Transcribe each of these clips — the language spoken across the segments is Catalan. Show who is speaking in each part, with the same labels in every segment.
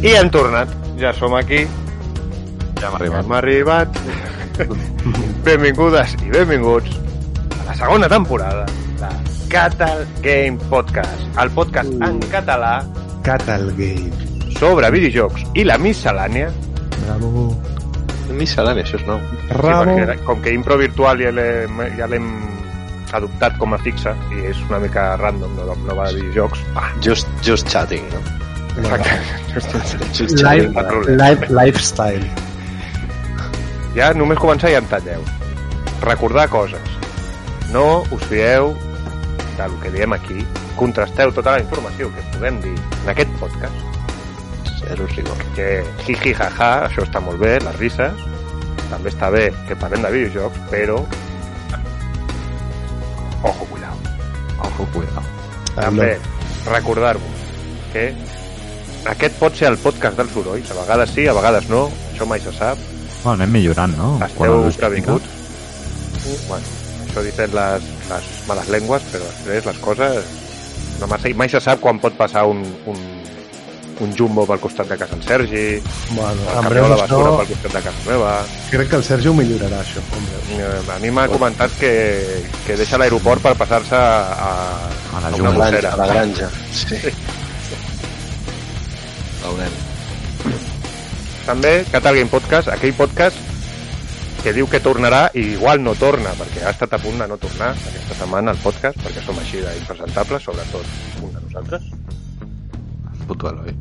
Speaker 1: I hem tornat. Ja som aquí,
Speaker 2: Ja hem
Speaker 1: hem
Speaker 2: arribat.
Speaker 1: arribat. Benvingudes i benvinguts a la segona temporada de Catal Game Podcast, el podcast en
Speaker 2: Uh.
Speaker 1: català
Speaker 3: Catal Game.
Speaker 1: sobre videojocs i la miscel·lània.
Speaker 3: Bravo.
Speaker 2: Miscel·lània, això és nou.
Speaker 3: Bravo.
Speaker 1: Sí, perquè com que Impro Virtual ja l'hem ja l'hem adoptat com a fixa i és una mica random, no, no va de videojocs. Ah,
Speaker 2: Just, just chatting, no?
Speaker 1: exacte.
Speaker 2: Just
Speaker 3: Live,
Speaker 2: chatting.
Speaker 1: Cap problema.
Speaker 3: live, lifestyle.
Speaker 1: Ja només començar i ja em talleu. Recordar coses. No us fieu del que diem aquí. Contrasteu tota la informació que puguem dir en aquest podcast,
Speaker 2: Zero rigor.
Speaker 1: que jiji jaja, això està molt bé, les risses, també està bé que parlem de videojocs, però... Ojo, cuidao.
Speaker 2: Ojo, cuidado.
Speaker 1: També recordar-vos que aquest pot ser el podcast dels sorolls, a vegades sí, a vegades no, això mai se sap,
Speaker 4: Bueno, anem millorant, no? Quan
Speaker 1: Esteu
Speaker 4: la luz
Speaker 1: previnguts? Bueno, això dicen les, les males llengües, però després les coses... No massa, mai se sap quan pot passar un, un, un jumbo pel costat de casa en Sergi,
Speaker 3: Bueno,
Speaker 1: el
Speaker 3: en
Speaker 1: camió
Speaker 3: breu
Speaker 1: de la
Speaker 3: això,
Speaker 1: basura pel costat de casa meva...
Speaker 3: crec que el Sergi ho millorarà, això. en breu.
Speaker 1: Eh, A mi m'ha comentat que, que deixa l'aeroport per passar-se a,
Speaker 4: A la
Speaker 1: una
Speaker 4: jungla.
Speaker 1: mossera.
Speaker 2: A la granja. Sí. Veurem.
Speaker 1: també Catal Game Podcast, aquell podcast que diu que tornarà i igual no torna, perquè ha estat a punt de no tornar aquesta setmana al podcast, perquè som així d'impresentables, sobretot un de nosaltres.
Speaker 2: Puto Eloi.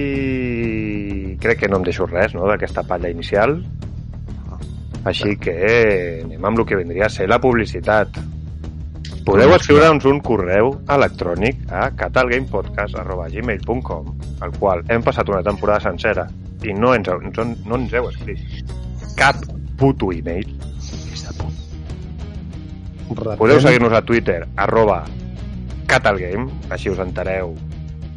Speaker 1: I crec que no em deixo res no, d'aquesta palla inicial. Així que anem amb el que vendria a ser la publicitat. Podeu escriure'ns un correu electrònic a catalgamepodcast.gmail.com al qual hem passat una temporada sencera i no ens, no, no ens heu escrit cap puto email.
Speaker 3: Ratem.
Speaker 1: Podeu seguir-nos a Twitter, arroba catalgame, així us entereu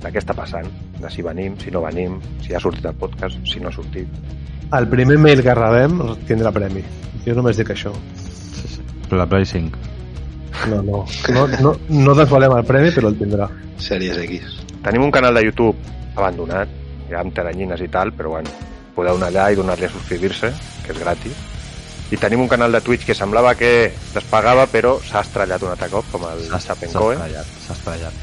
Speaker 1: de què està passant, de si venim, si no venim, si ha sortit el podcast, si no ha sortit.
Speaker 3: El primer mail que rebem tindrà premi. Jo només dic això.
Speaker 4: La Play 5.
Speaker 3: No, no. No, no, no desvalem el premi, però el tindrà.
Speaker 2: Sèries X.
Speaker 1: Tenim un canal de YouTube abandonat, ja amb teranyines i tal, però bueno, podeu anar allà i donar-li a subscriure-se, que és gratis. I tenim un canal de Twitch que semblava que despagava, però s'ha estrellat un altre cop, com el
Speaker 4: S'ha
Speaker 1: Sapenkoe.
Speaker 4: estrellat, s'ha estrellat.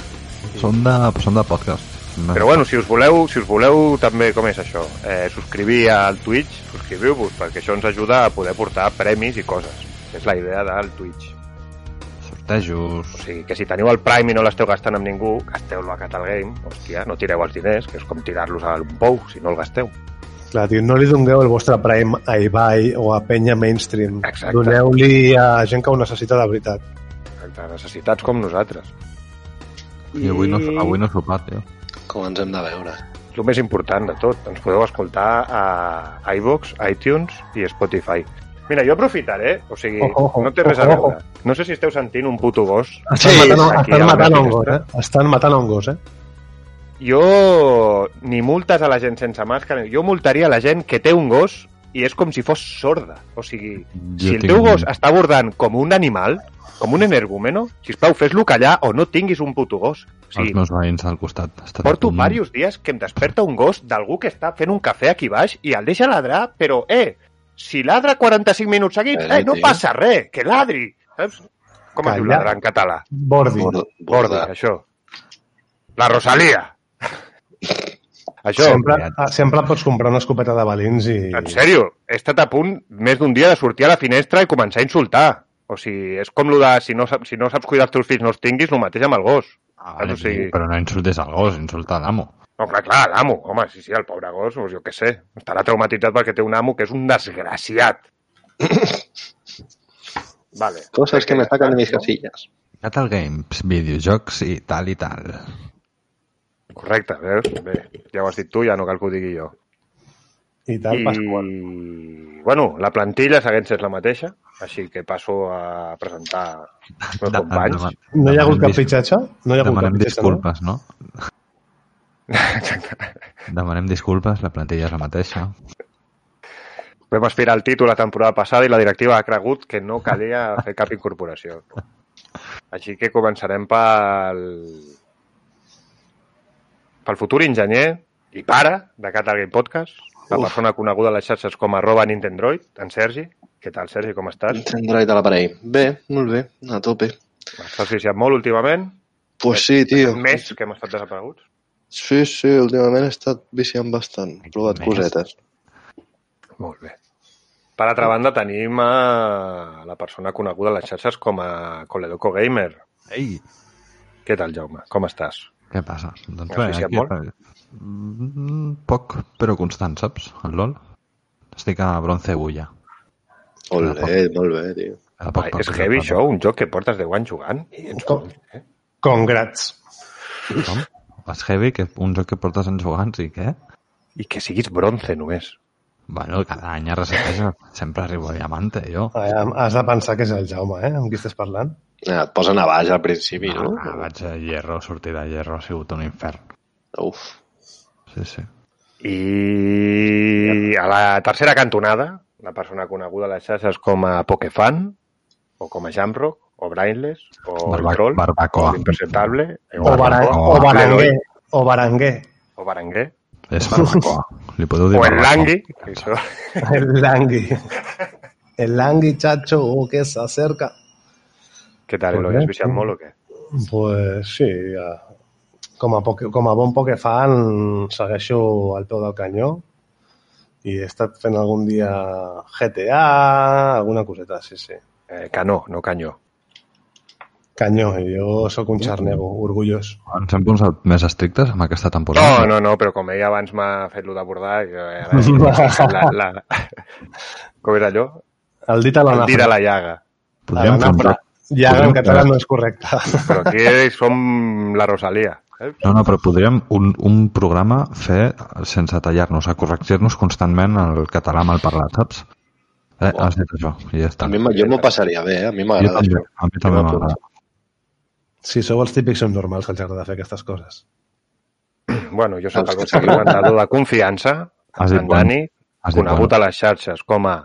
Speaker 4: Són de, són de podcast. No.
Speaker 1: Però bueno, si us voleu, si us voleu també, com és això, eh, subscrivir al Twitch, subscriviu-vos, perquè això ens ajuda a poder portar premis i coses. És la idea del Twitch.
Speaker 4: Sortejos...
Speaker 1: O sigui, que si teniu el Prime i no l'esteu gastant amb ningú, gasteu-lo a Catal Game, hòstia, no tireu els diners, que és com tirar-los al pou, si no el gasteu.
Speaker 3: Clar, tio, no li dongueu el vostre prime a Ibai o a penya mainstream.
Speaker 1: Exacte.
Speaker 3: Doneu-li a gent que ho necessita de veritat.
Speaker 1: Exacte, necessitats com nosaltres.
Speaker 4: I avui no, avui no he sopat, eh? tio.
Speaker 2: Com ens hem de veure.
Speaker 1: El més important de tot, ens podeu escoltar a iVox, iTunes i Spotify. Mira, jo aprofitaré, o sigui,
Speaker 3: Ojo, ojo,
Speaker 1: no té res a
Speaker 3: ojo,
Speaker 1: veure. No sé si esteu sentint un puto gos.
Speaker 3: Estan
Speaker 2: Sí,
Speaker 3: matant,
Speaker 1: aquí a
Speaker 3: estan
Speaker 1: la
Speaker 3: matant
Speaker 1: meva
Speaker 3: un gos, eh?
Speaker 1: finestra.
Speaker 3: Estan matant un gos, eh?
Speaker 1: Jo, ni multes a la gent sense màscara, jo multaria la gent que té un gos i és com si fos sorda. O sigui,
Speaker 4: Jo
Speaker 1: si el
Speaker 4: tinc
Speaker 1: teu
Speaker 4: un-
Speaker 1: gos està abordant com un animal, com un energúmeno, sisplau, fes-lo callar o no tinguis un puto gos. O
Speaker 4: Els
Speaker 1: sigui,
Speaker 4: meus veïns al costat. Està
Speaker 1: Porto diversos dies que em desperta un gos d'algú que està fent un cafè aquí baix i el deixa ladrar, però, eh, si ladra 45 minuts seguits,
Speaker 2: Eh,
Speaker 1: eh, no
Speaker 2: tio.
Speaker 1: passa res, que ladri. Saps? Com es diu
Speaker 3: Calla.
Speaker 1: ladrar en català?
Speaker 3: Bordi.
Speaker 2: Borda.
Speaker 1: Gorda,
Speaker 2: Borda.
Speaker 1: això. La Rosalia. això,
Speaker 3: Sempre, ah, sempre pots comprar una escopeta de balins i...
Speaker 1: en sèrio, he estat a punt més d'un dia de sortir a la finestra i començar a insultar. O sigui, és com lo de si no, saps, si no saps cuidar els teus fills no els tinguis, el mateix amb el gos.
Speaker 4: Ah,
Speaker 1: vale, sí.
Speaker 4: Però no insultes al gos, insulta a l'amo.
Speaker 1: No, clar, clar, l'amo. Home, sí, sí, el pobre gos, doncs jo què sé. Estarà traumatitzat perquè té un amo que és un desgraciat. vale.
Speaker 2: Cosas que me sacan de mis casillas.
Speaker 4: Metal Games, videojocs i tal i tal.
Speaker 1: Correcte, veus? Bé, ja ho has dit tu, ja no cal que ho digui jo.
Speaker 3: I tal, Pasqual.
Speaker 1: I, bueno, la plantilla segueix és la mateixa, així que passo a presentar els meus companys.
Speaker 4: Demanem-
Speaker 3: No hi ha hagut
Speaker 4: demanem
Speaker 3: cap
Speaker 4: dis-
Speaker 3: fitxatge? No hi ha hagut cap
Speaker 4: Demanem
Speaker 3: fitxatge, no?
Speaker 4: disculpes, no?
Speaker 1: Exacte.
Speaker 4: Demanem disculpes, la plantilla és la mateixa.
Speaker 1: Vam aspirar al títol la temporada passada i la directiva ha cregut que no calia fer cap incorporació. Així que començarem pel, pel futur enginyer i pare de Catal Game Podcast, la persona coneguda a les xarxes com arroba Nintendroid, en Sergi. Què tal, Sergi, com estàs?
Speaker 2: Android a l'aparell. Bé, molt bé, a tope.
Speaker 1: M'has associat molt últimament,
Speaker 2: Pues sí, tio.
Speaker 1: més que hem estat desapareguts.
Speaker 2: Sí, sí, últimament he estat viciant bastant. He provat
Speaker 4: Més.
Speaker 2: cosetes.
Speaker 1: Molt bé. Per altra banda, tenim a la persona coneguda a les xarxes com a Coledoco Gamer.
Speaker 4: Ei!
Speaker 1: Què tal, Jaume? Com estàs?
Speaker 4: Què passa? Doncs eh,
Speaker 1: Has viciat molt?
Speaker 4: Mm, Poc, però constant, saps? El LOL. Estic a bronze bulla.
Speaker 1: Ah,
Speaker 2: Olé, molt bé, tio.
Speaker 4: Cada
Speaker 1: Ai, és heavy, això, un joc que portes 10 anys jugant.
Speaker 3: Com? Congrats.
Speaker 4: Com? És heavy, que un joc que portes en jugants i què?
Speaker 1: I que siguis bronze, només.
Speaker 4: Bueno, cada any a reseteja sempre arribo a diamante, jo.
Speaker 3: Eh, Has de pensar que és el Jaume, eh? Amb qui estàs parlant?
Speaker 2: Ah, et posen a baix al principi, no?
Speaker 4: Ah, vaig a hierro, sortir de hierro ha sigut un infern.
Speaker 2: Uf.
Speaker 4: Sí, sí.
Speaker 1: I a la tercera cantonada, la persona coneguda a les xarxes com a Pokefan, o com a Jamrock, o Brainless, o el
Speaker 4: Barba-
Speaker 1: Troll,
Speaker 4: barbacoa.
Speaker 1: o l'Impresentable,
Speaker 3: O, bara
Speaker 4: Oh,
Speaker 3: o Baranguer. O Baranguer.
Speaker 1: o Baranguer,
Speaker 4: És barbacoa. Li podeu dir
Speaker 1: o el
Speaker 4: barbacoa.
Speaker 1: Langui, que això
Speaker 3: El Langui. El Langui, chacho, oh, que s'acerca.
Speaker 1: Què tal,
Speaker 3: Molt
Speaker 1: Eloi?
Speaker 3: bé.
Speaker 1: Has viciat molt o què?
Speaker 3: Pues sí, ja. com, a poc, com a bon pokefan segueixo al peu del canyó i he estat fent algun dia GTA, alguna coseta, sí, sí.
Speaker 1: Eh, canó, no canyó.
Speaker 3: Canyó, i jo sóc un xarnego, orgullós.
Speaker 4: Ens hem posat més estrictes amb aquesta temporada.
Speaker 1: No, no, no, però com ella abans m'ha fet lo d'abordar, jo eh, ara... la, la... Com era allò?
Speaker 3: El dit a la
Speaker 1: El dit a
Speaker 3: nafra.
Speaker 1: la llaga.
Speaker 3: A la
Speaker 4: Podríem fer un
Speaker 3: nafra.
Speaker 4: joc.
Speaker 3: Ja en
Speaker 4: podríem-
Speaker 3: català no és correcte.
Speaker 1: Però aquí som la Rosalia. Eh?
Speaker 4: No, no, però podríem un, un programa fer sense tallar-nos, a corregir-nos constantment el català mal parlat, saps? Eh, has dit això, i ja està.
Speaker 2: A mi, m- jo m'ho passaria bé, eh? a mi
Speaker 4: jo
Speaker 2: m'agrada
Speaker 4: també,
Speaker 2: això.
Speaker 4: a mi també
Speaker 2: Jo
Speaker 4: m'agrada.
Speaker 3: Si sou els típics són normals que els agrada fer aquestes coses.
Speaker 1: Bueno, jo sóc el
Speaker 2: Doncs-
Speaker 1: vostre comentador de confiança,
Speaker 4: Has dit
Speaker 1: en
Speaker 4: bon,
Speaker 1: Dani,
Speaker 4: has dit
Speaker 1: conegut
Speaker 4: bon.
Speaker 1: a les xarxes com a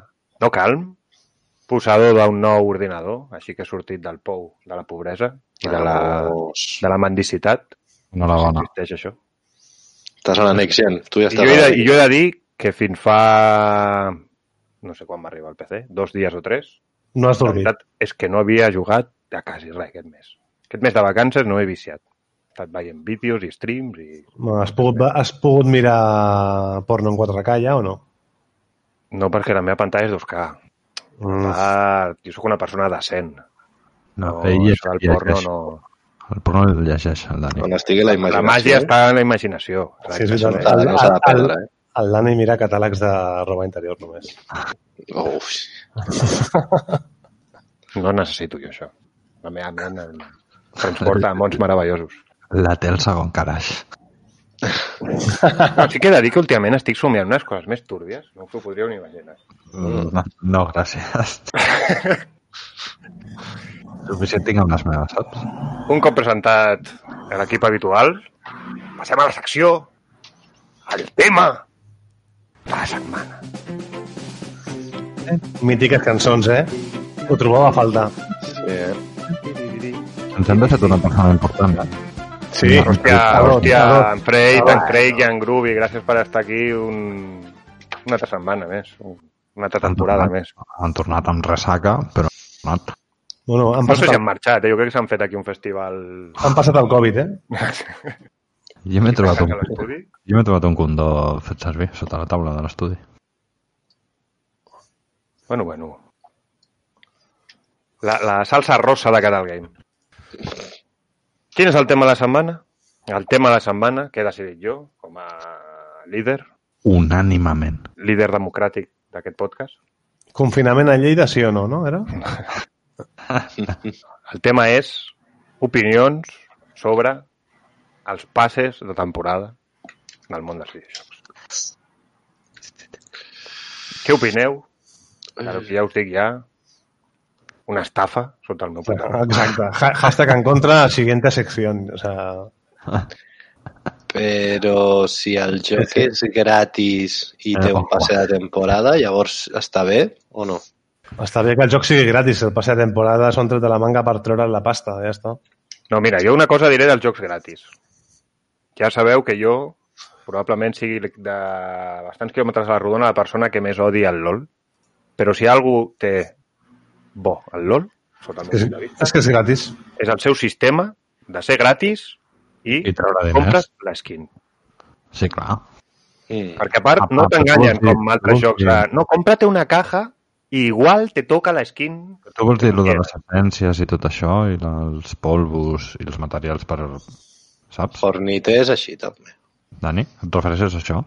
Speaker 1: no calm, posador d'un nou ordinador, així que he sortit del pou de la pobresa i de la,
Speaker 2: Vamos.
Speaker 1: de la mendicitat.
Speaker 4: Enhorabona.
Speaker 1: Existeix això.
Speaker 2: Estàs a la next gen. Tu ja
Speaker 1: I
Speaker 2: estàs
Speaker 1: jo, he
Speaker 2: a
Speaker 1: de,
Speaker 2: la-
Speaker 1: I jo he de dir que fins fa... No sé quan va arribar el PC, dos dies o tres.
Speaker 3: No has
Speaker 1: La
Speaker 3: dormit.
Speaker 1: veritat és que no havia jugat a quasi res aquest mes. Aquest mes de vacances no he viciat. He estat veient vídeos i streams i...
Speaker 3: No, has, pogut, has pogut mirar porno en 4K ja o no?
Speaker 1: No, perquè la meva pantalla és 2K.
Speaker 3: Mm.
Speaker 1: Ah, jo sóc una persona decent.
Speaker 4: No,
Speaker 1: No,
Speaker 4: ell
Speaker 1: això
Speaker 4: llegeix,
Speaker 1: del porno
Speaker 4: llegeix.
Speaker 1: no...
Speaker 4: El porno el llegeix, el Dani.
Speaker 2: On estigui la
Speaker 1: La
Speaker 2: imaginació.
Speaker 1: màgia està en la imaginació.
Speaker 3: Sí, és veritat.
Speaker 1: Exacte.
Speaker 2: S'ha de- No s'ha de perdre, eh?
Speaker 3: El Dani mira catàlegs de roba interior només.
Speaker 2: Uf.
Speaker 1: No necessito jo això. La meva ment em transporta a mons meravellosos.
Speaker 4: La té el segon caraix.
Speaker 1: No, sí que he de dir que últimament estic somiant unes coses més túrbies. No us ho podríeu ni imaginar.
Speaker 4: No, no gràcies. Suficient tinc amb les meves, saps?
Speaker 1: Un cop presentat a l'equip habitual, passem a la secció, al tema de la setmana.
Speaker 3: Mítiques cançons, eh? Ho trobava a faltar.
Speaker 2: Sí, eh?
Speaker 4: Ens hem deixat una persona important. eh?
Speaker 3: Sí.
Speaker 1: Hòstia,
Speaker 3: Perdó,
Speaker 1: hòstia,
Speaker 3: perdó.
Speaker 1: en Frey,
Speaker 3: Perdó.
Speaker 1: en Craig i en Groovy, gràcies per estar aquí un... una altra setmana més. Un- una altra temporada
Speaker 4: han
Speaker 1: més.
Speaker 4: tornat, Han tornat amb ressaca, però han tornat.
Speaker 3: Bueno, han
Speaker 1: No sé
Speaker 3: passat,
Speaker 1: si
Speaker 3: el,
Speaker 1: han marxat, eh? jo crec que s'han fet aquí un festival...
Speaker 3: han passat el Covid, eh?
Speaker 4: Jo m'he trobat,
Speaker 1: a
Speaker 4: un,
Speaker 1: l'estudi.
Speaker 4: jo m'he trobat un condó fet servir sota la taula de l'estudi.
Speaker 1: Bueno, bueno. La, la salsa rosa de cada game. Quin és el tema de la setmana? El tema de la setmana que he decidit jo, com a líder,
Speaker 4: Unànimament.
Speaker 1: líder democràtic d'aquest podcast.
Speaker 3: Confinament a Lleida, sí o no, no? Era?
Speaker 1: El tema és opinions sobre els passes de temporada del món dels videojocs. Què opineu? Claro, que ja us dic ja, una estafa sota el meu punt de vista.
Speaker 3: Exacte. Ha- Hashtag en contra, siguiente sección. O sea,
Speaker 2: Però si el joc
Speaker 3: Sí, sí.
Speaker 2: és gratis i
Speaker 4: Eh,
Speaker 2: té un
Speaker 4: ojo.
Speaker 2: passe de temporada, llavors està bé o no?
Speaker 3: està bé que el joc sigui gratis. El passe de temporada s'ho han tret de la manga per treure'n la pasta, ja està.
Speaker 1: No, mira, jo una cosa diré dels jocs gratis. Ja sabeu que jo probablement sigui de bastants quilòmetres a la rodona la persona que més odia el LOL. Però si algú té bo el LOL, sota el meu
Speaker 3: És,
Speaker 1: punt de vista,
Speaker 3: és que és gratis.
Speaker 1: és el seu sistema de ser gratis i,
Speaker 4: I treure diners.
Speaker 1: compres l'esquin.
Speaker 4: Sí, clar.
Speaker 2: Mm.
Speaker 1: Perquè a part
Speaker 4: Ah,
Speaker 1: no
Speaker 4: ah,
Speaker 1: t'enganyen
Speaker 4: però vols dir-
Speaker 1: com altres
Speaker 4: vols
Speaker 1: jocs.
Speaker 4: dir-
Speaker 1: De, no, comprate una caja i igual te toca l'esquin.
Speaker 4: Tu vols dir lo de
Speaker 1: Eh.
Speaker 4: les essències i tot això, i la- els polvos i els materials per... Saps?
Speaker 2: Fornite és així, també.
Speaker 4: Dani, et refereixes a això?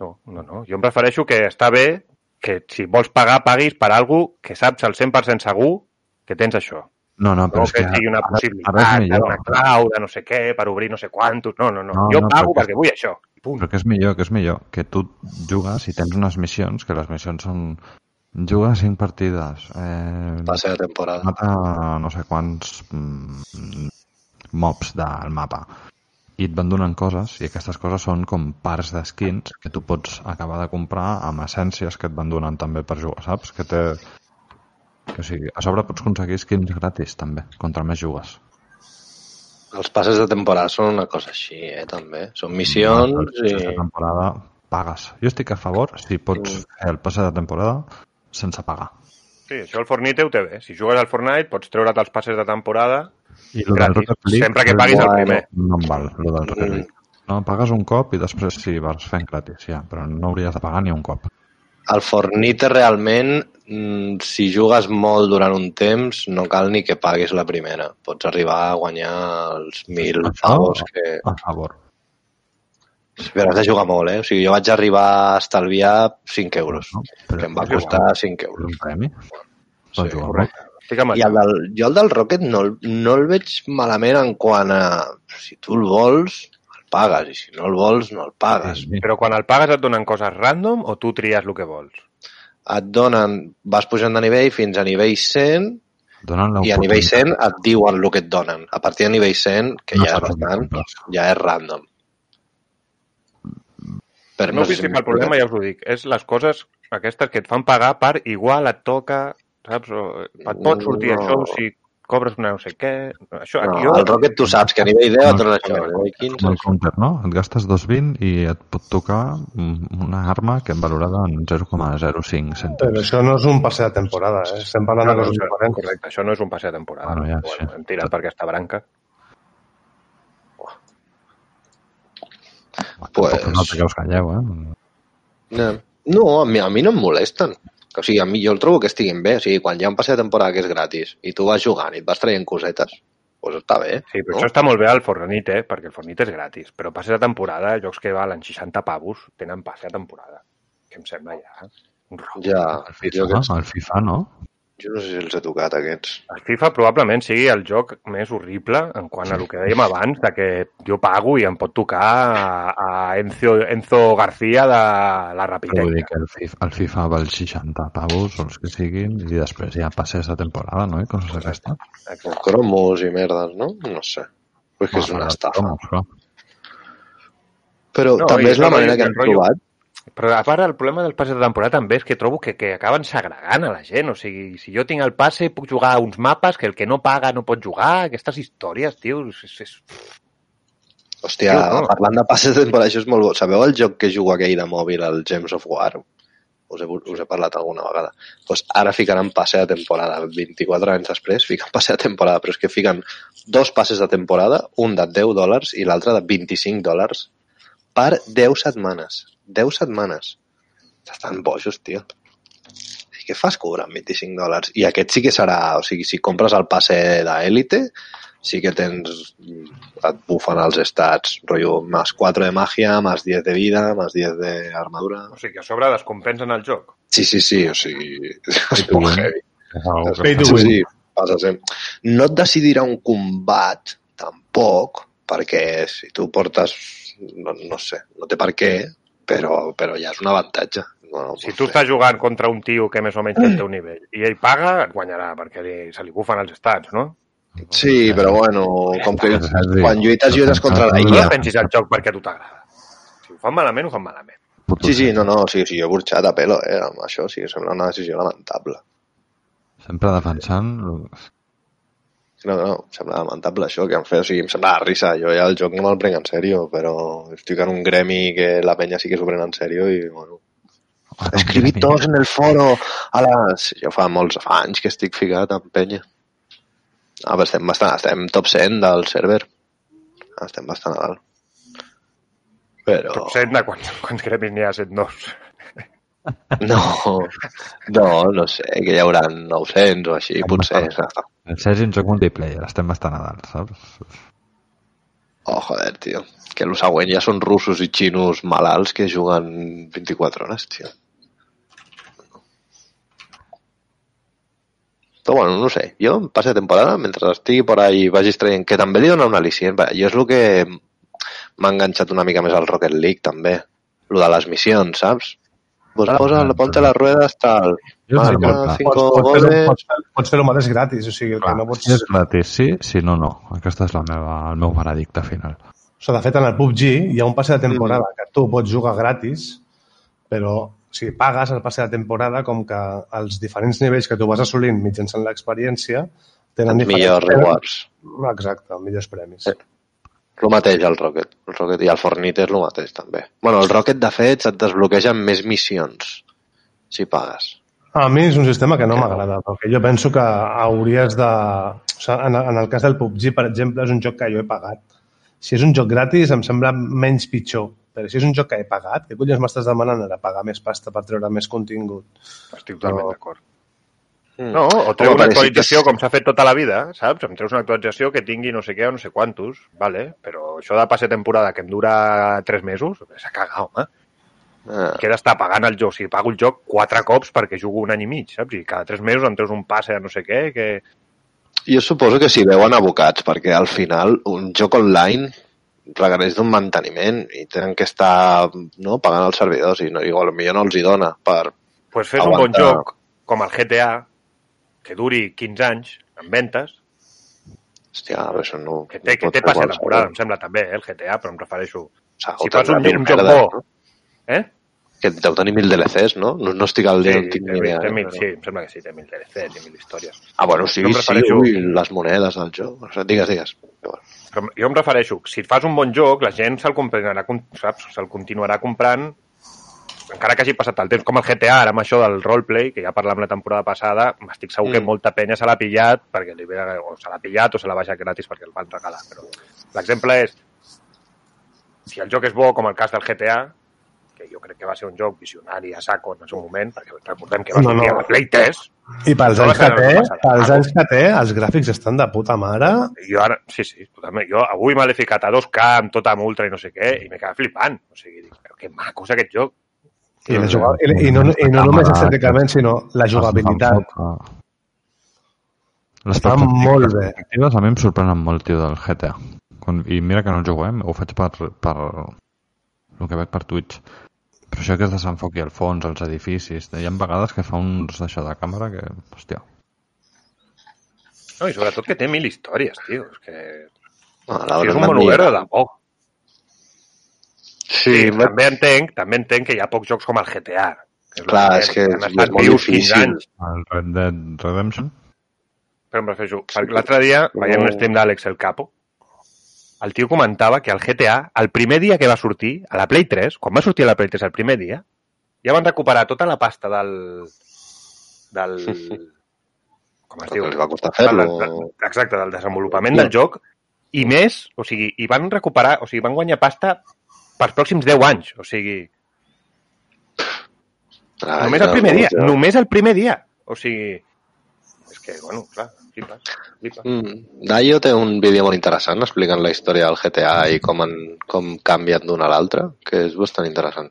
Speaker 1: No, no, no. Jo em prefereixo que està bé que si vols pagar, paguis per algú que saps al 100% segur que tens això.
Speaker 4: No, no,
Speaker 1: No
Speaker 4: però és
Speaker 1: que,
Speaker 4: que...
Speaker 1: sigui una
Speaker 4: ara-
Speaker 1: possibilitat,
Speaker 4: Ara és
Speaker 1: una
Speaker 4: millor,
Speaker 1: clau de no sé què, per obrir no sé quantos... No, no, no.
Speaker 4: No,
Speaker 1: jo
Speaker 4: no,
Speaker 1: pago
Speaker 4: perquè-
Speaker 1: perquè vull això. I Punt.
Speaker 4: però que és millor, que és millor, que tu jugues i tens unes missions, que les missions són... Jugues cinc partides, eh,
Speaker 2: Passe de temporada.
Speaker 4: mata no sé quants mm, mobs del mapa i et van donant coses i aquestes coses són com parts d'esquins que tu pots acabar de comprar amb essències que et van donant també per jugar, saps? Que té... Que o sigui, a sobre pots aconseguir skins gratis també, contra més jugues.
Speaker 2: Els passes de temporada són una cosa així, eh, també. Són
Speaker 1: Doncs,
Speaker 2: missions i...
Speaker 1: eh,
Speaker 4: Aquesta temporada pagues. Jo estic a favor si pots fer el passe de temporada sense pagar.
Speaker 1: Sí, això el Fortnite ho té bé. Si jugues al Fortnite pots treure't els passes de temporada
Speaker 4: I lo del
Speaker 1: gratis.
Speaker 4: Rocket League-
Speaker 1: Sempre que paguis el
Speaker 2: Bueno.
Speaker 1: primer.
Speaker 4: No em val, lo del Rocket
Speaker 2: Mm.
Speaker 4: League. No, pagues un cop i després sí, vas fent gratis, ja, però no hauries de pagar ni un cop.
Speaker 2: El Fornite realment, mm, si jugues molt durant un temps, no cal ni que paguis la primera. Pots arribar a guanyar els mil
Speaker 4: Això-
Speaker 2: pavos que...
Speaker 4: A favor.
Speaker 2: Però has de jugar molt, eh? O sigui, jo vaig arribar a estalviar 5 euros,
Speaker 4: Ah, No?
Speaker 2: que em va costar 5
Speaker 4: És un
Speaker 2: euros.
Speaker 4: premi? Per jugar,
Speaker 1: correcte. Estic amb
Speaker 2: I
Speaker 1: això.
Speaker 2: el del, jo el del Rocket no, el- no el veig malament en quant a... Si tu el vols, el pagues, i si no el vols, no el
Speaker 4: no?
Speaker 2: pagues.
Speaker 4: Sí,
Speaker 1: Però quan el pagues et donen coses random o tu tries el que vols?
Speaker 2: Et donen... Vas pujant de nivell fins a nivell 100
Speaker 4: Donen
Speaker 2: i a nivell
Speaker 4: l'oportunitat.
Speaker 2: 100 et diuen el que et donen. A partir de nivell 100, que
Speaker 4: No
Speaker 2: ja és
Speaker 4: saps el que
Speaker 2: bastant,
Speaker 4: compres.
Speaker 2: ja és random. Però
Speaker 1: El meu principal problema, ja us ho dic, és les coses aquestes que et fan pagar per igual et toca, saps? O et pot sortir
Speaker 2: No.
Speaker 1: això si cobres una no sé què... Això,
Speaker 2: No,
Speaker 1: aquí jo...
Speaker 2: el Rocket tu saps que a nivell 10 et donen això, a nivell
Speaker 4: Com
Speaker 2: 15...
Speaker 4: el counter, no? Et gastes 2,20 i et pot tocar mm, una arma que hem valorada en 0,05
Speaker 3: Però
Speaker 4: cèntims.
Speaker 3: això no és un passe de temporada, eh? Estem parlant
Speaker 1: No,
Speaker 3: de
Speaker 1: no,
Speaker 3: coses
Speaker 1: això,
Speaker 3: diferents.
Speaker 1: correcte, això no és un passe de temporada.
Speaker 4: Bueno, ja,
Speaker 1: bueno,
Speaker 4: sí.
Speaker 1: Hem tirat per aquesta branca.
Speaker 2: pues-
Speaker 4: Tampoc No te creus que calleu, eh?
Speaker 2: No, no a, mi, a mi no em molesten. O sigui, a mi jo el trobo que estiguin bé. O sigui, quan hi ha un passe de temporada que és gratis i tu vas jugant i et vas traient cosetes, doncs està bé.
Speaker 1: Sí, però
Speaker 2: no?
Speaker 1: això està molt bé al Fortnite, eh? perquè el Fortnite és gratis, però passe de temporada, jocs que valen 60 pavos, tenen passe de temporada, que em sembla ja un robo.
Speaker 2: Ja,
Speaker 4: El
Speaker 2: jo,
Speaker 4: FIFA,
Speaker 2: aquests,
Speaker 4: el FIFA no?
Speaker 2: jo no sé si els he tocat, aquests.
Speaker 1: El FIFA probablement sigui el joc més horrible en quant a el que dèiem abans, de que jo pago i em pot tocar a, a Enzo, Enzo García de la
Speaker 4: Però vull dir
Speaker 1: Rapidec.
Speaker 4: que el FIFA, el FIFA val 60 pavos o els que siguin i després ja passes la temporada, no? I coses d'aquestes.
Speaker 2: O cromos i merdes, no? No sé. Però és que és una estafa.
Speaker 4: Home, clar.
Speaker 2: Però
Speaker 1: No, i
Speaker 2: també és
Speaker 1: no,
Speaker 2: la
Speaker 1: no,
Speaker 2: manera
Speaker 1: i
Speaker 2: que
Speaker 1: el
Speaker 2: hem
Speaker 1: rotllo-
Speaker 2: trobat
Speaker 1: Però a part el problema del passe de temporada també és que trobo que, que acaben segregant a la gent. O sigui, si jo tinc el passe puc jugar a uns mapes que el que no paga no pot jugar. Aquestes històries, tio, és, és, és...
Speaker 2: Hòstia,
Speaker 1: Jo no.
Speaker 2: parlant de passes de temporada, això és molt bo. Sabeu el joc que juga aquell de mòbil, el Gems of War? us he, us he parlat alguna vegada. Pues ara ficaran passe de temporada, 24 anys després fiquen passe de temporada, però és que fiquen dos passes de temporada, un de 10 dòlars i l'altre de 25 dòlars per 10 setmanes. 10 setmanes. Estan bojos, tio. I què fas cobrant 25 dòlars? I aquest sí que serà, o sigui, si compres el passe d'élite, sí que tens, et bufen als estats, rotllo, más 4 de magia, más 10 de vida, más 10 de armadura.
Speaker 1: O sigui, a sobre descompensen el joc.
Speaker 2: Sí, sí, sí, o sigui, és molt heavy.
Speaker 4: És una cosa
Speaker 3: Pay
Speaker 4: que
Speaker 3: to
Speaker 4: fa-
Speaker 3: win.
Speaker 2: Sí, passa sempre. No et decidirà un combat, tampoc, perquè si tu portes, no, no sé, no té per què, però, però ja és un avantatge. No,
Speaker 1: Si tu estàs jugant contra un tio que més o menys té el teu nivell i ell paga, et guanyarà, perquè li, se li bufen els estats, no?
Speaker 2: Sí, però bueno, com que quan lluites, lluites contra la
Speaker 1: Tu
Speaker 2: IA.
Speaker 1: no pensis el joc perquè a tu t'agrada. Si ho fan malament, ho fan malament.
Speaker 2: Sí, sí, no, no, sí, sí, jo he burxat a pelo, eh, amb això, sí, sembla una decisió lamentable.
Speaker 4: Sempre defensant...
Speaker 2: No, no, em sembla lamentable això que han fet, o sigui, em sembla de risa, jo ja el joc no me'l prenc en sèrio, però estic en un gremi que la penya sí que s'ho pren en sèrio i, bueno, Escriví tots en el foro a les... Jo fa molts anys que estic ficat en penya. Ah, però estem bastant... Estem top 100 del server. Ah, Estem bastant a dalt. Però...
Speaker 1: Top 100 de quants, quants gremis n'hi ha? 102.
Speaker 2: No, no, no sé, que hi haurà 900 o així, potser.
Speaker 4: El Sergi en joc multiplayer, estem bastant a dalt,
Speaker 2: Ah,
Speaker 4: saps?
Speaker 2: Oh, joder, tio. Que el següent ja són russos i xinos malalts que juguen 24 hores, tio. Però bueno, no ho sé. Jo, en passe de temporada, mentre estigui per ahí i vagis traient, que també li dona un al·licient. va, Jo és el que m'ha enganxat una mica més al Rocket League, també. Lo de les missions, saps? Pues posa, ponte las ruedas, tal.
Speaker 4: Jo sí que
Speaker 2: Marca
Speaker 4: clar.
Speaker 2: 5
Speaker 3: pots, pots, fer,
Speaker 2: goles...
Speaker 3: pots, fer, pots fer el mateix gratis, o sigui, el que
Speaker 4: Clar,
Speaker 3: no
Speaker 4: si és
Speaker 3: pots...
Speaker 4: gratis, sí, si no, no. Aquesta és la meva, el meu veredicte final.
Speaker 3: O sigui, de fet, en el PUBG hi ha un passe de temporada que tu pots jugar gratis, però si pagues el passe de temporada, com que els diferents nivells que tu vas assolint mitjançant l'experiència tenen
Speaker 2: Els millors rewards.
Speaker 3: Exacte, millors premis.
Speaker 2: Eh. El mateix, el Rocket. El Rocket i el Fortnite és el mateix, també. bueno, el Rocket, de fet, et desbloquegen més missions, si pagues.
Speaker 3: A mi és un sistema que no m'agrada, perquè jo penso que hauries de... O sigui, en, en el cas del PUBG, per exemple, és un joc que jo he pagat. Si és un joc gratis, em sembla menys pitjor. Però si és un joc que he pagat, què collons m'estàs demanant ara? Pagar més pasta per treure més contingut?
Speaker 1: Estic totalment
Speaker 3: No.
Speaker 1: d'acord. No, o treu
Speaker 2: Home,
Speaker 1: una
Speaker 2: parece que
Speaker 1: actualització
Speaker 2: és-
Speaker 1: com s'ha fet tota la vida, saps? Em treus una actualització que tingui no sé què o no sé quantos, vale? però això de passe temporada que em dura 3 mesos, s'ha cagat, home.
Speaker 2: Ah,
Speaker 1: Que he d'estar pagant el joc, o sigui, pago el joc 4 cops perquè jugo un any i mig, saps? I cada 3 mesos em treus un passe de no sé què, que...
Speaker 2: jo suposo que s'hi veuen abocats, perquè al final un joc online requereix d'un manteniment i tenen que estar no, pagant els servidors i, no, i potser no els hi dona per...
Speaker 1: pues fes un bon
Speaker 2: Aguanta.
Speaker 1: joc, com el GTA, que duri 15 anys, en ventes,
Speaker 2: Hòstia, però això no...
Speaker 1: que té,
Speaker 2: no
Speaker 1: que té passe de temporada, em sembla també, eh, el GTA, però em refereixo... Si fas un, un joc bo... Eh?
Speaker 2: Que deu tenir mil DLCs, no? No, no estic al
Speaker 1: Sí,
Speaker 2: dia, no
Speaker 1: té,
Speaker 2: tinc ni
Speaker 1: mil,
Speaker 2: idea.
Speaker 1: té mil,
Speaker 2: però-
Speaker 1: sí, em sembla que sí, té mil DLC, té mil històries.
Speaker 2: Ah, bueno, sí,
Speaker 1: No em
Speaker 2: sí,
Speaker 1: refereixo-
Speaker 2: ui, les monedes del joc. O sigui, digues, digues.
Speaker 1: Però jo em refereixo, si et fas un bon joc, la gent se'l continuarà, com- saps? Se'l continuarà comprant encara que hagi passat el temps, com el GTA, ara amb això del roleplay, que ja parlàvem la temporada passada, estic segur que
Speaker 2: Mm.
Speaker 1: molta penya se l'ha pillat perquè li ve, o se l'ha pillat o se l'ha baixat gratis perquè el van regalar. Però l'exemple és, si el joc és bo, com el cas del GTA, que jo crec que va ser un joc visionari a saco en el seu moment, perquè recordem que va
Speaker 3: No,
Speaker 1: sortir a
Speaker 3: no.
Speaker 1: la Play 3,
Speaker 3: I pels
Speaker 1: No,
Speaker 3: anys que
Speaker 1: no, no
Speaker 3: té,
Speaker 1: passa res.
Speaker 3: pels anys que té, els gràfics estan de puta mare.
Speaker 1: jo ara, sí, sí, totalment. Jo avui me l'he ficat a 2K amb tota amb ultra i no sé què, i m'he quedat flipant. O sigui, dic, però que maco és aquest joc.
Speaker 3: I, la jugab... I, i, no, I no només estèticament, sinó la jugabilitat.
Speaker 4: eh. Les
Speaker 3: Està molt bé.
Speaker 4: perspectives a mi em sorprenen molt, tio, del GTA. Quan, I mira que no el juguem, ho faig per, per el que veig per Twitch. Però això que es desenfoqui al fons, els edificis... Hi ha vegades que fa uns d'això de càmera que... Hòstia,
Speaker 1: No, I sobretot que té mil històries, tio. És que... O
Speaker 2: Ah,
Speaker 1: sigui, és un
Speaker 2: l'hauran
Speaker 1: món
Speaker 2: de
Speaker 1: obert de
Speaker 2: millorar.
Speaker 1: debò.
Speaker 2: Sí,
Speaker 1: I
Speaker 2: va-
Speaker 1: també entenc, també entenc que hi ha pocs jocs com el GTA. és
Speaker 2: Clar,
Speaker 1: el
Speaker 2: és que
Speaker 1: han
Speaker 2: és
Speaker 1: estat
Speaker 2: molt
Speaker 1: vius 15
Speaker 2: difícil.
Speaker 1: Anys,
Speaker 4: el Red Dead Redemption...
Speaker 1: però em refereixo, perquè l'altre dia, veient un stream d'Àlex El Capo, el tio comentava que el GTA, el primer dia que va sortir, a la Play 3, quan va sortir a la Play 3 el primer dia, ja van recuperar tota la pasta del... del com es
Speaker 2: Però
Speaker 1: diu?
Speaker 2: que els va costar fer-lo.
Speaker 1: Del- del- Exacte, del desenvolupament del joc i més, o sigui, i van recuperar, o sigui, van guanyar pasta pels pròxims 10 anys, o sigui,
Speaker 2: Ah,
Speaker 1: només
Speaker 2: ja,
Speaker 1: el primer dia,
Speaker 2: ja.
Speaker 1: només el primer dia, o sigui, és que, bueno, clar, flipes, flipes.
Speaker 2: Mm. Dayo té un vídeo molt interessant explicant la història del GTA i com, en, com canvien d'un a l'altre, que és bastant interessant.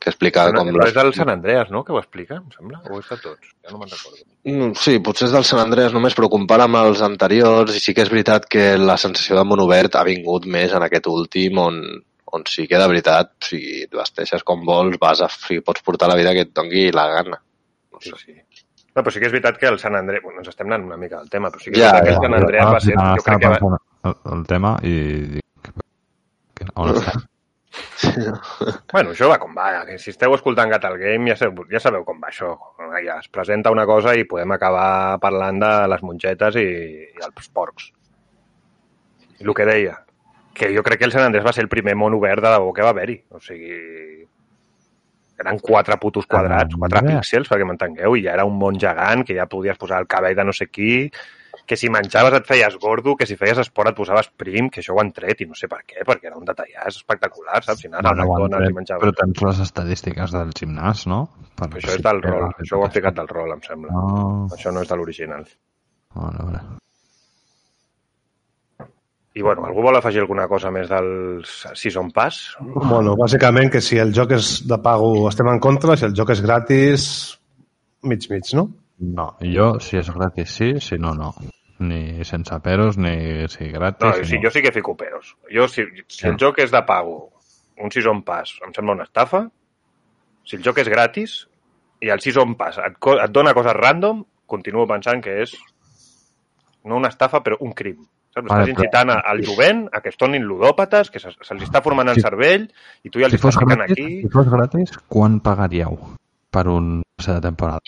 Speaker 2: Que explica
Speaker 1: Però
Speaker 2: com...
Speaker 1: és del Sant Andreas, no?, que ho explica, em sembla, o és de tots, ja no me'n recordo.
Speaker 2: Mm, Sí, potser és del Sant Andreas només, però compara amb els anteriors i sí que és veritat que la sensació de món obert ha vingut més en aquest últim on, on sí que de veritat, si et vesteixes com vols, vas a, si pots portar la vida que et doni la gana. No
Speaker 1: Sí,
Speaker 2: sé.
Speaker 1: sí. No, però sí que és veritat que el Sant Andreu... Bueno, ens estem anant una mica del tema, però sí que
Speaker 2: Ja,
Speaker 1: ja,
Speaker 2: ja.
Speaker 1: el Sant Andreu va ser...
Speaker 4: Ah,
Speaker 1: Jo crec que va...
Speaker 4: estava pensant El, el tema i dic... que- On estem?
Speaker 1: Bueno, això va com va. que Si esteu escoltant Gatal Game, ja sabeu, ja sabeu com va això. Ja es presenta una cosa i podem acabar parlant de les mongetes i, i els porcs. I el que deia, que jo crec que el Sant Andrés va ser el primer món obert de debò que va haver-hi. O sigui, eren quatre putos quadrats,
Speaker 4: Ah,
Speaker 1: quatre
Speaker 4: mira.
Speaker 1: píxels, perquè m'entengueu, i ja era un món gegant, que ja podies posar el cabell de no sé qui, que si menjaves et feies gordo, que si feies esport et posaves prim, que això ho han tret, i no sé per què, perquè era un detallàs espectacular, saps? Si anaves al
Speaker 4: Bueno, ho han
Speaker 1: McDonald's
Speaker 4: tret,
Speaker 1: i menjaves...
Speaker 4: Però tens les estadístiques del gimnàs, no? Per
Speaker 1: Però això és del
Speaker 4: si-
Speaker 1: rol, això ho ha ficat del rol, em sembla.
Speaker 4: No,
Speaker 1: Això no és de l'original.
Speaker 4: a veure.
Speaker 1: I bueno, algú vol afegir alguna cosa més del Season Pass?
Speaker 3: Bueno, bàsicament que si el joc és de pago estem en contra, si el joc és gratis, mig-mig, no?
Speaker 4: No, jo, si és gratis, sí, si no, no. Ni sense peros, ni si
Speaker 1: No,
Speaker 4: gratis.
Speaker 1: sí, jo sí que fico peros. Jo, si, si el joc és de pago, un Season Pass em sembla una estafa, si el joc és gratis i el Season Pass et, co- et dona coses random, continuo pensant que és no una estafa, però un crim. Saps?
Speaker 4: Vale,
Speaker 1: Estàs incitant a- al jovent a que es tornin ludòpates, que se- se'ls està formant el
Speaker 4: Si-
Speaker 1: cervell i tu ja els
Speaker 4: Si fos,
Speaker 1: estàs ficant
Speaker 4: gratis,
Speaker 1: aquí...
Speaker 4: si fos gratis, quan pagaríeu per un passe de temporada?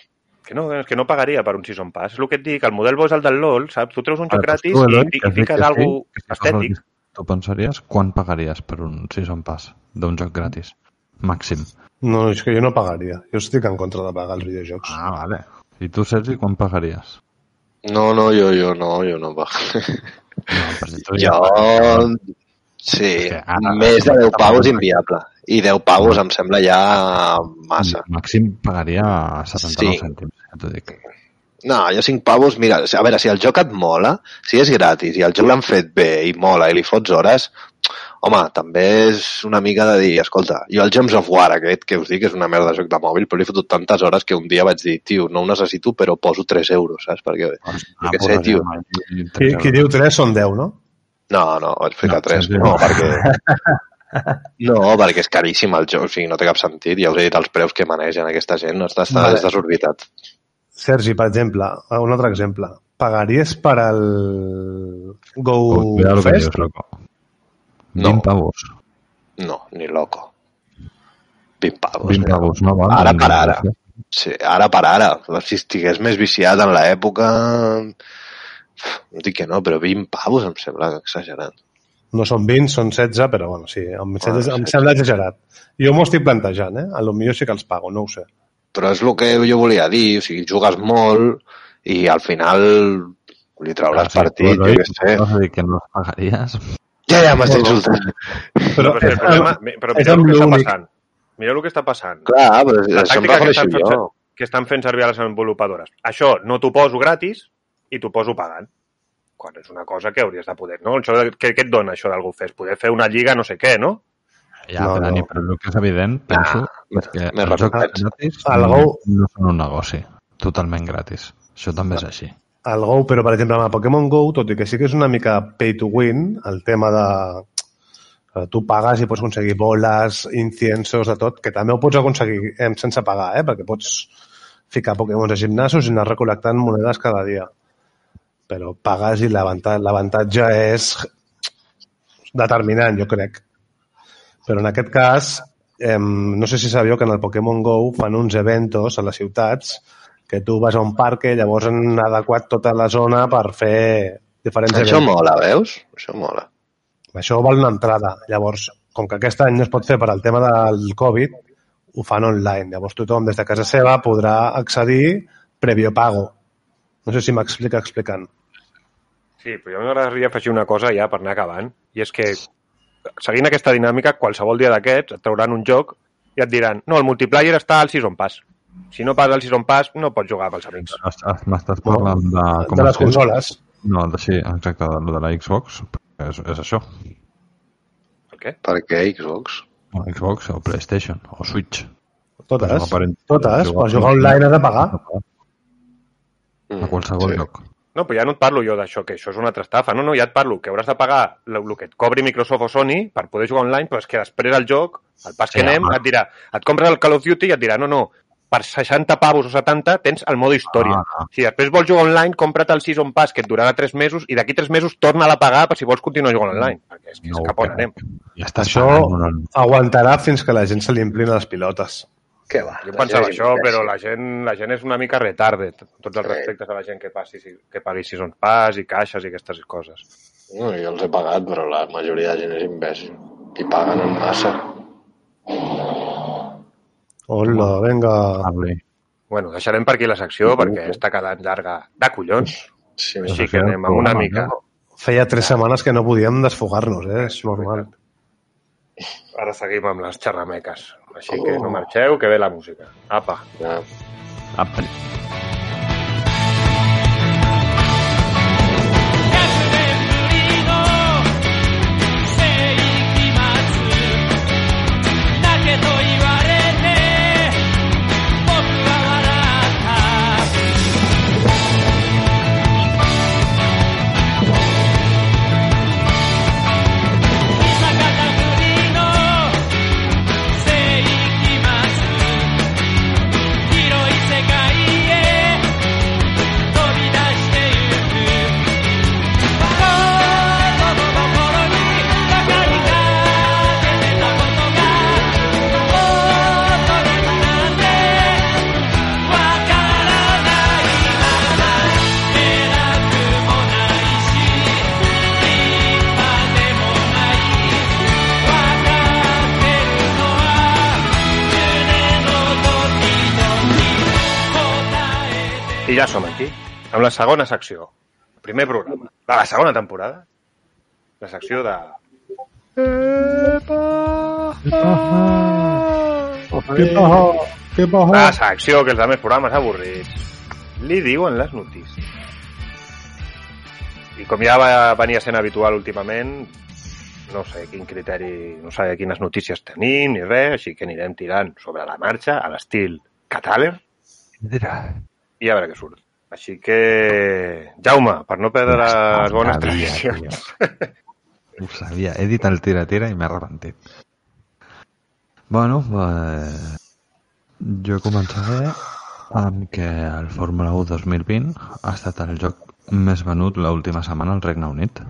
Speaker 1: Que no, és que no pagaria per un season pass. És el que et dic, el model bo és el del LOL, saps? Tu treus un joc
Speaker 4: Ara,
Speaker 1: gratis
Speaker 4: tu,
Speaker 1: i,
Speaker 4: Eloi,
Speaker 1: i,
Speaker 4: que has
Speaker 1: i
Speaker 4: dit
Speaker 1: fiques
Speaker 4: que sí,
Speaker 1: algo
Speaker 4: que si fos
Speaker 1: estètic.
Speaker 4: gratis, Tu pensaries quan pagaries per un season pass d'un joc gratis? Màxim.
Speaker 3: No, és que jo no pagaria. Jo estic en contra de pagar els videojocs.
Speaker 4: Ah, vale. I tu, Sergi, quan pagaries?
Speaker 2: No, no, jo, jo no, jo no. Va.
Speaker 4: No, però si tu ja
Speaker 2: Jo... Sí,
Speaker 4: Perquè ara-
Speaker 2: més de 10 pavos inviable. I 10 pavos em sembla ja massa.
Speaker 4: Màxim pagaria 79
Speaker 2: Sí.
Speaker 4: cèntims, ja t'ho dic.
Speaker 2: No, jo 5 pavos, mira, a veure, si el joc et mola, si és gratis i el joc l'han fet bé i mola i li fots hores, home, també és una mica de dir, escolta, jo el Gems of War aquest que us dic és una merda de joc de mòbil, però li he fotut tantes hores que un dia vaig dir, tio, no ho necessito, però poso 3 euros, saps? Perquè...
Speaker 4: Ah,
Speaker 2: què sé,
Speaker 4: posaria
Speaker 2: tio.
Speaker 4: mai
Speaker 3: Qui,
Speaker 4: 3
Speaker 3: qui
Speaker 4: euros.
Speaker 3: diu 3 són 10, no?
Speaker 2: No, no, vaig ficar
Speaker 4: No,
Speaker 2: 3,
Speaker 4: sí, sí.
Speaker 2: no, perquè... No, perquè és caríssim el joc, o sigui, no té cap sentit. Ja us he dit els preus que manegen aquesta gent, no està, està
Speaker 3: Vale.
Speaker 2: és desorbitat.
Speaker 3: Sergi, per exemple, eh, un altre exemple. Pagaries per al Go
Speaker 4: Oh, Cuidado lo que
Speaker 3: Fest?
Speaker 4: dius, loco.
Speaker 2: No.
Speaker 4: 20 pavos.
Speaker 2: No, ni loco. 20 pavos.
Speaker 4: 20
Speaker 2: eh?
Speaker 4: pavos, no val.
Speaker 2: Ara per ara. Sí, ara per ara. Si estigués més viciat en l'època... No dic que no, però 20 pavos em sembla exagerat.
Speaker 3: No són 20, són 16, però bueno, sí, em,
Speaker 2: Bueno,
Speaker 3: em
Speaker 2: sí.
Speaker 3: sembla exagerat. Jo m'ho estic plantejant, eh? A lo millor sí que els pago, no ho sé.
Speaker 2: Però és el que jo volia dir, o sigui, jugues molt i al final li trauràs partit, jo què sé.
Speaker 4: Vas a dir que no els pagaries.
Speaker 2: Ja, ja, m'està
Speaker 3: No, no.
Speaker 2: insultant.
Speaker 1: Però,
Speaker 3: Però, eh,
Speaker 1: però, és que el problema, mi- però
Speaker 3: és
Speaker 1: mireu el
Speaker 3: amb
Speaker 1: que està
Speaker 3: l'únic.
Speaker 1: passant. Mireu el que està passant.
Speaker 2: Clar, però
Speaker 1: La
Speaker 2: això em
Speaker 1: tàctica que
Speaker 2: refereixo
Speaker 1: estan, fent,
Speaker 2: jo.
Speaker 1: ser- que estan fent servir a les desenvolupadores. Això no t'ho poso gratis i t'ho poso pagant. Quan és una cosa que hauries de poder... No? Això, de- què, què et dona això d'algú fes? Poder fer una lliga no sé què, no?
Speaker 4: Ja,
Speaker 3: No,
Speaker 4: no, Dani,
Speaker 3: no.
Speaker 4: però el que és evident, penso,
Speaker 2: més-
Speaker 4: és que
Speaker 2: més
Speaker 4: els jocs
Speaker 2: recompensa.
Speaker 4: gratis
Speaker 3: El
Speaker 4: no,
Speaker 3: Go-
Speaker 4: no són un negoci. Totalment gratis. Això també és així.
Speaker 3: al Go, però per exemple amb el Pokémon Go, tot i que sí que és una mica pay to win, el tema de eh, tu pagues i pots aconseguir boles, inciensos, de tot, que també ho pots aconseguir eh, sense pagar, eh? perquè pots ficar Pokémons a gimnasos i anar recol·lectant monedes cada dia. Però pagues i l'avanta- l'avantatge és determinant, jo crec. Però en aquest cas, eh, no sé si sabíeu que en el Pokémon GO fan uns eventos a les ciutats que tu vas a un parc i llavors han adequat tota la zona per fer diferents
Speaker 2: Això
Speaker 3: eventos.
Speaker 2: mola, veus? Això mola.
Speaker 3: Això val una entrada. Llavors, com que aquest any no es pot fer per al tema del Covid, ho fan online. Llavors tothom des de casa seva podrà accedir previo pago. No sé si m'explica explicant.
Speaker 1: Sí, però jo m'agradaria afegir una cosa ja per anar acabant, i és que seguint aquesta dinàmica, qualsevol dia d'aquests et trauran un joc i et diran no, el multiplayer està al Season Pass. Si no pagues el Season Pass, no pots jugar amb els amics.
Speaker 4: M'estàs- M'estàs parlant de...
Speaker 3: de les
Speaker 4: Ah, es diu?
Speaker 3: consoles.
Speaker 4: No, de, sí, exacte, de, lo de la Xbox. És, és això.
Speaker 1: Per què?
Speaker 2: Per què Xbox?
Speaker 4: O Xbox o PlayStation o Switch.
Speaker 3: Totes.
Speaker 4: Jugar per-
Speaker 3: Totes. Per jugar online has de pagar.
Speaker 2: Mm,
Speaker 4: A qualsevol
Speaker 2: sí.
Speaker 4: sí. lloc.
Speaker 1: No, però ja no et parlo jo d'això, que això és una trastafa. No, no, ja et parlo que hauràs de pagar el el que et cobri Microsoft o Sony per poder jugar online, però és que després el joc, el pas que
Speaker 4: Sí,
Speaker 1: anem,
Speaker 4: home.
Speaker 1: et dirà, et compres el Call of Duty i et dirà, no, no, per 60 pavos o 70 tens el modo història.
Speaker 4: Ah.
Speaker 1: Si després vols jugar online, compra't el Season Pass, que et durarà 3 mesos, i d'aquí 3 mesos torna-la a pagar per si vols continuar jugant online. Perquè és, que és
Speaker 4: Mm. No,
Speaker 1: cap on
Speaker 4: que-
Speaker 1: anem.
Speaker 4: Ja està
Speaker 3: Això- Aguantarà fins que la gent se li emplin les pilotes.
Speaker 2: Què va?
Speaker 1: Jo
Speaker 2: La
Speaker 1: pensava
Speaker 2: gent és
Speaker 1: això,
Speaker 2: imbècil.
Speaker 1: però la gent, la gent és una mica retarde. Tots els
Speaker 2: Sí.
Speaker 1: respectes a la gent que, passi, que pagui Season Pass i caixes i aquestes coses.
Speaker 2: No, jo els he pagat, però la majoria de gent és imbècil. I paguen en massa.
Speaker 3: Hola, venga.
Speaker 4: Parli.
Speaker 1: Bueno, deixarem per aquí la secció perquè està quedant llarga de collons.
Speaker 2: Sí,
Speaker 1: Així que anem amb una mica.
Speaker 3: Feia tres setmanes que no podíem desfogar-nos, eh? És normal.
Speaker 1: Ara seguim amb les xerrameques. Així que no marxeu, que ve la música. Apa.
Speaker 2: Ja.
Speaker 4: Apri.
Speaker 5: 100年ぶりの世紀末だけと言われて僕は笑った久方ぶりの世紀末広い世界へ飛び出してゆく子供の頃に馬鹿になっててたことが大人になってわからないまま偉くもないし立派でもない分かってるのには胸の時々答えて
Speaker 1: I ja som aquí, amb la segona secció. Primer programa de la segona temporada. La secció de...
Speaker 3: Què passa? Què passa?
Speaker 1: La secció que els altres programes avorrits li diuen les notícies. I com ja va, venia sent habitual últimament, no sé quin criteri, no sé quines notícies tenim ni res, així que anirem tirant sobre la marxa a l'estil Cataler i a veure què surt. Així que, Jaume, per no perdre les bones tradicions,
Speaker 4: Ho sabia, he dit el tira-tira i m'he arrepentit. Bueno, eh, jo començaré amb que el Fórmula 1 2020 ha estat el joc més venut l'última setmana al Regne Unit.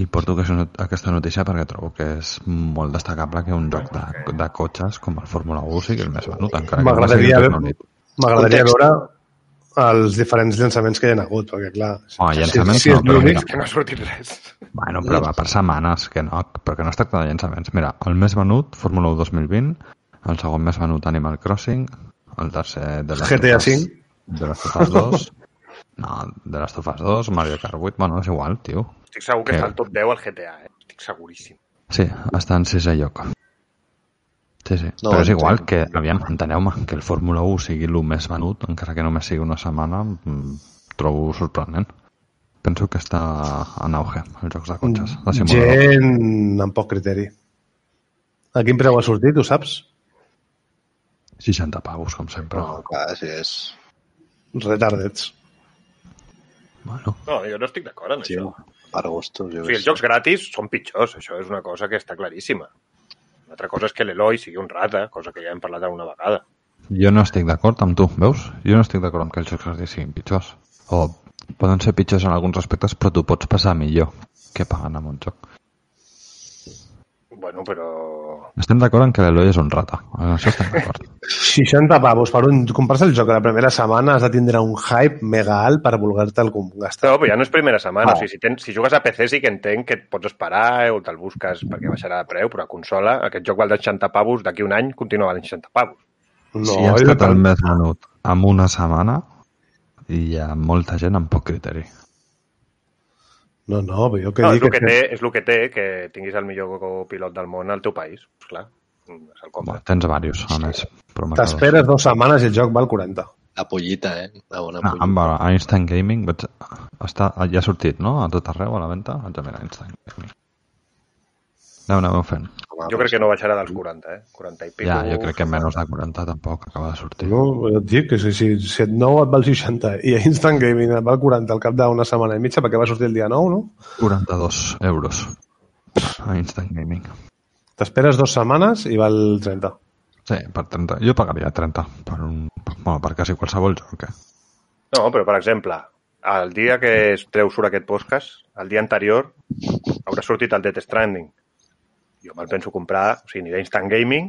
Speaker 4: I porto que això- aquesta notícia perquè trobo que és molt destacable que un joc de, de cotxes com el Fórmula 1 sigui el més venut, encara que no sigui
Speaker 3: M'agradaria
Speaker 4: el
Speaker 3: haver-
Speaker 4: Regne Unit.
Speaker 3: M'agradaria
Speaker 2: Context.
Speaker 3: veure els diferents llançaments que hi ha hagut, perquè clar...
Speaker 4: Ah,
Speaker 3: si-
Speaker 4: llançaments
Speaker 3: si,
Speaker 4: no,
Speaker 3: és
Speaker 4: però
Speaker 3: l'únic-
Speaker 4: mira.
Speaker 1: que no ha sortit res.
Speaker 4: Bueno, però va per setmanes, que no, perquè no es tracta de llançaments. Mira, el més venut, Fórmula 1 2020, el segon més venut, Animal Crossing, el tercer de les
Speaker 3: GTA
Speaker 4: Tofas-
Speaker 3: V.
Speaker 4: De les Tofas 2. No, de les Tofas 2, Mario Kart 8, bueno, és igual, tio.
Speaker 1: Estic segur que
Speaker 4: Què?
Speaker 1: està al top 10 al GTA, eh? Estic seguríssim.
Speaker 4: Sí, està en sisè lloc. Sí, sí.
Speaker 2: No,
Speaker 4: No, Però és
Speaker 2: entenc.
Speaker 4: igual que, aviam, enteneu-me, que el Fórmula 1 sigui el més venut, encara que només sigui una setmana, mm, trobo sorprenent. Penso que està en auge, els jocs de cotxes. De simulador.
Speaker 3: Gent amb poc criteri. A quin preu ha sortit, ho saps?
Speaker 4: 60 pavos, com sempre.
Speaker 2: No, Ah, clar, sí, és...
Speaker 3: Retardets.
Speaker 4: Bueno,
Speaker 1: No, jo no estic d'acord amb això.
Speaker 2: Per gustos, jo
Speaker 1: O sigui, els jocs gratis són pitjors, això és una cosa que està claríssima. Una altra cosa és que l'Eloi sigui un rata, cosa que ja hem parlat alguna vegada.
Speaker 4: jo no estic d'acord amb tu, veus? Jo no estic d'acord amb que els jocs gratis siguin pitjors. O poden ser pitjors en alguns aspectes, però tu pots passar millor que pagant amb un joc.
Speaker 1: Bueno, però...
Speaker 4: Estem d'acord en que l'Eloi és un rata. En això estem d'acord.
Speaker 3: 60 pavos per un... Comprar-se el joc la primera setmana has de tindre un hype mega alt per voler-te'l com- gastar.
Speaker 1: No, però ja no és primera setmana.
Speaker 3: No.
Speaker 1: O sigui, si, tens, si jugues a PC sí que entenc que et pots esperar eh, o te'l busques perquè baixarà de preu, però a consola aquest joc val de 60 pavos, d'aquí un any continua valent 60 pavos.
Speaker 3: No,
Speaker 4: si ha
Speaker 3: és
Speaker 4: estat
Speaker 3: tal-
Speaker 4: el més menut en una setmana, hi ha molta gent amb poc criteri.
Speaker 3: no, no, però jo que
Speaker 1: No, és
Speaker 3: dic
Speaker 1: el que, té, és el que té que tinguis el millor pilot del món al teu país. Pues clar, Mm, se'l
Speaker 4: Bueno,
Speaker 1: compra.
Speaker 4: tens diversos, a més. però m'acabo-
Speaker 3: t'esperes dues setmanes i el joc val 40.
Speaker 2: La pollita, eh? La bona
Speaker 4: Ah,
Speaker 2: pollita.
Speaker 4: amb el Einstein Gaming vaig... Està, ja ha sortit, no? A tot arreu, a la venda? Vaig a mirar Einstein Gaming. Aneu, aneu fent.
Speaker 2: Home,
Speaker 1: Jo crec que no baixarà dels 40, eh? 40 i pico.
Speaker 4: Ja, jo crec que menys de 40 tampoc acaba de sortir.
Speaker 3: No, jo et dic que si, si, si et nou et val 60 i a Instant Gaming et val 40 al cap d'una setmana i mitja perquè va sortir el dia 9, no?
Speaker 4: 42 euros a Instant Gaming.
Speaker 3: T'esperes dues setmanes i val 30.
Speaker 4: Sí, per 30. Jo pagaria 30 per, un, per, bueno, per quasi qualsevol joc. Eh?
Speaker 1: No, però per exemple, el dia que es treu surt aquest podcast, el dia anterior, haurà sortit el Death Stranding. Jo me'l penso comprar, o sigui, aniré a Instant Gaming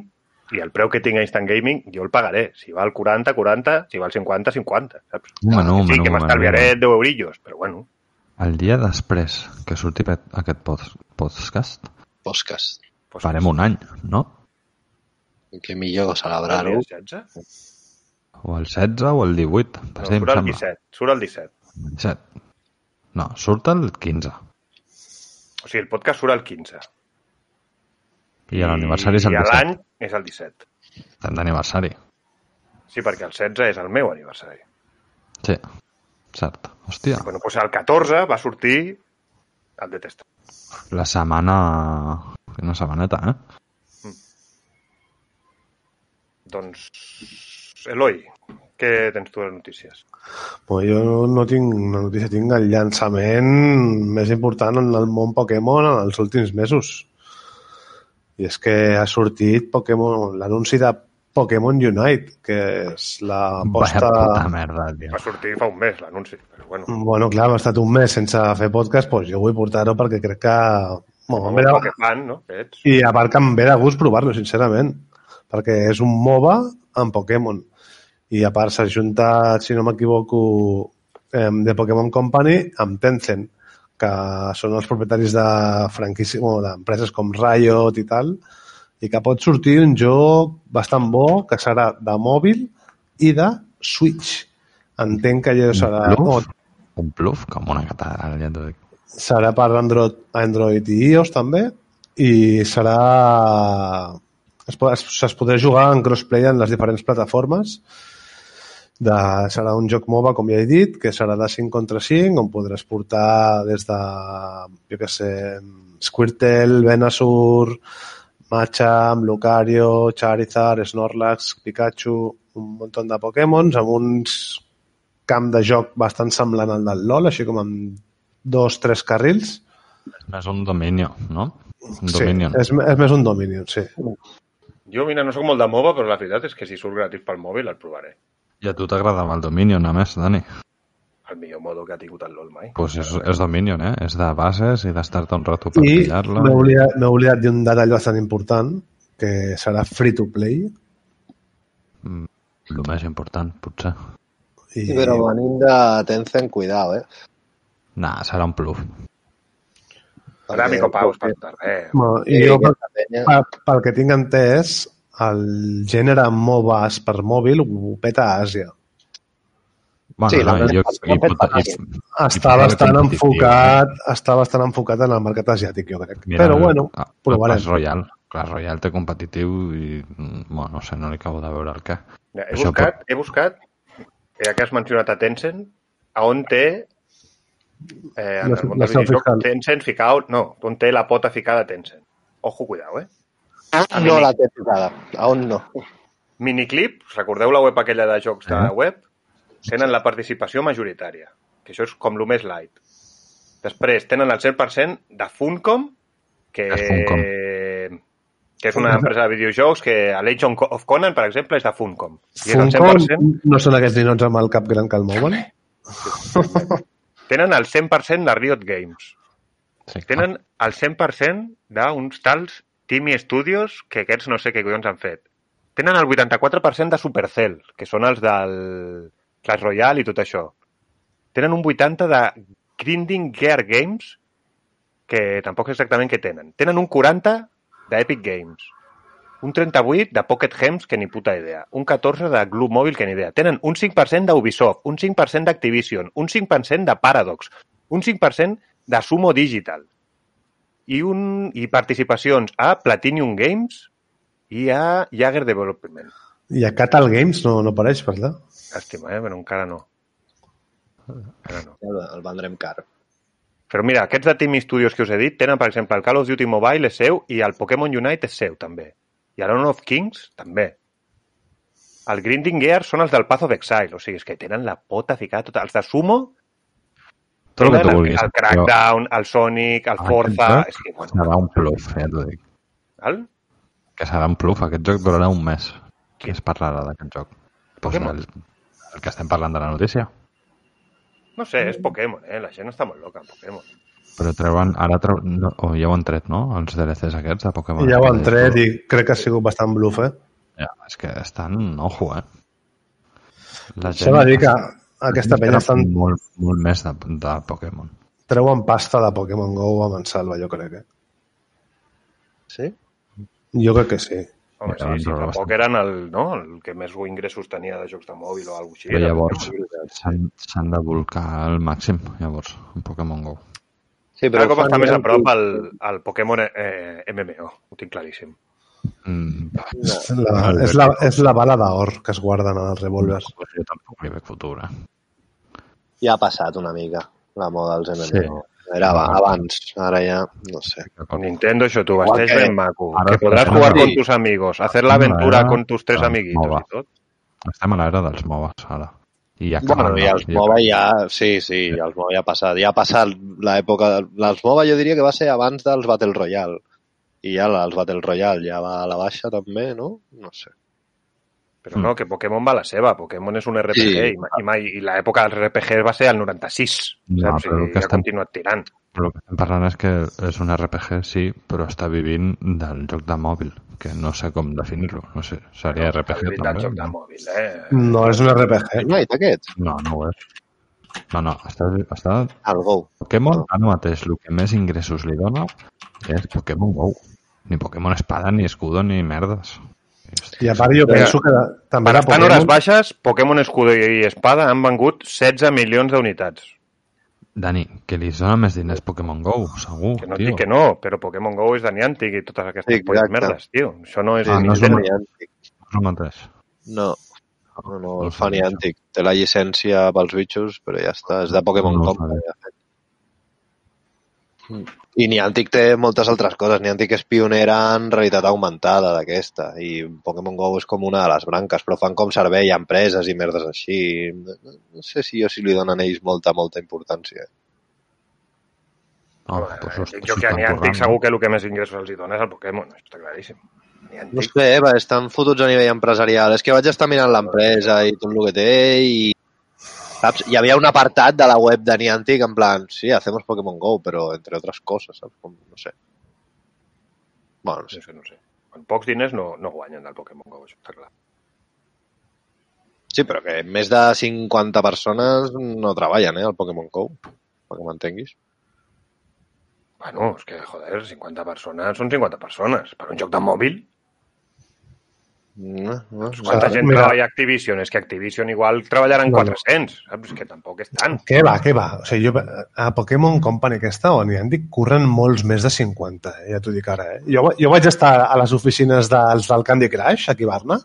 Speaker 1: i el preu que tinc a Instant Gaming jo el pagaré. Si val 40, 40, si val 50, 50, saps?
Speaker 4: Un menú, un
Speaker 1: sí,
Speaker 4: menú,
Speaker 1: que
Speaker 4: un
Speaker 1: m'estalviaré
Speaker 4: menú.
Speaker 1: 10 eurillos, però bueno,
Speaker 4: El dia després que surti pe- aquest pod- podcast,
Speaker 2: Podcast.
Speaker 1: Pues,
Speaker 4: farem un any, no?
Speaker 2: Que millor celebrar-ho.
Speaker 1: el dia 16?
Speaker 4: O el 16 o el 18.
Speaker 1: No, surt
Speaker 4: de
Speaker 1: el
Speaker 4: sembla.
Speaker 1: 17, surt el 17.
Speaker 4: 17. No, surt el 15.
Speaker 1: O sigui, el podcast surt el 15.
Speaker 4: I l'aniversari és el
Speaker 1: I a
Speaker 4: 17.
Speaker 1: l'any és el 17.
Speaker 4: Estem d'aniversari.
Speaker 1: Sí, perquè el 16 és el meu aniversari.
Speaker 4: Sí, cert. Hòstia,
Speaker 1: Bueno, doncs el 14 va sortir el de test.
Speaker 4: la setmana... Una setmaneta, eh?
Speaker 1: Doncs, Eloi, què tens tu de notícies?
Speaker 3: Pues jo no tinc una notícia, tinc el llançament més important en el món Pokémon en els últims mesos. I és que ha sortit Pokémon, l'anunci de Pokémon Unite, que és l'aposta...
Speaker 4: Vaya puta merda, tio.
Speaker 1: Va sortir fa un mes l'anunci, però bueno.
Speaker 3: Bueno, clar, hem estat un mes sense fer podcast, doncs jo vull portar-ho perquè crec que... Bueno, em ve
Speaker 1: Com
Speaker 3: de-
Speaker 1: que fan, no? Que ets.
Speaker 3: I a part que em ve de gust provar-lo, sincerament, perquè és un MOBA en Pokémon. I a part s'ajunta, si no m'equivoco, em, de Pokémon Company amb Tencent, que són els propietaris de franquícia, bueno, d'empreses com Riot i tal, i que pot sortir un joc bastant bo, que serà de mòbil i de Switch. Entenc que allò serà...
Speaker 4: Bluf?
Speaker 3: o
Speaker 4: Un pluf com una catedral, ja t'ho dic.
Speaker 3: serà per Android, Android i iOS també i serà es, po- es, es podrà jugar en crossplay en les diferents plataformes de, serà un joc MOBA, com ja he dit, que serà de 5 contra 5, on podràs portar des de, jo què sé, Squirtle, Venusaur, Machamp, Lucario, Charizard, Snorlax, Pikachu, un munt de Pokémons, amb uns camp de joc bastant semblant al del LoL, així com amb dos, tres carrils.
Speaker 4: És un dominio, no? Un dominion.
Speaker 3: Sí, és, és més un Dominion, sí.
Speaker 1: Jo, mira, no sóc molt de MOBA, però la veritat és que si surt gratis pel mòbil el provaré.
Speaker 4: I a tu t'agradava el Dominion, a més, Dani. Doncs
Speaker 1: El millor modo que ha tingut el LOL mai.
Speaker 4: pues és, és Dominion, eh? És de bases i d'estar-te un rato per
Speaker 3: I
Speaker 4: pillar-la.
Speaker 3: m'he oblidat, m'he oblidat d'un detall bastant important, que serà free to play.
Speaker 4: El més important, potser.
Speaker 3: I,
Speaker 2: Sí, però venint de Tencent, cuidao, eh?
Speaker 4: Nah, serà un pluf.
Speaker 1: Farà
Speaker 2: Perquè-
Speaker 1: micopaus per internet.
Speaker 3: bueno,
Speaker 2: Sí,
Speaker 3: i jo, pel,
Speaker 2: aquesta penya-
Speaker 3: pel, pel que tinc entès, el gènere MOBAs per mòbil ho peta a Àsia.
Speaker 4: Bueno,
Speaker 2: Sí, la
Speaker 4: no, i jo,
Speaker 2: veritat,
Speaker 4: i
Speaker 2: ho ha fet
Speaker 4: pot, i,
Speaker 2: fantàstic.
Speaker 3: Està
Speaker 4: potser
Speaker 3: bastant
Speaker 4: competitiu,
Speaker 3: enfocat, està bastant enfocat en el mercat asiàtic, jo crec. Mira, però bueno,
Speaker 4: el- el
Speaker 3: provarem.
Speaker 4: Clash Royale. Clash Royale té competitiu i, mm, bueno, no sé, no li acabo de veure el què.
Speaker 1: Mira, he
Speaker 4: Això
Speaker 1: buscat, he buscat, ja que has mencionat a Tencent, a on té eh, en
Speaker 3: La-
Speaker 1: el món
Speaker 3: la
Speaker 1: dels
Speaker 3: seu fiscal.
Speaker 1: videojocs, Tencent ficau, no, on té la pota ficada Tencent. Ojo, cuidao, eh?
Speaker 2: Ah, No la té tocada. A on no?
Speaker 1: Miniclip, recordeu la web aquella de jocs de
Speaker 4: Eh?
Speaker 1: web? Tenen la participació majoritària, que això és com el més light. Després tenen el 100% de Funcom, que,
Speaker 3: Ah,
Speaker 4: És Funcom.
Speaker 1: que és una empresa de videojocs que a Age of Conan, per exemple, és de Funcom. I és el
Speaker 3: Funcom
Speaker 1: 100%,
Speaker 3: no són aquests ninots amb el cap gran que el mouen?
Speaker 1: tenen el 100% de Riot Games.
Speaker 4: Sí, clar.
Speaker 1: Tenen el 100% d'uns tals Timmy Studios, que aquests no sé què collons han fet. Tenen el 84% de Supercell, que són els del Clash Royale i tot això. Tenen un 80% de Grinding Gear Games, que tampoc sé exactament què tenen. Tenen un 40% d'Epic Games, un 38% de Pocket Hems, que ni puta idea, un 14% de Glue Mobile, que ni idea. Tenen un 5% d'Ubisoft, un 5% d'Activision, un 5% de Paradox, un 5% de Sumo Digital i, un, i participacions a Platinum Games i a Jagger Development.
Speaker 3: I a Catal Games no, no apareix, verdad?
Speaker 1: Llàstima, eh? Però encara no. Encara no.
Speaker 2: El, el vendrem car.
Speaker 1: Però mira, aquests de Team Studios que us he dit tenen, per exemple, el Call of Duty Mobile és seu i el Pokémon Unite és seu, també. I el Honor of Kings, també. El Grinding Gear són els del Path of Exile, o sigui, és que tenen la pota ficada tota. Els de Sumo
Speaker 4: Tot el que tu
Speaker 1: tenen el,
Speaker 4: vulguis. Ah,
Speaker 1: el Crackdown, el Sonic, el Forza...
Speaker 4: Aquest
Speaker 1: És
Speaker 4: joc
Speaker 1: que, bueno,
Speaker 4: serà un pluf, ja t'ho dic.
Speaker 1: el...
Speaker 4: Que serà un pluf. Aquest joc durarà un mes. Qui es parlarà d'aquest joc? Pues
Speaker 1: Pokémon.
Speaker 4: el, el que estem parlant de la notícia.
Speaker 1: No sé, és Pokémon, eh? La gent està molt loca amb Pokémon.
Speaker 4: Però treuen, ara treu, no, o ja ho han tret, no? Els DLCs aquests de Pokémon.
Speaker 3: I ja ho han
Speaker 4: És-
Speaker 3: tret i crec que ha sigut bastant bluff, eh?
Speaker 4: Ja, és que estan... Ojo, eh? La
Speaker 3: S'ha de dir que
Speaker 4: la
Speaker 3: aquesta
Speaker 4: gent
Speaker 3: penya
Speaker 4: espera
Speaker 3: estan,
Speaker 4: Molt, molt més de, de Pokémon.
Speaker 3: treuen pasta de Pokémon GO amb en Salva, jo crec, eh?
Speaker 2: Sí?
Speaker 3: Jo crec que sí.
Speaker 1: Home,
Speaker 4: Ja,
Speaker 1: sí, sí,
Speaker 4: no, no,
Speaker 1: tampoc
Speaker 4: bastant.
Speaker 1: eren el, no, el que més ingressos tenia de jocs de mòbil o alguna cosa així.
Speaker 4: Però
Speaker 1: Era
Speaker 4: llavors
Speaker 1: Pokémon Unite.
Speaker 4: s'han s'han de volcar al màxim, llavors, en Pokémon GO.
Speaker 2: Sí,
Speaker 1: Cada cop
Speaker 2: ho fan
Speaker 1: està més a
Speaker 2: gran
Speaker 1: prop
Speaker 2: club.
Speaker 1: el, el Pokémon eh, MMO, ho tinc claríssim.
Speaker 4: Mm,
Speaker 3: No, la, és, la, és la bala d'or que es guarden als revòlvers.
Speaker 4: pues jo tampoc li veig futur, eh?
Speaker 2: Ja ha passat una mica la moda dels MMO. Era
Speaker 4: Ah.
Speaker 2: aba- abans, ara ja, no sé.
Speaker 1: Nintendo, això t'ho
Speaker 2: Igual
Speaker 1: vesteix
Speaker 2: que-
Speaker 1: ben maco.
Speaker 4: Ara
Speaker 1: que
Speaker 4: estem
Speaker 1: podràs
Speaker 4: en
Speaker 1: jugar
Speaker 4: la-
Speaker 1: con tus amigos, hacer la aventura
Speaker 4: Ara
Speaker 1: con tus tres
Speaker 4: es
Speaker 1: amiguitos
Speaker 4: nova.
Speaker 1: i tot.
Speaker 4: Estem a l'era dels MOBAs, ara. I ja
Speaker 2: Bueno,
Speaker 4: acabaran
Speaker 2: i els
Speaker 4: els-
Speaker 2: MOBA ja... Sí, sí, i els MOBA ja ha passat. Ja ha passat l'època... de- Les MOBA jo diria que va ser abans dels Battle Royale. I ja la- els Battle Royale ja va a la baixa també, no? No sé.
Speaker 4: Mm.
Speaker 1: Però no, que Pokémon va a la seva. Pokémon és un RPG
Speaker 2: Sí.
Speaker 1: i, ma- i, mai, i l'època dels RPG va ser el 96.
Speaker 4: No,
Speaker 1: saps?
Speaker 4: però el
Speaker 1: I
Speaker 4: que
Speaker 1: ha
Speaker 4: estem-
Speaker 1: continuat tirant.
Speaker 4: Però el que estem parlant és que és un RPG, sí, però està vivint del joc de mòbil, que no sé com definir-lo. No sé, seria RPG
Speaker 1: Habilitat
Speaker 4: també.
Speaker 1: joc de mòbil, eh?
Speaker 3: No és un RPG.
Speaker 2: Unite, aquest?
Speaker 4: No, no ho és. No, no, està, està
Speaker 2: El Go.
Speaker 4: Pokémon ara mateix el que més ingressos li dona és Pokémon GO. Ni Pokémon Espada, ni Escudo, ni merdes.
Speaker 3: I a part jo
Speaker 1: Mira,
Speaker 3: penso que també
Speaker 1: Per
Speaker 3: era
Speaker 1: estar en hores
Speaker 3: Pokémon...
Speaker 1: baixes, Pokémon Escudo i Espada han vengut 16 milions d'unitats.
Speaker 4: Dani, que li dona més diners Pokémon GO, segur,
Speaker 1: Que no et
Speaker 4: tio.
Speaker 1: dic que no, però Pokémon GO és de Niantic i totes aquestes
Speaker 2: Sí,
Speaker 1: sí,
Speaker 2: exacte.
Speaker 1: merdes, tio. Això no és...
Speaker 4: Ah, no és
Speaker 1: Nintendo.
Speaker 4: un- No és el mateix.
Speaker 2: No, no, no,
Speaker 4: No
Speaker 2: el
Speaker 4: sé,
Speaker 2: fa
Speaker 4: això.
Speaker 2: Niantic. Té la llicència pels bitxos, però ja està. És de Pokémon
Speaker 4: No ho
Speaker 2: Company, de fet. I Niantic té moltes altres coses. Niantic és pionera en realitat augmentada d'aquesta i Pokémon GO és com una de les branques, però fan com servei a empreses i merdes així. No sé si jo si li donen ells molta, molta importància.
Speaker 4: No,
Speaker 1: Home,
Speaker 4: pues,
Speaker 1: dic Eh, jo que a Niantic segur que el que més ingressos els hi dona és el Pokémon, això està claríssim.
Speaker 2: No
Speaker 1: Niantic,
Speaker 2: sé, eh, Eva, estan fotuts a nivell empresarial. És que vaig estar mirant l'empresa i tot el que té i... Saps? Hi havia un apartat de la web de Niantic en plan, sí, hacemos Pokémon GO, però entre otras cosas, saps? Com, no sé. Bueno, no sé.
Speaker 1: no sé, no sé. Amb pocs diners no, no guanyen del Pokémon GO, això està clar.
Speaker 2: Sí, però que més de 50 persones no treballen, eh, al Pokémon GO, perquè m'entenguis.
Speaker 1: Bueno, és que, joder, 50 persones són 50 persones. Per un joc de mòbil,
Speaker 2: No, no, no.
Speaker 1: quanta
Speaker 3: Clar,
Speaker 1: gent
Speaker 3: mira.
Speaker 1: treballa a Activision? És que Activision igual treballaran
Speaker 3: No, no.
Speaker 1: 400, saps? És que tampoc és tant.
Speaker 3: Què va, què va? O sigui, jo, a Pokémon Company aquesta, on hi han dit, corren molts més de 50, eh? ja t'ho dic ara. Eh? Jo, jo vaig estar a les oficines dels del Candy Crush, aquí a Barna,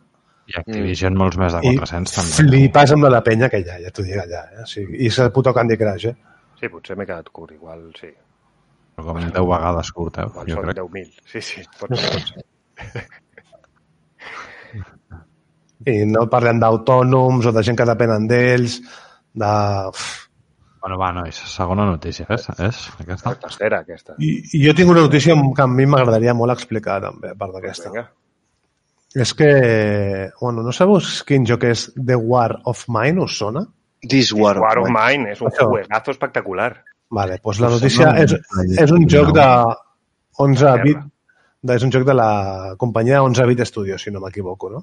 Speaker 4: I Activision molts més de
Speaker 3: i
Speaker 4: 400 també.
Speaker 3: flipes amb la penya que hi ha, ja t'ho dic allà. Eh? O sigui, I és el puto Candy Crush, eh?
Speaker 1: Sí, potser m'he quedat curt, igual sí.
Speaker 4: Però Com 10 vegades curt, eh?
Speaker 1: Igual
Speaker 4: Jo
Speaker 1: són
Speaker 4: crec.
Speaker 1: 10.000. Sí, sí, pot ser, pot ser.
Speaker 3: I no parlem d'autònoms o de gent que depenen d'ells, de...
Speaker 4: Bueno, va, nois, segona notícia, és, és aquesta.
Speaker 1: La tercera, aquesta.
Speaker 3: I, i jo tinc una notícia que a mi m'agradaria molt explicar, també, a part d'aquesta.
Speaker 1: Vinga.
Speaker 3: És que, bueno, no sabeu quin joc és The War of Mine, us sona?
Speaker 2: This War,
Speaker 1: War of Mine és un
Speaker 3: Això.
Speaker 1: juegazo espectacular.
Speaker 3: Vale, doncs la
Speaker 4: Us
Speaker 3: notícia
Speaker 4: sembla
Speaker 3: és,
Speaker 4: un-
Speaker 3: és un joc de 11
Speaker 1: Guerra.
Speaker 3: bit, de- és un joc de la companyia 11-bit Studios, si no m'equivoco, no?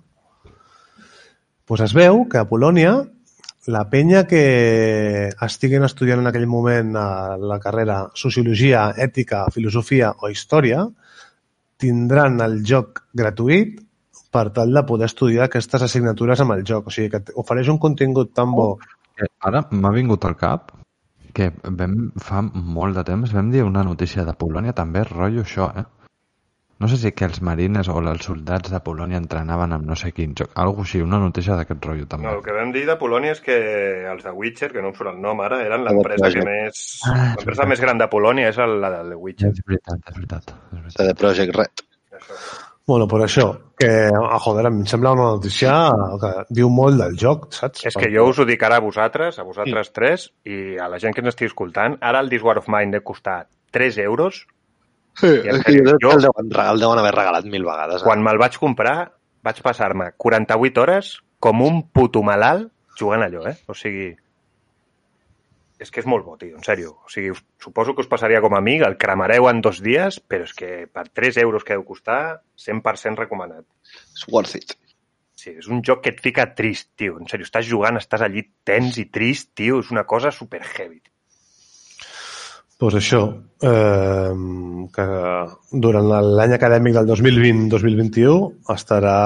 Speaker 3: Doncs es veu que a Polònia la penya que estiguin estudiant en aquell moment a la carrera Sociologia, Ètica, Filosofia o Història tindran el joc gratuït per tal de poder estudiar aquestes assignatures amb el joc. O sigui, que ofereix un contingut tan bo
Speaker 4: Eh, Ara m'ha vingut al cap que vam, fa molt de temps vam dir una notícia de Polònia també, rotllo això, eh? No sé si que els marines o els soldats de Polònia entrenaven amb no sé quin joc. Algo així, una notícia d'aquest rotllo també.
Speaker 1: No, el que vam dir de Polònia és que els de Witcher, que no em surt el nom ara, eren
Speaker 2: Ah,
Speaker 1: l'empresa
Speaker 2: vaja.
Speaker 1: que més...
Speaker 4: Ah, és
Speaker 1: L'empresa
Speaker 4: veritat.
Speaker 1: més gran de Polònia és el- la de Witcher.
Speaker 4: És veritat, és veritat. És veritat.
Speaker 2: CD Projekt Red.
Speaker 1: Això.
Speaker 3: Bueno, per això, que, ah, joder, em sembla una notícia que diu molt del joc, saps?
Speaker 1: És que jo us ho dic ara a vosaltres, a vosaltres tres, i a la gent que ens estigui escoltant, ara el This War of Mine de costar 3 euros.
Speaker 2: Sí,
Speaker 1: és
Speaker 2: és que
Speaker 1: que
Speaker 2: jo crec que
Speaker 1: jo-
Speaker 2: el deuen, re- el deuen haver regalat mil vegades. eh?
Speaker 1: Quan me'l vaig comprar, vaig passar-me 48 hores com un puto malalt jugant allò, eh? O sigui... És que és molt bo, tio, en sèrio. O sigui, us, suposo que us passaria com a mi, el cremareu en dos dies, però és que per 3 euros que deu costar, 100% recomanat.
Speaker 2: It's worth it.
Speaker 1: Sí, és un joc que et fica trist, tio. En sèrio, estàs jugant, estàs allí tens i trist, tio. És una cosa super heavy.
Speaker 3: Doncs això, eh, que durant l'any acadèmic del 2020-2021 estarà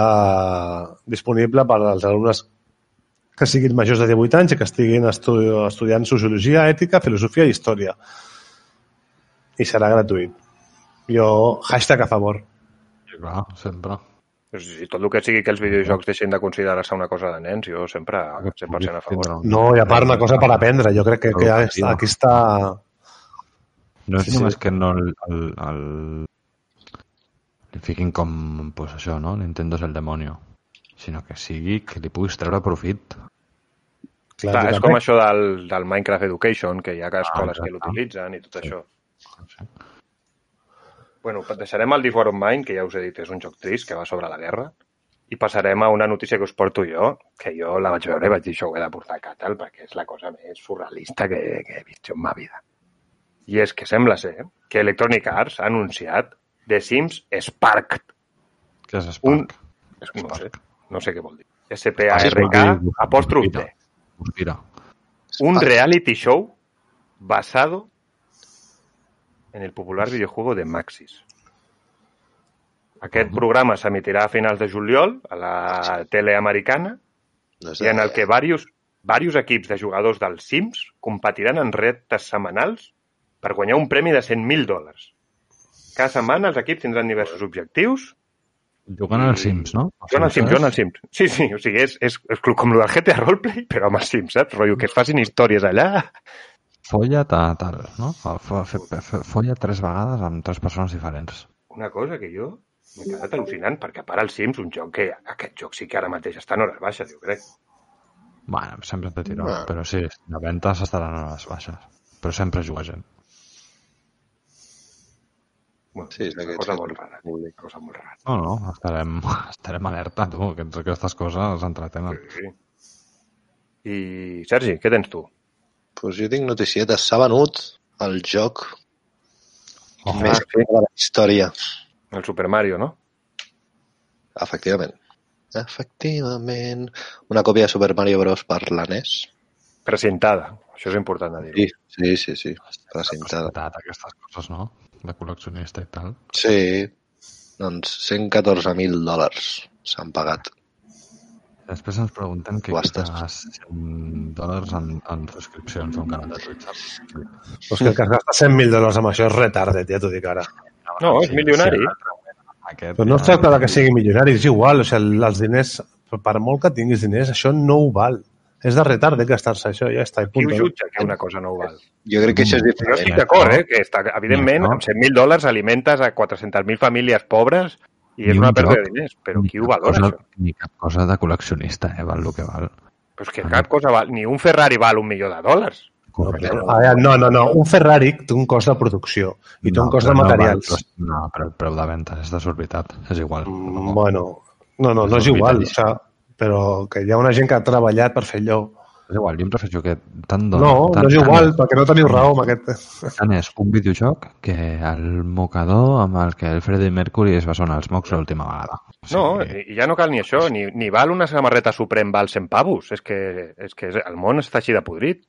Speaker 3: disponible per als alumnes que siguin majors de 18 anys i que estiguin estu estudiant Sociologia, Ètica, Filosofia i Història. I serà gratuït. Jo, hashtag a favor.
Speaker 4: Sí, clar, sempre.
Speaker 1: Si tot el que sigui que els videojocs deixin de considerar-se una cosa de nens, jo sempre 100% a favor.
Speaker 4: Tindrà un-
Speaker 3: No, i a part una cosa per aprendre. Jo crec que, que
Speaker 4: Educativa.
Speaker 3: aquí està...
Speaker 4: No és
Speaker 3: Sí, sí.
Speaker 4: només que no el, el, el... li fiquin com, pues això, no? Nintendo és el demonio. Sinó que sigui que li puguis treure profit.
Speaker 1: Clar,
Speaker 3: jo
Speaker 1: és
Speaker 3: també-
Speaker 1: com això del, del Minecraft Education, que hi ha escoles que
Speaker 4: exacte.
Speaker 1: l'utilitzen i tot això.
Speaker 4: No sé.
Speaker 1: Bueno, deixarem el This War of Mine, que ja us he dit, és un joc trist, que va sobre la guerra, i passarem a una notícia que us porto jo, que jo la vaig veure i vaig dir això ho he de portar a Catal, perquè és la cosa més surrealista que, que he vist jo en ma vida. I és que sembla ser que Electronic Arts ha anunciat The Sims Sparked.
Speaker 4: Què és Spark?
Speaker 1: És, no, sé,
Speaker 4: Spark.
Speaker 1: no sé què vol dir.
Speaker 4: Spark
Speaker 1: S-P-A-R-K,
Speaker 4: vol dir-
Speaker 1: apòstrof T.
Speaker 4: Mira,
Speaker 1: un
Speaker 2: Ah,
Speaker 1: reality show basado en el popular videojuego de Maxis. Aquest programa s'emitirà a finals de juliol a la tele americana
Speaker 2: no sé.
Speaker 1: i en el que varios, varios equips de jugadors dels Sims competiran en reptes setmanals per guanyar un premi de 100.000 dòlars. Cada setmana els equips tindran diversos objectius
Speaker 4: jugant als Sims, eh? no?
Speaker 1: jo en el Sims, jo en el Sims. Sí, sí, o sigui, és, és, és com el del GTA Roleplay, però amb els Sims, saps? Rotllo, que es facin històries allà.
Speaker 4: Folla't a tal, no? Fa- fa- fe- fe- Folla tres vegades amb tres persones diferents.
Speaker 1: Una cosa que jo m'he quedat al·lucinant, perquè a part els Sims, un joc que aquest joc sí que ara mateix està en hores baixes, jo crec.
Speaker 4: Bueno, sempre té tiró,
Speaker 2: Bueno.
Speaker 4: però sí, la venta s'estaran a les baixes. Però sempre juga gent.
Speaker 1: Bueno,
Speaker 2: Sí, és
Speaker 1: una
Speaker 2: aquest
Speaker 1: cosa
Speaker 2: joc.
Speaker 1: molt rara. Una cosa molt rara.
Speaker 4: No, no, estarem, estarem alerta, tu, que aquestes coses ens entretenen.
Speaker 1: Sí. I, Sergi, què tens tu?
Speaker 2: Pues jo tinc noticietes. S'ha venut el joc
Speaker 4: Oh,
Speaker 2: més
Speaker 1: sí.
Speaker 2: de la història.
Speaker 1: El Super Mario, no?
Speaker 2: Efectivament. Efectivament. Una còpia de Super Mario Bros. per la NES.
Speaker 1: Presentada. Això és important de dir.
Speaker 2: Sí, sí, sí. sí. Presentada.
Speaker 4: Costat, aquestes coses, no? De col·leccionista i tal.
Speaker 2: Sí. Doncs 114.000 dòlars s'han pagat.
Speaker 4: Després ens preguntem què
Speaker 2: Subhastes.
Speaker 4: costa 100 dòlars en, en subscripcions d'un canal de Twitch.
Speaker 3: Però és que el que es gasta 100.000 dòlars amb això és retardet, ja t'ho dic ara. Ah.
Speaker 1: No, és milionari.
Speaker 4: Aquest,
Speaker 3: Però no
Speaker 4: ja-
Speaker 3: es tracta de que sigui milionari, és igual. O sigui, els diners, per molt que tinguis diners, això no ho val. És de retard de gastar-se això, ja està. i
Speaker 1: Qui
Speaker 3: punt.
Speaker 1: ho jutja que una cosa no ho val?
Speaker 2: Jo crec que això és
Speaker 1: Jo estic
Speaker 2: diferent.
Speaker 1: d'acord, eh? Que està, evidentment,
Speaker 4: No.
Speaker 1: amb 100.000 dòlars alimentes a 400.000 famílies pobres i és
Speaker 4: Ni
Speaker 1: una
Speaker 4: un
Speaker 1: pèrdua
Speaker 4: joc.
Speaker 1: de diners. Però
Speaker 4: Ni
Speaker 1: qui ho
Speaker 4: cap
Speaker 1: valora,
Speaker 4: cosa-
Speaker 1: això?
Speaker 4: Ni cap cosa de col·leccionista, eh? Val el que val.
Speaker 1: Però és que cap cosa val... Ni un Ferrari val un milió de dòlars.
Speaker 3: No, però, a veure, no, no, no. Un Ferrari té un cost de producció Ah, i té un cost de
Speaker 4: però
Speaker 3: materials.
Speaker 4: No, val, però- no, però el preu de venda és desorbitat. És igual.
Speaker 3: Mm, Bueno, no, no, no és igual. O sigui, però que hi ha una gent que ha treballat per fer allò.
Speaker 4: És igual, jo em prefereixo que tant dona...
Speaker 3: No,
Speaker 4: tant,
Speaker 3: no és igual,
Speaker 4: Tant,
Speaker 3: perquè no teniu raó amb aquest...
Speaker 4: és- tant és un videojoc que el mocador amb el que el Freddie Mercury es va sonar els mocs l'última vegada. O sigui,
Speaker 1: No, i i ja no cal ni això, ni, ni val una samarreta Supreme val 100 pavos, és que, és que el món està així de podrit.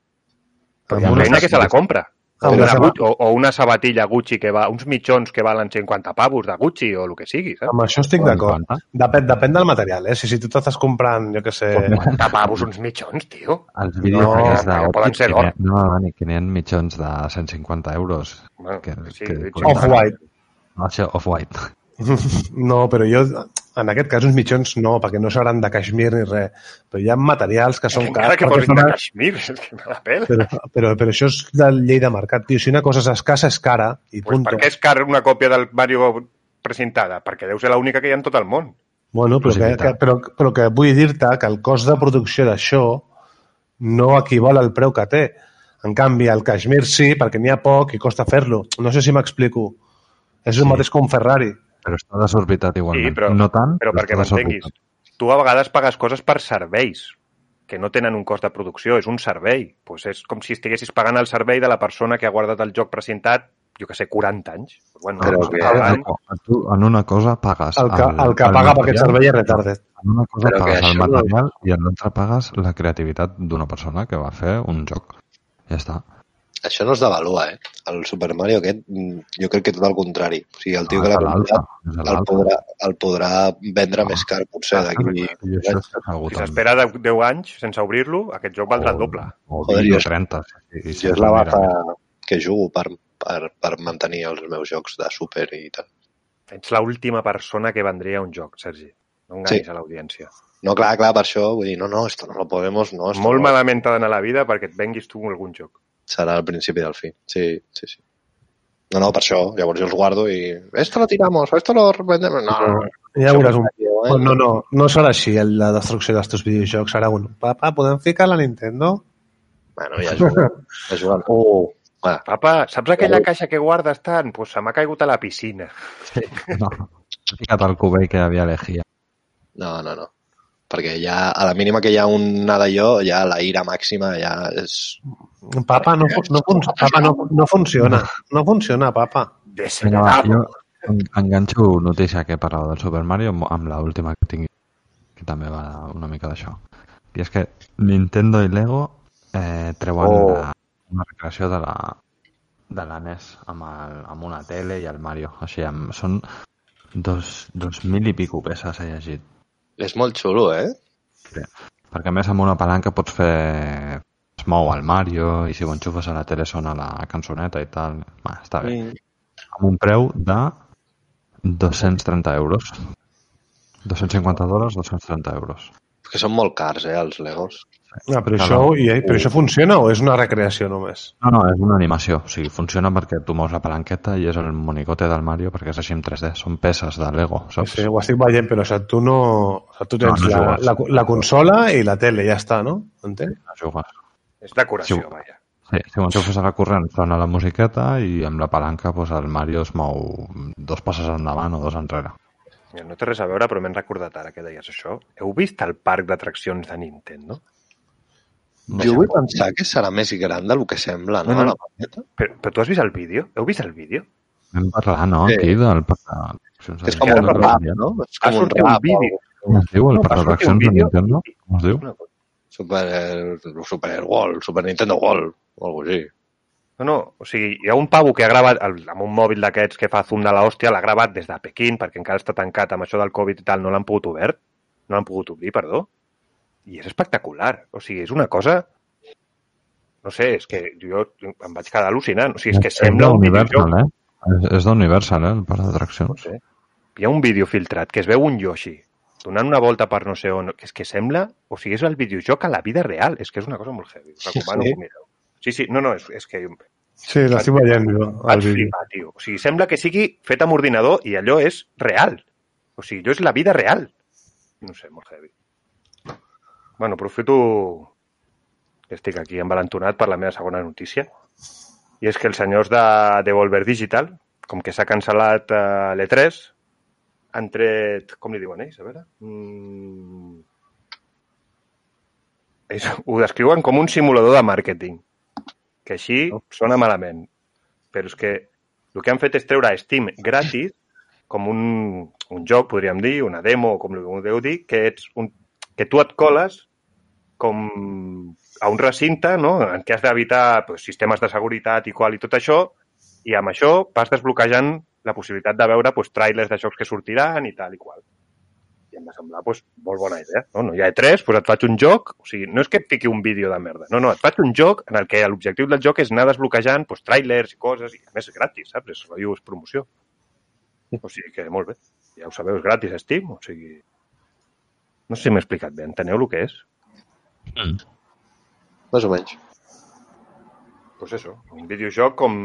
Speaker 3: Amb
Speaker 1: Hi ha
Speaker 3: una-
Speaker 1: feina que se la compra. O
Speaker 3: Amb
Speaker 1: una,
Speaker 3: una saba-
Speaker 1: Gucci, o, o una sabatilla Gucci que va, uns mitjons que valen 50 pavos de Gucci o el que sigui, saps?
Speaker 3: Amb això estic
Speaker 4: Quan
Speaker 3: d'acord.
Speaker 4: falta.
Speaker 3: Depèn, depèn del material, eh? Si, si tu t'estàs comprant, jo que sé...
Speaker 1: De pavos uns mitjons, tio.
Speaker 4: Els
Speaker 3: eh,
Speaker 4: vídeos
Speaker 3: No,
Speaker 4: aquests
Speaker 1: que
Speaker 4: d'Òptic
Speaker 1: poden ser
Speaker 4: que
Speaker 1: d'or.
Speaker 4: n'hi ha- No, Dani, que n'hi ha mitjons de 150 euros.
Speaker 1: Bueno,
Speaker 4: Que-
Speaker 1: sí,
Speaker 4: que-
Speaker 1: sí,
Speaker 3: Off-white.
Speaker 4: No, això, off-white.
Speaker 3: No, però jo, en aquest cas, uns mitjons no, perquè no seran de caixmir ni res. Però hi ha materials que són
Speaker 1: Encara
Speaker 3: cars.
Speaker 1: que
Speaker 3: perquè
Speaker 1: posin
Speaker 3: són-
Speaker 1: de Kashmir, és que me la pela.
Speaker 3: Però, però, però això és de llei de mercat, tio. Si una cosa és escassa, és cara, i
Speaker 1: Pues
Speaker 3: punt.
Speaker 1: per què és car una còpia del Mario presentada? Perquè deu ser l'única que hi ha en tot el món.
Speaker 3: Bueno, però que, que,
Speaker 4: Possibilitat.
Speaker 3: però, però que vull dir-te que el cost de producció d'això no equivale al preu que té. En canvi, el Kashmir sí, perquè n'hi ha poc i costa fer-lo. No sé si m'explico. És el
Speaker 4: Sí.
Speaker 3: mateix que un Ferrari.
Speaker 4: Però està desorbitat igualment.
Speaker 1: Sí, però-
Speaker 4: no tant,
Speaker 1: Però perquè
Speaker 4: està
Speaker 1: m'entenguis,
Speaker 4: desorbitat.
Speaker 1: tu a vegades pagues coses per serveis que no tenen un cost de producció, és un servei. Pues és com si estiguessis pagant el servei de la persona que ha guardat el joc presentat, jo que sé, 40 anys. Pues bueno,
Speaker 2: Però
Speaker 1: doncs,
Speaker 2: que-
Speaker 1: pagant,
Speaker 4: No, tu en una cosa pagues
Speaker 3: El que, el que paga per aquest
Speaker 4: material,
Speaker 3: servei és retarded.
Speaker 4: En una cosa
Speaker 2: Però que
Speaker 4: pagues el
Speaker 2: això no-
Speaker 4: material i en l'altra pagues la creativitat d'una persona que va fer un joc. Ja està.
Speaker 2: Això no es devalua, eh? El Super Mario aquest, mm, jo crec que tot el contrari. O sigui, el tio que
Speaker 4: És
Speaker 2: l'ha
Speaker 4: a l'altra,
Speaker 2: comprat
Speaker 4: és a
Speaker 2: el
Speaker 4: l'altra.
Speaker 2: podrà, el podrà vendre
Speaker 4: Ah.
Speaker 2: més car, potser, d'aquí...
Speaker 4: I això és segur
Speaker 1: si
Speaker 4: també.
Speaker 1: s'espera de- 10 anys sense obrir-lo, aquest joc valdrà el
Speaker 4: O-
Speaker 1: doble.
Speaker 4: O
Speaker 2: Joder,
Speaker 4: 20
Speaker 2: jo-
Speaker 4: o 30. sí, sí, sí,
Speaker 2: Jo és la
Speaker 4: mira,
Speaker 2: bata que jugo per, per, per mantenir els meus jocs de Super i tal.
Speaker 1: Ets l'última persona que vendria un joc, Sergi. No enganyis
Speaker 2: Sí.
Speaker 1: a l'audiència.
Speaker 2: No, clar, clar, per això, vull dir, no, no, esto no lo podemos, no, esto
Speaker 1: Molt
Speaker 2: no.
Speaker 1: malament t'ha d'anar la vida perquè et venguis tu algun joc.
Speaker 2: Serà el principi del fi, sí, sí, sí. No, no, per això, llavors jo els guardo i... Esto lo tiramos, esto lo vendemos... No, no, no.
Speaker 3: Ja veuràs un...
Speaker 2: Eh?
Speaker 3: Oh, No, no, no serà així el- la destrucció dels teus videojocs. Serà un... Papa, podem ficar la Nintendo?
Speaker 2: Bueno, ja juguen. Ja juguen. Oh, va,
Speaker 1: Papa, saps aquella caixa que guardes tant? Doncs pues se m'ha caigut a la piscina.
Speaker 4: No, fica't al cubell que havia elegit.
Speaker 2: No, no, no. Perquè ja, a la mínima que hi ha un nada jo, ja la ira màxima ja és...
Speaker 3: Papa, no, fu- no, fun- papa, no, no funciona. No funciona, papa.
Speaker 4: Vinga, va,
Speaker 1: Desheredado.
Speaker 4: jo en- enganxo notícia que parla del Super Mario amb- amb l'última que tingui, que també va una mica d'això. I és que Nintendo i Lego eh, treuen
Speaker 1: Oh.
Speaker 4: oh. la, una recreació de la, de la NES amb, el, amb una tele i el Mario. O sigui, amb, són dos, dos mil i pico peces, he llegit.
Speaker 2: És molt xulo, eh?
Speaker 4: Perquè a més amb una palanca pots fer... es mou el Mario i si ho enxufes a la tele sona la cançoneta i tal. Va, està bé amb un preu de 230 euros. 250 dòlars, 230 euros.
Speaker 2: Perquè són molt cars, eh, els Legos.
Speaker 3: No, Ah, però,
Speaker 4: No,
Speaker 3: això,
Speaker 4: no.
Speaker 3: i, però això funciona o és una recreació només?
Speaker 4: No, no, és una animació. O sigui, funciona perquè tu mous la palanqueta i és el monicote del Mario perquè és així en 3D. Són peces de Lego,
Speaker 3: Sí,
Speaker 4: saps?
Speaker 3: sí, ho estic veient, però o sigui, tu no... O sigui, tu tens
Speaker 4: No, no
Speaker 3: la,
Speaker 4: jugues.
Speaker 3: la, la consola i la tele, ja està, no? Entenc?
Speaker 4: No jugues.
Speaker 1: És decoració,
Speaker 4: Sí.
Speaker 1: vaja.
Speaker 4: Sí, si ho enxufes a la corrent sona la musiqueta i amb la palanca doncs, el Mario es mou dos passes endavant o dos enrere.
Speaker 1: Mira, No té res a veure, però m'he recordat ara que deies això. Heu vist el parc d'atraccions de Nintendo?
Speaker 2: Jo vull pensar que serà més gran del que sembla, no?
Speaker 1: No, no.
Speaker 2: La planeta.
Speaker 1: Però, però tu has vist el vídeo? Heu vist el vídeo?
Speaker 4: Vam parlar, no?
Speaker 2: Sí.
Speaker 4: Aquí del... parc d'accions de
Speaker 2: És com
Speaker 1: ara
Speaker 2: un
Speaker 4: Nintendo,
Speaker 1: parlarem,
Speaker 2: rap,
Speaker 4: que
Speaker 2: no? És
Speaker 1: Ha
Speaker 2: com un
Speaker 1: sortit un
Speaker 2: rap.
Speaker 1: vídeo.
Speaker 4: Com es diu el
Speaker 1: No, va
Speaker 4: parc
Speaker 1: sortir un
Speaker 4: d'accions de
Speaker 1: vídeo.
Speaker 4: Nintendo? Com es diu?
Speaker 1: Una cosa.
Speaker 2: Super, Super World, Super Nintendo World, o alguna així.
Speaker 1: No, no, o sigui, hi ha un pavo que ha gravat el- amb un mòbil d'aquests que fa zoom de l'hòstia, l'ha gravat des de Pequín, perquè encara està tancat amb això del Covid i tal, no l'han pogut obert, no l'han pogut obrir, perdó. I és espectacular, o sigui, és una cosa... No sé, és que jo em vaig quedar al·lucinant, o sigui, és que sembla un videojoc.
Speaker 4: Universal, eh? És, és d'Universal, eh, el parc d'atraccions.
Speaker 1: sé. hi ha un vídeo filtrat que es veu un Yoshi donant una volta per no sé on, que és que sembla, o sigui, és el videojoc a la vida real, és que és una cosa molt heavy, us recomano
Speaker 3: Sí.
Speaker 1: que ho mireu. Sí, sí, no, no, és, és que vaig
Speaker 3: Sí, l'estic veient, jo, el vídeo.
Speaker 1: flipar, tio. O sigui, sembla que sigui fet amb ordinador i allò és real. O sigui, allò és la vida real. No sé, molt heavy. Bueno, aprofito que estic aquí envalentonat per la meva segona notícia. I és que els senyors de Devolver Digital, com que s'ha cancel·lat eh, l'E3, han tret... Com li diuen ells? A veure... Mm... és, ho descriuen com un simulador de màrqueting, que així sona malament. Però és que el que han fet és treure Steam gratis com un, un joc, podríem dir, una demo, o com li vulgueu dir, que, ets un, que tu et coles com a un recinte no? en què has d'evitar pues, sistemes de seguretat i qual i tot això, i amb això vas desbloquejant la possibilitat de veure pues, trailers de jocs que sortiran i tal i qual i em va semblar pues, molt bona idea. No? no hi ha E3, pues doncs et faig un joc, o sigui, no és que et fiqui un vídeo de merda, no, no, et faig un joc en el que l'objectiu del joc és anar desbloquejant pues, trailers i coses, i a més és gratis, saps? És, rotllo, és promoció. O sigui que molt bé, ja ho sabeu, és gratis Steam, o sigui... No sé si m'he explicat bé, enteneu el que és?
Speaker 2: Més o menys.
Speaker 1: pues eso, un videojoc com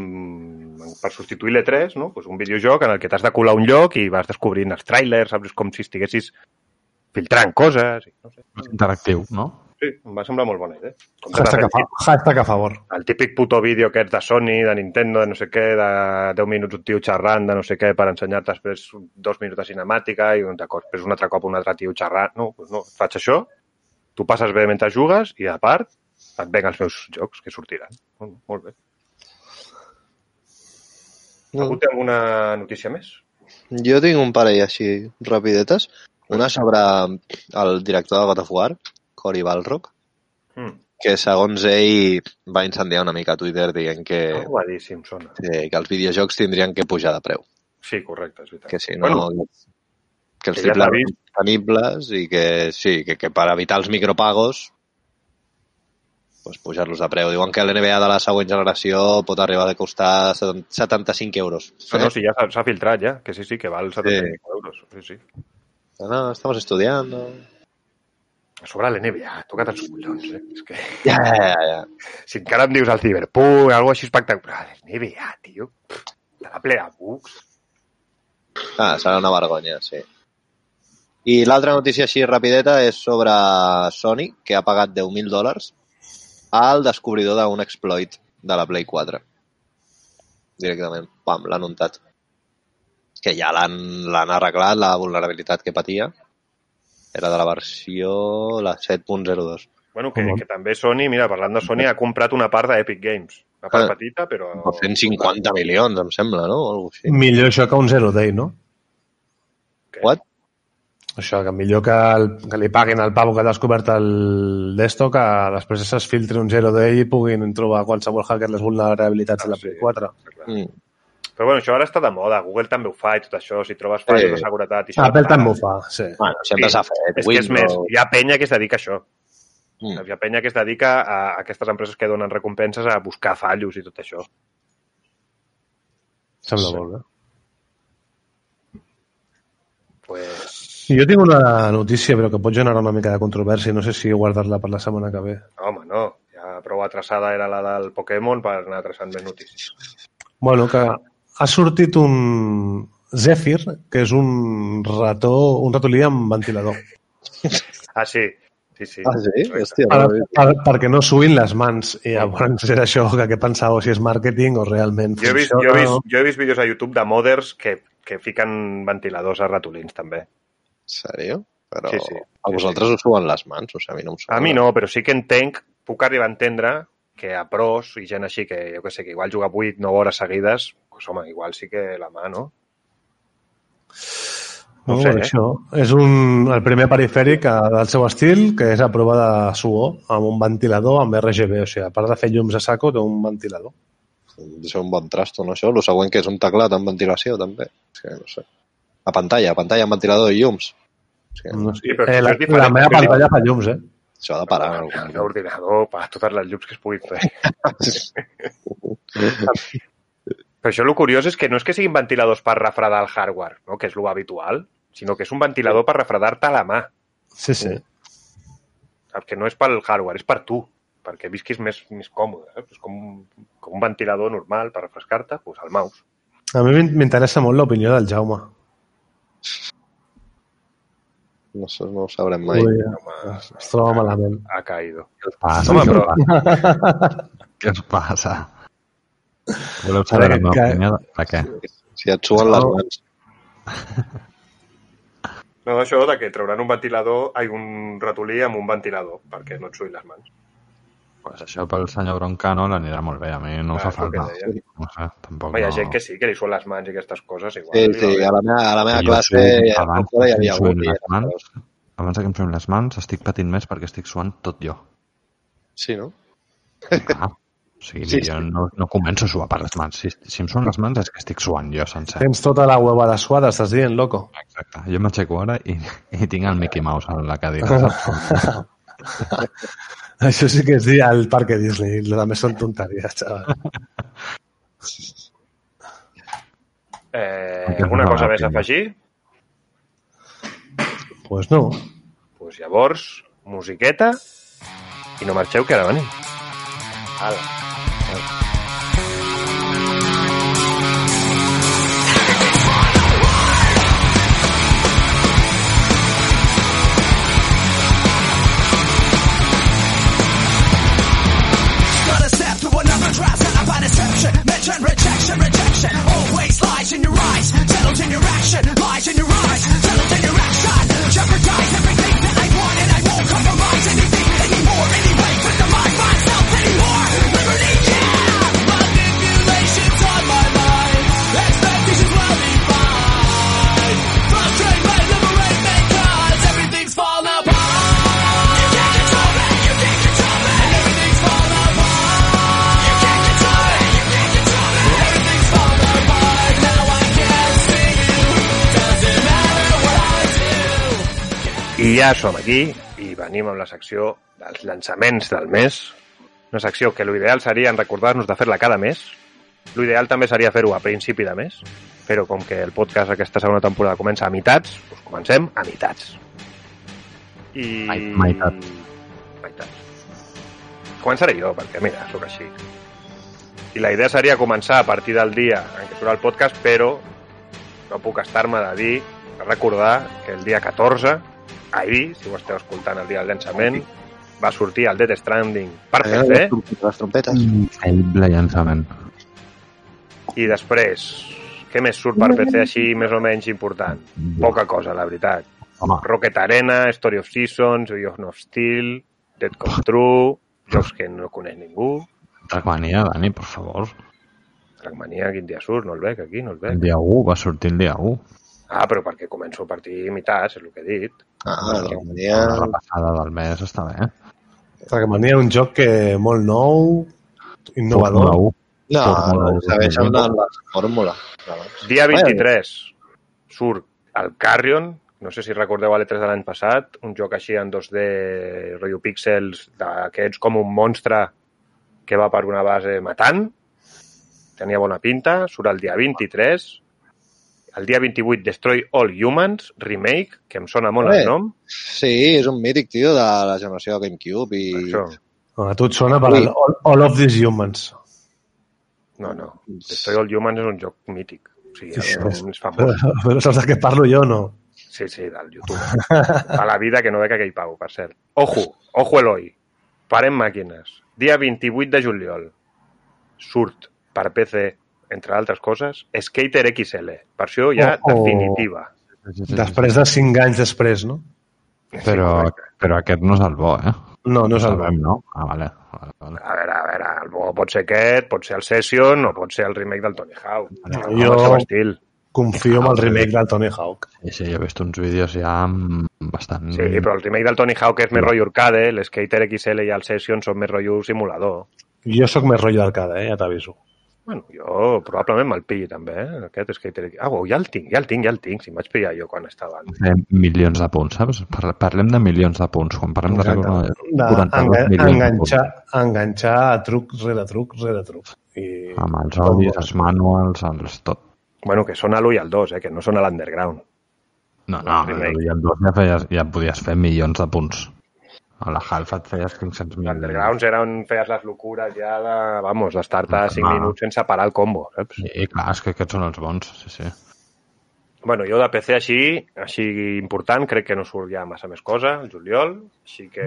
Speaker 1: per substituir l'E3, no? pues un videojoc en el que t'has de colar a un lloc i vas descobrint els trailers, saps? És com si estiguessis filtrant coses. I, no sé.
Speaker 4: Interactiu, no?
Speaker 1: Sí, em va semblar molt bona idea. Com
Speaker 3: Hashtag a, fa- hashtag a favor.
Speaker 1: el típic puto vídeo que és de Sony, de Nintendo, de no sé què, de 10 minuts un tio xerrant, de no sé què, per ensenyar-te després dos minuts de cinemàtica i un, d'acord, després un altre cop un altre tio xerrant. No, doncs no, faig això, tu passes bé mentre jugues i, a part, et venc els meus jocs que sortiran. Molt, molt bé.
Speaker 2: Mm.
Speaker 1: Algú té alguna notícia més?
Speaker 2: Jo tinc un parell així, rapidetes. Una sobre el director de God of War, Cory Balrock,
Speaker 1: Mm.
Speaker 2: que segons ell va incendiar una mica Twitter dient que,
Speaker 1: Eh. Ho va dir, si em sona.
Speaker 2: que, que els videojocs tindrien que pujar de preu.
Speaker 1: Sí, correcte, és veritat.
Speaker 2: Que si no, bueno, que els
Speaker 1: que ja s'ha
Speaker 2: triples
Speaker 1: vist.
Speaker 2: disponibles i que sí, que, que per evitar els micropagos pues pujar-los de preu. Diuen que l'NBA de la següent generació pot arribar a costar 70 75 euros.
Speaker 1: Ah, No, no, sí, ja s'ha- s'ha filtrat, ja. Que sí, sí, que val 75 sí. euros. Sí, sí.
Speaker 2: No, no, Ah, estamos estudiando.
Speaker 1: A sobre l'NBA, toca't els collons, eh? És que...
Speaker 2: Ja, ja, ja, ja.
Speaker 1: Si encara em dius el Cyberpunk, alguna així espectacular. NBA, tio. De la plena bucs.
Speaker 2: Ah, serà una vergonya, sí. I l'altra notícia així rapideta és sobre Sony, que ha pagat 10.000 dòlars al descobridor d'un exploit de la Play 4. Directament, pam, l'han untat. Que ja l'han l'han arreglat, la vulnerabilitat que patia. Era de la versió la 7.02.
Speaker 1: Bueno, que, que també Sony, mira, parlant de Sony, ha comprat una part d'Epic Games. Una part
Speaker 2: Ah.
Speaker 1: petita, però...
Speaker 2: 150 milions, em sembla, no? O alguna així.
Speaker 3: Millor això que un zero day, no?
Speaker 1: Què?
Speaker 2: What?
Speaker 3: Això, que millor que, el, que li paguin al pavo que ha descobert el desto que després es filtri un zero day i puguin trobar qualsevol hacker les vulnerabilitats de la Play 4.
Speaker 1: Està clar.
Speaker 2: Mm.
Speaker 1: Ah, Però bueno, això ara està de moda. Google també ho fa i tot això. Si trobes falles
Speaker 2: Sí.
Speaker 1: de seguretat... I això,
Speaker 3: Ah, Apple també ho fa, sí.
Speaker 2: Bueno, sempre s'ha fet.
Speaker 1: És que és més, hi ha penya que es dedica a això.
Speaker 2: Mm.
Speaker 1: Hi ha penya que es dedica a aquestes empreses que donen recompenses a buscar fallos i tot això.
Speaker 3: Sembla
Speaker 2: Sí.
Speaker 3: molt bé.
Speaker 1: Pues,
Speaker 3: Jo tinc una notícia, però que pot generar una mica de controvèrsia. No sé si guardar-la per la setmana que ve.
Speaker 1: home, no. Ja prou atrasada era la del Pokémon per anar atrasant més notícies.
Speaker 3: Bueno, que ha sortit un Zephyr, que és un rató, un ratolí amb ventilador.
Speaker 1: Ah, sí. Sí, sí.
Speaker 2: Ah, sí?
Speaker 1: Correcte.
Speaker 2: Hòstia,
Speaker 3: Per,
Speaker 2: no ho he vist.
Speaker 3: per, perquè no suïn les mans. I llavors era això que, que pensava si és màrqueting o realment
Speaker 1: Jo he, vist, jo,
Speaker 3: funciona.
Speaker 1: he vist, jo he vist vídeos a YouTube de modders que, que fiquen ventiladors a ratolins, també.
Speaker 2: En sèrio? Però
Speaker 1: Sí, sí.
Speaker 2: a
Speaker 1: Sí,
Speaker 2: vosaltres us suen les mans, o sigui, a mi no em suen.
Speaker 1: A mi no, però sí que entenc, puc arribar a entendre que a pros i gent així, que jo que sé, que igual juga 8, 9 hores seguides, doncs, home, igual sí que la mà, no?
Speaker 3: No,
Speaker 1: No ho
Speaker 3: no
Speaker 1: sé,
Speaker 3: sé,
Speaker 1: eh?
Speaker 3: això. És un, el primer perifèric eh, del seu estil, que és a prova de suor, amb un ventilador, amb RGB. O sigui, a part de fer llums a saco, té un ventilador.
Speaker 2: de ser un bon trasto, no, això? El següent que és un teclat amb ventilació, també. És que no sé. A pantalla, a pantalla amb ventilador i llums. És que
Speaker 3: No sé.
Speaker 1: Sí, però
Speaker 3: eh,
Speaker 1: això
Speaker 3: la,
Speaker 1: és diferent,
Speaker 3: la meva
Speaker 1: perquè-
Speaker 3: pantalla fa llums, eh?
Speaker 2: això ha de parar. en algun moment.
Speaker 1: L'ordinador, per totes les llums que es puguin fer. Però això el curiós és que no és que siguin ventiladors per refredar el hardware, no? que és lo habitual, sinó que és un ventilador per refredar-te la mà.
Speaker 3: Sí, sí.
Speaker 1: saps? Que no és pel hardware, és per tu, perquè visquis més, més còmode. Saps? És com, un- com un ventilador normal per refrescar-te, doncs el mouse.
Speaker 3: A mi m'in- m'interessa molt l'opinió del Jaume.
Speaker 2: No, sé, no ho sabrem mai.
Speaker 3: Ui,
Speaker 1: Home,
Speaker 3: es, es troba malament.
Speaker 1: ha caído.
Speaker 2: Ah,
Speaker 4: Passa,
Speaker 1: Home,
Speaker 4: Home,
Speaker 1: però-
Speaker 4: però... Què us passa? Voleu
Speaker 3: Ara
Speaker 4: saber la
Speaker 3: que-
Speaker 4: meva
Speaker 3: que-
Speaker 4: opinió de, de què?
Speaker 2: Si et suen les mans.
Speaker 1: No, això de que trauran un ventilador, ai, un ratolí amb un ventilador, perquè no et suïn les mans.
Speaker 4: Pues això pel senyor Broncano l'anirà molt bé, a mi no em
Speaker 1: Ah, és
Speaker 4: fa
Speaker 1: el que
Speaker 4: falta.
Speaker 1: deia.
Speaker 4: No sé, tampoc
Speaker 1: Home, hi ha
Speaker 4: no...
Speaker 1: gent que sí, que li suelen les mans i aquestes coses. Igual,
Speaker 2: Sí,
Speaker 1: li va
Speaker 2: sí,
Speaker 1: bé.
Speaker 2: a la meva, a la meva
Speaker 4: Jo
Speaker 2: classe
Speaker 4: suïn-
Speaker 2: ja,
Speaker 4: abans
Speaker 2: ja hi
Speaker 4: que
Speaker 2: havia
Speaker 4: em
Speaker 2: algú.
Speaker 4: suïn
Speaker 2: que
Speaker 4: les
Speaker 2: era-
Speaker 4: mans, abans que em suïn les mans, estic patint més perquè estic suant tot jo.
Speaker 2: Sí, no?
Speaker 4: Ah, o sigui,
Speaker 2: Sí,
Speaker 4: sí, jo no, no començo a suar per les mans. Si, si em suen les mans és que estic suant jo sencer.
Speaker 3: Tens tota la huevada suada, estàs dient, loco.
Speaker 4: Exacte. Jo m'aixeco ara i, i tinc el Mickey Mouse a la cadira.
Speaker 3: Ah.
Speaker 4: saps?
Speaker 3: Això sí que és dir al Parque Disney. Lo també són tonteries, xaval.
Speaker 1: Eh, alguna cosa més a afegir?
Speaker 3: Pues no.
Speaker 1: Doncs pues llavors, musiqueta i no marxeu, que ara venim.
Speaker 6: Not a step to another trap set up by deception. Mention rejection, rejection. Always lies in your eyes, settled in your action. Lies in your eyes, settled in your action. Jeopardize everything that I want and I won't compromise anything anymore. Anyway, put the mind myself anymore. Liberty, yeah! Manipulations on my mind. Expectations well defined. Frustrate my liberate because everything's falling apart. You can't control me, you can't control me. And everything's falling apart. You can't control it, you can't control it. Everything's falling apart, now I can't see you. Doesn't matter what I do.
Speaker 1: I ja som aquí i venim amb la secció dels llançaments del mes. Una secció que l'ideal seria en recordar-nos de fer-la cada mes. L'ideal també seria fer-ho a principi de mes, però com que el podcast aquesta segona temporada comença a mitats, doncs comencem a mitats. I...
Speaker 4: Mai- meitats.
Speaker 1: Meitats. Començaré jo, perquè mira, sóc així. I la idea seria començar a partir del dia en què surt el podcast, però no puc estar-me de dir, de recordar que el dia 14, ahir, si ho esteu escoltant el dia del llançament, va sortir el Death Stranding per
Speaker 2: Allà les
Speaker 1: PC,
Speaker 2: trompetes, les trompetes.
Speaker 4: Increïble llançament.
Speaker 1: i després, què més surt per PC així més o menys important? Poca cosa, la veritat.
Speaker 4: Home,
Speaker 1: Rocket Arena, Story of Seasons, Beyond of Steel, Dead Come True, jocs que no coneix ningú,
Speaker 4: Trackmania, Dani, per favor.
Speaker 1: Trackmania, quin dia surt, no el veig aquí, no el
Speaker 4: El
Speaker 1: veig.
Speaker 4: dia 1 va sortir el dia 1.
Speaker 1: Ah, però perquè començo a partir mitats, és el que he dit.
Speaker 2: Ah, la
Speaker 4: Ja.
Speaker 2: Romania...
Speaker 4: La repassada del mes està bé. eh?
Speaker 3: Trackmania, un joc que molt nou,
Speaker 4: Fórmula
Speaker 3: innovador.
Speaker 4: 1.
Speaker 2: No,
Speaker 4: Fórmula u.
Speaker 2: segueix amb la, la fórmula. d'abans.
Speaker 1: Dia
Speaker 2: Vaja,
Speaker 1: 23 surt el Carrion, no sé si recordeu l'E3 de l'any passat, un joc així en 2D, rotllo píxels, d'aquests com un monstre que va per una base matant. Tenia bona pinta, surt el dia 23. El dia 28, Destroy All Humans, remake, que em sona molt
Speaker 2: Eh,
Speaker 1: el nom.
Speaker 2: Sí, és un mític, tio, de la generació de GameCube i...
Speaker 1: Això.
Speaker 3: A tu et sona per
Speaker 2: Ui.
Speaker 3: al all, all of These Humans.
Speaker 1: No, no. Destroy All Humans és un joc mític. O sigui,
Speaker 3: Sí,
Speaker 1: el
Speaker 3: sí.
Speaker 1: nom és famós.
Speaker 3: Però, però saps de què parlo jo, no?
Speaker 1: Sí, sí, del youtuber. A la vida que no veig aquell pavo, per cert. Ojo, ojo Eloi. Parem màquines. Dia 28 de juliol surt per PC, entre altres coses, Skater XL, versió ja
Speaker 3: Ojo.
Speaker 1: definitiva.
Speaker 3: Després de cinc anys després, no?
Speaker 4: Però, però aquest no és el bo, eh?
Speaker 3: No, no és el
Speaker 4: Sabem, no? Ah, vale. vale, vale.
Speaker 1: A veure, a veure, el bo pot ser aquest, pot ser el Session o pot ser el remake del Tony Hawk.
Speaker 3: Jo-
Speaker 1: Jo... El seu estil.
Speaker 3: Confio en el remake del Tony Hawk.
Speaker 4: Sí, sí, jo he vist uns vídeos ja mm, bastant...
Speaker 1: Sí, però el remake del Tony Hawk és més rotllo arcade, l'Skater XL i el Session són més rotllo simulador.
Speaker 3: Jo sóc més rotllo d'arcade, eh? ja t'aviso.
Speaker 1: Bueno, jo probablement me'l pilli també, eh? aquest skater. Ah, oh, ja el tinc, ja el tinc, ja el tinc. Si em vaig pillar jo quan estava...
Speaker 4: Eh, milions de punts, saps? Par- Parlem de milions de punts. Quan parlem de
Speaker 3: Exacte.
Speaker 4: recorda,
Speaker 3: De
Speaker 4: 42
Speaker 3: engan
Speaker 4: milions
Speaker 3: enganxar,
Speaker 4: de
Speaker 3: enganxar a truc rere truc rere truc. I...
Speaker 4: punts. Ah, Amb els odis, els manuals, els tot.
Speaker 1: Bueno, que són a l'1 i al 2, eh? que no són a l'underground.
Speaker 4: No, no,
Speaker 1: Sí,
Speaker 4: sí,
Speaker 1: sí.
Speaker 4: ja, dos ja, feies, ja podies fer milions de punts. A la Half et feies 500 mil.
Speaker 1: L'underground era on feies les locures ja de... Vamos, d'estar-te
Speaker 4: Ah.
Speaker 1: 5 minuts sense parar el combo, saps?
Speaker 4: Sí, clar, és que aquests són els bons, sí, sí.
Speaker 1: Bueno, jo de PC així, així important, crec que no surt ja massa més cosa, el juliol, així que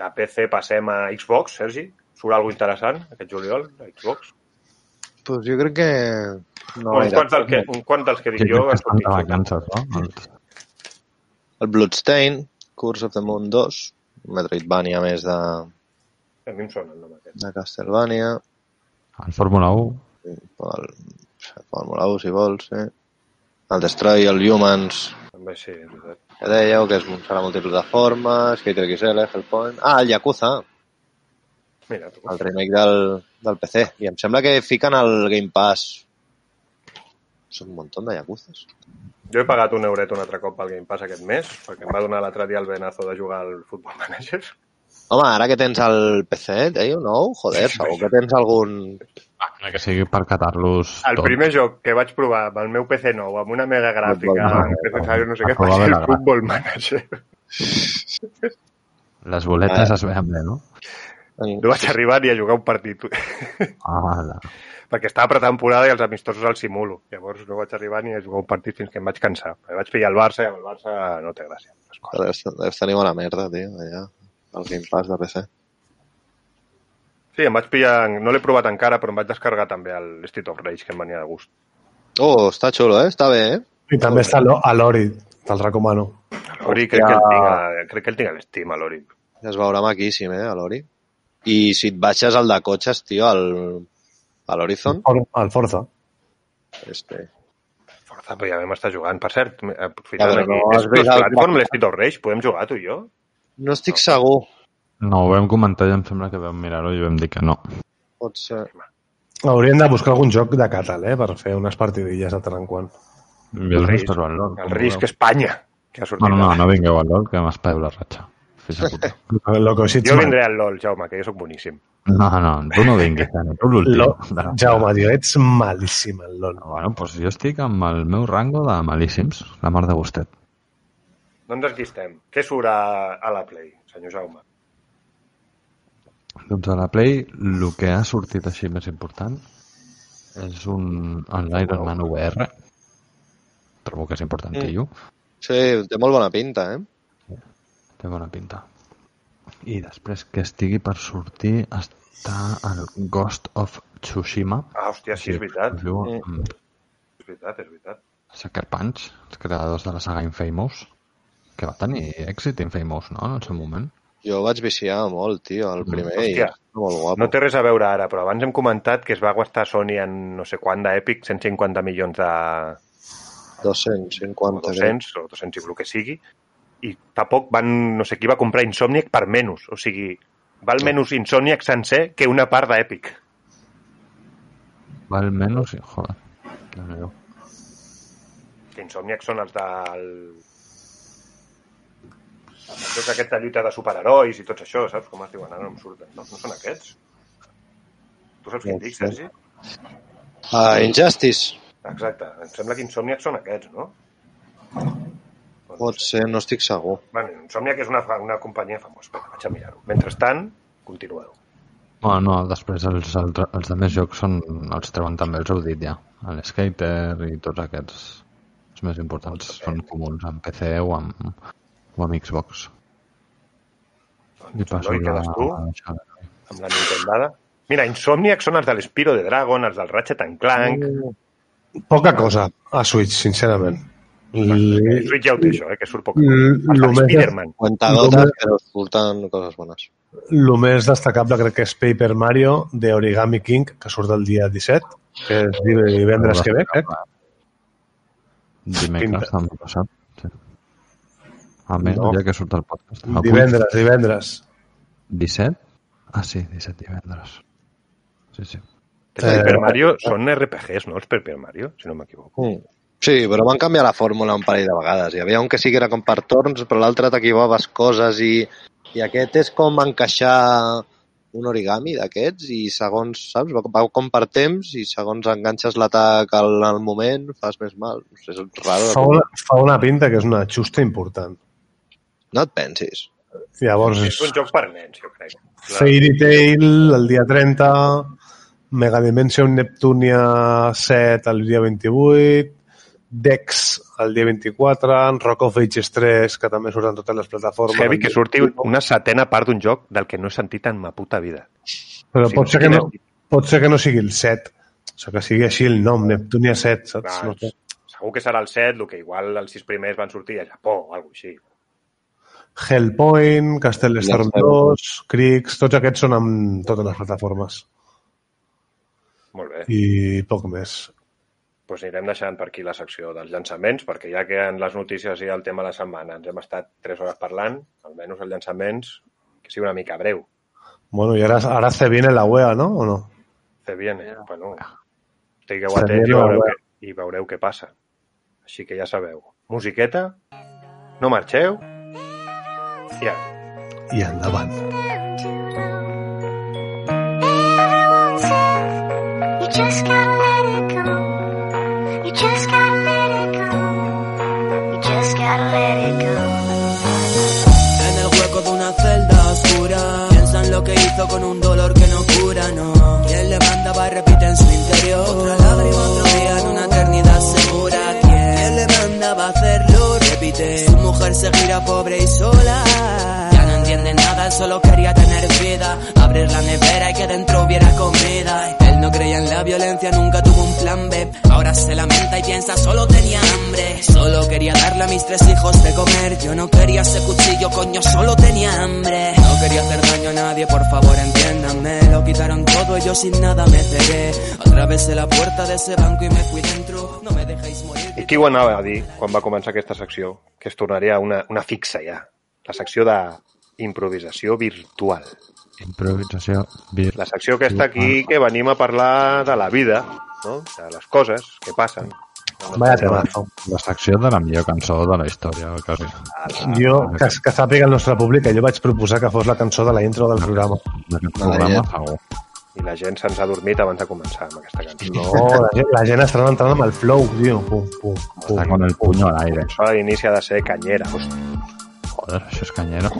Speaker 1: de PC passem a Xbox, Sergi. Surt alguna interessant aquest juliol, a Xbox?
Speaker 2: Pues jo crec que...
Speaker 1: No, uns, quants del que, un quants dels que dic jo
Speaker 4: que
Speaker 1: han
Speaker 4: estan
Speaker 1: sortit.
Speaker 4: de vacances, no? Els-
Speaker 2: El Bloodstain, Curse of the Moon 2, Metroidvania més de,
Speaker 1: A mi em sona el nom aquest.
Speaker 2: de Castlevania,
Speaker 4: El Fórmula 1,
Speaker 2: el Fórmula 1 si vols, eh? El Destroy, el Humans,
Speaker 1: També sí, és veritat.
Speaker 2: que dèieu, que és, serà multiplataforma, Skater XL, Hellpoint... Ah, el Yakuza,
Speaker 1: Mira, tu.
Speaker 2: el remake del, del PC. I em sembla que fiquen el Game Pass. Són un munt de Yakuzas.
Speaker 1: jo he pagat un euret un altre cop pel Game Pass aquest mes, perquè em va donar l'altre dia el venazo de jugar al Football Manager.
Speaker 2: Home, ara que tens el PC, et deia, no? Joder, segur que tens algun...
Speaker 4: que sigui per catar-los
Speaker 1: Ah, El
Speaker 4: tot.
Speaker 1: primer joc que vaig provar amb el meu PC nou, amb una mega gràfica,
Speaker 4: Football
Speaker 1: amb
Speaker 4: Manager.
Speaker 1: PC, no sé què,
Speaker 4: Acabava
Speaker 1: va ser el
Speaker 4: la gràfica.
Speaker 1: Football Manager.
Speaker 4: Les boletes
Speaker 1: Ah.
Speaker 4: es veuen bé, no?
Speaker 1: No vaig arribar ni a jugar un partit,
Speaker 4: Ah, la...
Speaker 1: perquè estava pretemporada i els amistosos els simulo. Llavors no vaig arribar ni a jugar un partit fins que em vaig cansar. Perquè Vaig pillar el Barça i amb el Barça no té gràcia. Les coses.
Speaker 2: Deus, deus tenir bona merda, tio, allà. El Game Pass de PC.
Speaker 1: Sí, em vaig pillar... No l'he provat encara, però em vaig descarregar també el Street of Rage, que em venia de gust.
Speaker 2: Oh, està xulo, eh? Està bé, eh?
Speaker 3: I també està l'O- a l'Ori, te'l recomano.
Speaker 1: L'Ori crec, que el tinc a, crec que el tinc a l'Steam, a l'Ori.
Speaker 2: Es veurà maquíssim, eh, a l'Ori. I si et baixes el de cotxes, tio, al, a l'Horizon,
Speaker 3: Or- El Forza.
Speaker 2: este,
Speaker 1: Forza, però ja vam estar jugant. Per cert, eh,
Speaker 2: Ja,
Speaker 1: aprofitant
Speaker 2: però
Speaker 1: aquí,
Speaker 2: no has
Speaker 1: és
Speaker 2: vist el-
Speaker 1: platform l'Street of Rage, podem jugar tu i jo?
Speaker 2: no estic segur.
Speaker 4: No, ho vam comentar i em sembla que vam mirar-ho i vam dir que no.
Speaker 2: Pot ser.
Speaker 3: Hauríem de buscar algun joc de Catal, eh? Per fer unes partidilles de tant en quant.
Speaker 4: I els
Speaker 1: risc.
Speaker 4: nostres van l'or.
Speaker 1: El risc Espanya, que ha sortit.
Speaker 4: No, no, no,
Speaker 1: ara.
Speaker 4: no vingueu al LOL, que m'espaiu la ratxa. Fes puta.
Speaker 3: Lo que
Speaker 1: Jo vindré al LOL, Jaume, que jo sóc boníssim.
Speaker 4: No, no, tu no vinguis, Dani, tu l'últim.
Speaker 3: Lo...
Speaker 4: De la-
Speaker 3: Jaume, tio, ets malíssim en LOL.
Speaker 4: Bueno, doncs jo estic amb el meu rango de malíssims, la mar de gustet.
Speaker 1: No ens enquistem. Què surt a, a la Play, senyor Jaume?
Speaker 4: Doncs a la Play, el que ha sortit així més important és un, un Iron Man VR. Trobo que és important,
Speaker 2: Mm.
Speaker 4: tio.
Speaker 2: Sí, té molt bona pinta, eh?
Speaker 4: Té bona pinta. I després que estigui per sortir està el Ghost of Tsushima.
Speaker 1: Ah, hòstia, sí, és veritat.
Speaker 4: Es diu
Speaker 2: Mm.
Speaker 4: amb
Speaker 1: És veritat, és veritat.
Speaker 4: Sucker Punch, els creadors de la saga Infamous, que va tenir èxit Infamous, no?, en el seu moment.
Speaker 2: Jo vaig viciar molt, tio, el primer. i
Speaker 1: Mm, Hòstia.
Speaker 2: està molt guapo.
Speaker 1: No té res a veure ara, però abans hem comentat que es va gastar Sony en no sé quant d'Epic, 150 milions de...
Speaker 2: 250.
Speaker 1: o 200, o 200 i el que sigui, i tampoc van, no sé qui va comprar Insomniac per menys, o sigui, val menys Insomniac sencer que una part d'Epic.
Speaker 4: Val menys... Joder, déu nhi
Speaker 1: Que Insomniac són els del... els jocs aquests de lluita de superherois i tot això, saps com es diuen? Ara no em surten. No, no són aquests? Tu saps quin
Speaker 2: No
Speaker 1: dic,
Speaker 2: sé.
Speaker 1: Sergi?
Speaker 2: Ah, Injustice.
Speaker 1: Exacte. Em sembla que Insomniac són aquests, no? Doncs,
Speaker 2: Pot ser, no estic segur.
Speaker 1: Bueno, Insomniac és una, fa- una companyia famosa. Espera, vaig a mirar-ho. Mentrestant, continueu.
Speaker 4: Bueno, no, després els, altres, els altres jocs són, els treuen també els heu dit ja. El Skater i tots aquests els més importants són comuns amb PC o amb, o amb Xbox. I
Speaker 1: Doncs,
Speaker 4: passo
Speaker 1: Eloi, quedes tu
Speaker 4: la- això.
Speaker 1: amb la Nintendada. Mira, Insomniac són els de l'Espiro de Dragon, els del Ratchet and Clank...
Speaker 3: Mm. Poca cosa a Switch, sincerament.
Speaker 1: Mm.
Speaker 3: L-
Speaker 1: Switch ja ho té, això, eh, que surt poc.
Speaker 3: Mm,
Speaker 1: El
Speaker 3: lo
Speaker 1: de
Speaker 3: més-
Speaker 1: Spider-Man.
Speaker 2: Cuentagotas, però surten coses bones.
Speaker 3: El més destacable crec que és Paper Mario de Origami King, que surt el dia 17, que és divendres que ve, eh? crec.
Speaker 4: Dimecres també passat. Sí. A més,
Speaker 3: No.
Speaker 4: no. ja que surt el podcast. Avui,
Speaker 3: Divendres, divendres.
Speaker 4: 17? Ah, sí, 17 divendres. Sí, sí.
Speaker 1: Els
Speaker 3: Eh.
Speaker 1: Paper Mario són RPGs, no? Els Paper Mario, si no m'equivoco.
Speaker 2: Mm. Sí, però van canviar la fórmula un parell de vegades. Hi havia un que sí que era com per torns, però l'altre t'equivaves coses i, i aquest és com encaixar un origami d'aquests i segons, saps, va, va com per temps i segons enganxes l'atac al, al moment fas més mal. No sé, és raro.
Speaker 3: Fa una, fa una pinta que és una xusta important.
Speaker 2: No et pensis.
Speaker 3: Llavors,
Speaker 1: És un joc per nens, jo crec.
Speaker 3: Fairy Tail el dia 30, Mega Dimension Neptunia 7 el dia 28, Dex el dia 24, Rock of Ages 3, que també surt en totes les plataformes.
Speaker 1: És heavy que surti una setena part d'un joc del que no he sentit en ma puta vida.
Speaker 3: Però
Speaker 1: Sí,
Speaker 3: pot,
Speaker 1: no
Speaker 3: ser
Speaker 1: sé
Speaker 3: que
Speaker 1: quin
Speaker 3: no, pot ser que no sigui el 7, o sigui, que sigui així el nom, Neptunia 7, saps?
Speaker 1: Clar,
Speaker 3: No sé.
Speaker 1: Segur que serà el 7, el que igual els sis primers van sortir a Japó o alguna cosa així.
Speaker 3: Hellpoint, Castle Storm 2, Crix, tots aquests són amb totes les plataformes
Speaker 1: Molt bé.
Speaker 3: i poc més.
Speaker 1: Doncs anirem deixant per aquí la secció dels llançaments, perquè ja que en les notícies i el tema de la setmana ens hem estat tres hores parlant, almenys els llançaments, que sigui una mica breu.
Speaker 3: Bueno, y ahora, ahora se viene la UEA, ¿no? ¿O no?
Speaker 1: Se viene, bueno, estigueu
Speaker 3: Se
Speaker 1: atents i
Speaker 3: viene la
Speaker 1: veureu,
Speaker 3: web.
Speaker 1: que, i veureu què passa. Així que ja sabeu. Musiqueta, no marxeu, i ara.
Speaker 3: Y andaban.
Speaker 7: You just gotta let it go. You just gotta let it go. You just gotta let it go.
Speaker 8: En el hueco de una celda oscura Piensan lo que hizo con un dolor que no cura, no Quien levanta va y repite en su interior Otra lágrima, otro día en una eternidad segura Quien levanta va a hacerlo, repite Su mujer se gira pobre y sola Ya no entiende nada, él solo quería tener vida Abrir la nevera y que dentro hubiera comida Él no creía en la violencia, nunca tuvo un plan B Ahora se lamenta y piensa, solo tenía hambre Solo quería darle a mis tres hijos de comer Yo no quería ese cuchillo, coño, solo tenía hambre No quería hacer daño a nadie, por favor entiéndanme Lo quitaron todo y yo sin nada me cegué Atravesé la puerta de ese banco y me fui dentro No me dejéis morir
Speaker 1: I qui ho anava a dir quan va començar aquesta secció? Que es tornaria una, una fixa ja. La secció de improvisació virtual.
Speaker 4: Improvisació. vir-
Speaker 1: La secció que està aquí que venim a parlar de la vida, no? de les coses que passen.
Speaker 3: Vaya temazo.
Speaker 4: La secció de la millor cançó de la història, quasi. Ah,
Speaker 3: Jo, que, que sàpiga el nostre públic, que jo vaig proposar que fos la cançó de la intro del programa.
Speaker 4: D'aquest programa,
Speaker 2: llet.
Speaker 4: segur.
Speaker 1: I la gent se'ns ha dormit abans de començar amb aquesta cançó.
Speaker 3: No, Oh, la gent, la gent estava entrant amb el flow, tio. Pum, pum, pum.
Speaker 4: Està con el puño al aire.
Speaker 1: Això a l'inici ha de ser canyera. Hosti,
Speaker 4: Joder, això és canyero.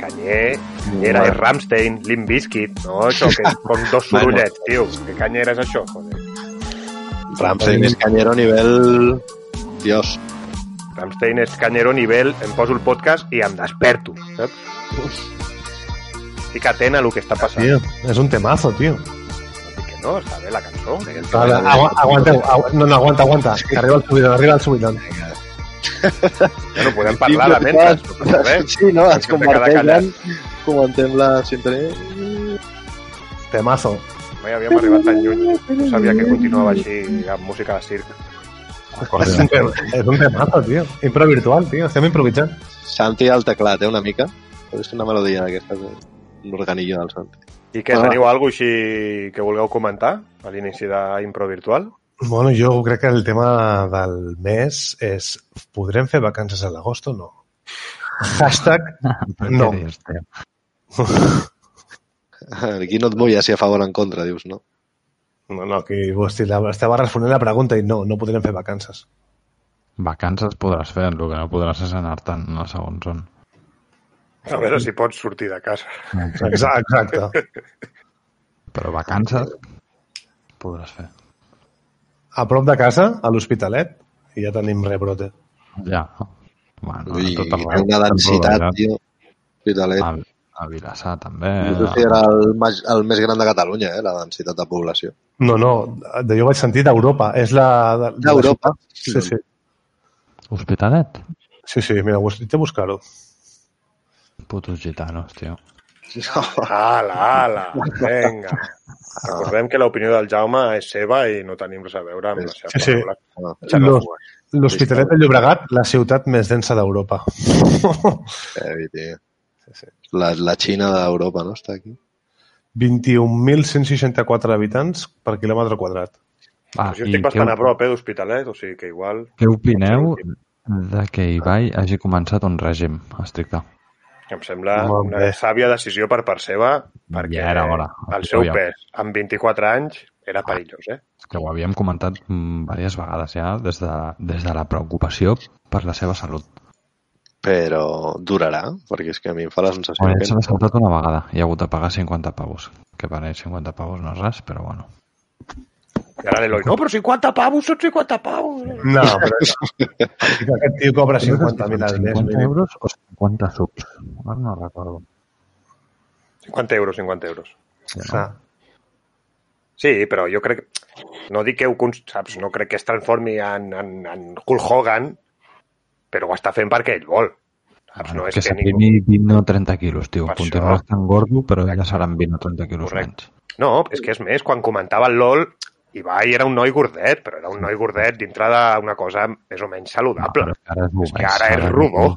Speaker 1: canyer, canyera és Ramstein, Limp Bizkit, no? Això que com dos sorollets, tio. Que canyera és això? Joder.
Speaker 2: Ramsey es cañero nivel... Dios.
Speaker 1: Ramstein és canyero nivell, em poso el podcast i em desperto, saps? Estic atent a el que està passant.
Speaker 3: Tio, és un temazo, tio.
Speaker 1: Dic que no, està bé la cançó.
Speaker 3: Ara, agu aguanteu, agu no, no, aguanta, aguanta, que arriba el subidon, arriba el subidon.
Speaker 1: Bueno, podem parlar de mentres. no passa res.
Speaker 2: Sí, no? Es
Speaker 1: Ens converteix
Speaker 2: converteix
Speaker 1: en-
Speaker 2: en... Comentem la sintonia.
Speaker 3: Temazo.
Speaker 1: Mai havíem arribat tan lluny. No sabia que continuava així amb música de circ.
Speaker 3: És un, tema, és un temazo, tio. Impro virtual, tio. Estem improvisant.
Speaker 2: Santi al teclat, eh, una mica. Però és una melodia d'aquesta, un organillo del Santi.
Speaker 1: I què,
Speaker 2: Ah.
Speaker 1: teniu alguna cosa així que vulgueu comentar a l'inici d'Impro Virtual?
Speaker 3: Bueno, jo crec que el tema del mes és podrem fer vacances a l'agost o no? Hashtag No.
Speaker 4: Què dius, tio?
Speaker 2: Aquí no et mulles si a favor o en contra, dius, no?
Speaker 3: No, no, que vos te la- estava responent la pregunta i no, no podrem fer vacances.
Speaker 4: Vacances podràs fer, el que no podràs és anar-te'n a segons on.
Speaker 1: A veure si pots sortir de casa.
Speaker 3: Exacte. exacte.
Speaker 4: Però vacances podràs fer.
Speaker 3: A prop de casa, a l'Hospitalet, i ja tenim rebrote.
Speaker 4: Ja. Bueno,
Speaker 2: Ui,
Speaker 4: a tot arreu.
Speaker 2: una densitat, tio. Hospitalet.
Speaker 4: A, a Vilassar, també.
Speaker 2: Eh, no sé si era el, mas- el més gran de Catalunya, eh, la densitat de població.
Speaker 3: No, no, de, jo vaig sentir d'Europa. És la... de- de-
Speaker 2: D'Europa?
Speaker 3: Sí, sí.
Speaker 4: Hospitalet?
Speaker 3: Sí, sí, mira, ho estic a buscar-ho.
Speaker 4: Putos gitanos, tio.
Speaker 1: Ala, ala, vinga. Recordem que l'opinió del Jaume és seva i no tenim res a veure amb les seves
Speaker 3: Sí, sí.
Speaker 1: paraules.
Speaker 2: No.
Speaker 3: Los- L'Hospitalet de Llobregat, la ciutat més densa d'Europa.
Speaker 2: Eh, tio. La, la Xina d'Europa, no? Està aquí.
Speaker 3: 21.164 habitants per quilòmetre quadrat.
Speaker 4: Ah,
Speaker 1: Jo
Speaker 4: i
Speaker 1: estic
Speaker 4: què
Speaker 1: bastant
Speaker 4: op-
Speaker 1: a prop eh, d'Hospitalet, o sigui que igual...
Speaker 4: Què opineu de que Ibai hagi començat un règim estricte?
Speaker 1: Em sembla
Speaker 3: Molt
Speaker 1: una
Speaker 3: bé.
Speaker 1: sàvia decisió per part seva, perquè
Speaker 4: Ja era hora.
Speaker 1: el seu
Speaker 4: Ja.
Speaker 1: pes amb 24 anys era perillós, eh?
Speaker 4: És que ho havíem comentat mm, diverses vegades ja, des de, des de la preocupació per la seva salut.
Speaker 2: Però durarà, perquè és que a mi em fa la sensació
Speaker 4: Quan se
Speaker 2: que...
Speaker 4: l'ha saltat una vegada i ha hagut de pagar 50 pavos. Que per ell 50 pavos no és res, però bueno.
Speaker 1: I ara l'Eloi, no, però 50 pavos, són 50 pavos. eh?
Speaker 3: No, però aquest tio cobra 50.000 al mes.
Speaker 4: 50
Speaker 3: mínim.
Speaker 4: euros o 50 subs? Ara no recordo.
Speaker 1: 50 euros, 50 euros.
Speaker 4: Sí, no?
Speaker 3: Ah,
Speaker 1: Sí, però jo crec... No dic que ho... cons- Saps? No crec que es transformi en, en, en Hulk Hogan, però ho està fent perquè ell vol. saps?
Speaker 4: Ah, Bueno,
Speaker 1: no Ah, és
Speaker 4: que
Speaker 1: que, ningú...
Speaker 4: s'aprimi 20 o 30 quilos, tio.
Speaker 1: Per
Speaker 4: Continuaràs
Speaker 1: això.
Speaker 4: tan gordo, però ja seran 20 o 30 quilos
Speaker 1: Correcte.
Speaker 4: menys.
Speaker 1: No, és que és més, quan comentava el LOL, Ibai era un noi gordet, però era un noi gordet dintre d'una cosa més o menys
Speaker 4: No,
Speaker 1: saludable.
Speaker 4: però ara és,
Speaker 1: És que ara és rumor.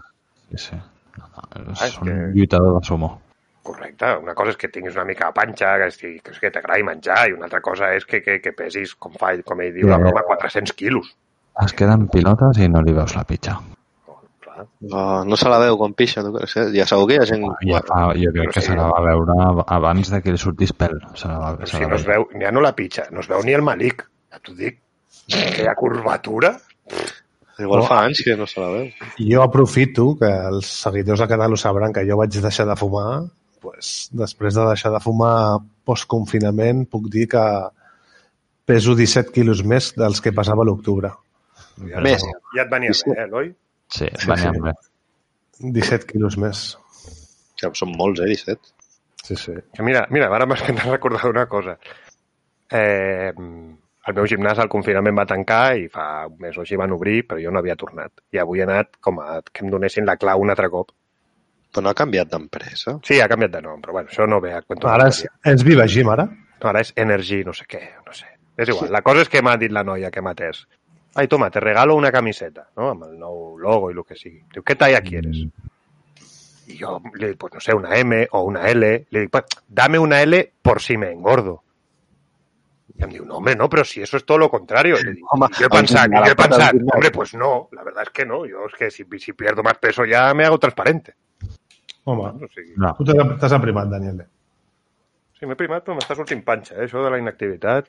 Speaker 4: Sí, sí. No, no, és,
Speaker 1: Ah, és
Speaker 4: un
Speaker 1: que-
Speaker 4: lluitador de sumo.
Speaker 1: Correcte, una cosa és que tinguis una mica de panxa, que, estigui, que, que t'agradi menjar, i una altra cosa és que, que, que pesis, com, fa, com ell diu,
Speaker 4: Sí,
Speaker 1: la
Speaker 4: a
Speaker 1: broma,
Speaker 4: veure.
Speaker 1: 400 quilos.
Speaker 4: Es queden pilotes i no li veus la pitja.
Speaker 1: Oh, clar.
Speaker 2: No, no se la veu quan pixa, tu creus? eh? Ja segur que hi ha gent...
Speaker 4: Ja fa, jo crec
Speaker 1: però
Speaker 4: que
Speaker 1: sí.
Speaker 4: se la va veure ab- abans de que li sortís pèl. Se la va,
Speaker 1: Però
Speaker 4: se
Speaker 1: si
Speaker 4: la
Speaker 1: no es
Speaker 4: veia.
Speaker 1: veu, ja no la pitja, no es veu ni el malic, ja t'ho dic. Aquella curvatura,
Speaker 2: Igual
Speaker 4: Oh.
Speaker 2: fa anys que no se la veu.
Speaker 3: Jo aprofito que els seguidors de Canal ho sabran que jo vaig deixar de fumar, pues, després de deixar de fumar post-confinament puc dir que peso 17 quilos més dels que passava a l'octubre.
Speaker 1: ja,
Speaker 2: Més.
Speaker 1: ja et venia bé, eh, Eloi?
Speaker 4: Sí,
Speaker 3: Sí,
Speaker 4: venia
Speaker 3: sí.
Speaker 4: amb bé.
Speaker 3: 17 quilos més.
Speaker 2: Que són molts, eh, 17.
Speaker 3: Sí, sí.
Speaker 1: Que Mira, mira, ara m'has fet recordar una cosa. Eh, el meu gimnàs al confinament va tancar i fa un mes o així van obrir, però jo no havia tornat. I avui he anat com a que em donessin la clau un altre cop.
Speaker 2: Però no ha canviat d'empresa.
Speaker 1: Sí, ha canviat de nom, però bueno, això no ve a cuento.
Speaker 3: Ara és, és Viva Gym, ara?
Speaker 1: No, ara és Energy, no sé què, no sé. És igual, la cosa és que m'ha dit la noia que m'ha atès. Ai, toma, te regalo una camiseta, no? Amb el nou logo i el que sigui. Diu, què talla quieres? I jo li dic, pues no sé, una M o una L. Li dic, pues, dame una L por si me engordo. Y me diu, no, hombre, no, pero si eso es todo lo contrario. Y, le digo,
Speaker 2: Home,
Speaker 1: y yo he
Speaker 2: al
Speaker 1: pensado, y
Speaker 2: final,
Speaker 1: yo he
Speaker 2: al final,
Speaker 1: pensado,
Speaker 2: al final.
Speaker 1: hombre, pues no, la verdad es que no. Yo es que si, si pierdo más peso ya me hago transparente.
Speaker 3: Home,
Speaker 1: O sigui,
Speaker 4: No,
Speaker 3: tu t'has t'has aprimat, Daniel. eh?
Speaker 1: sí, m'he primat, però m'està sortint panxa, eh, això de la inactivitat.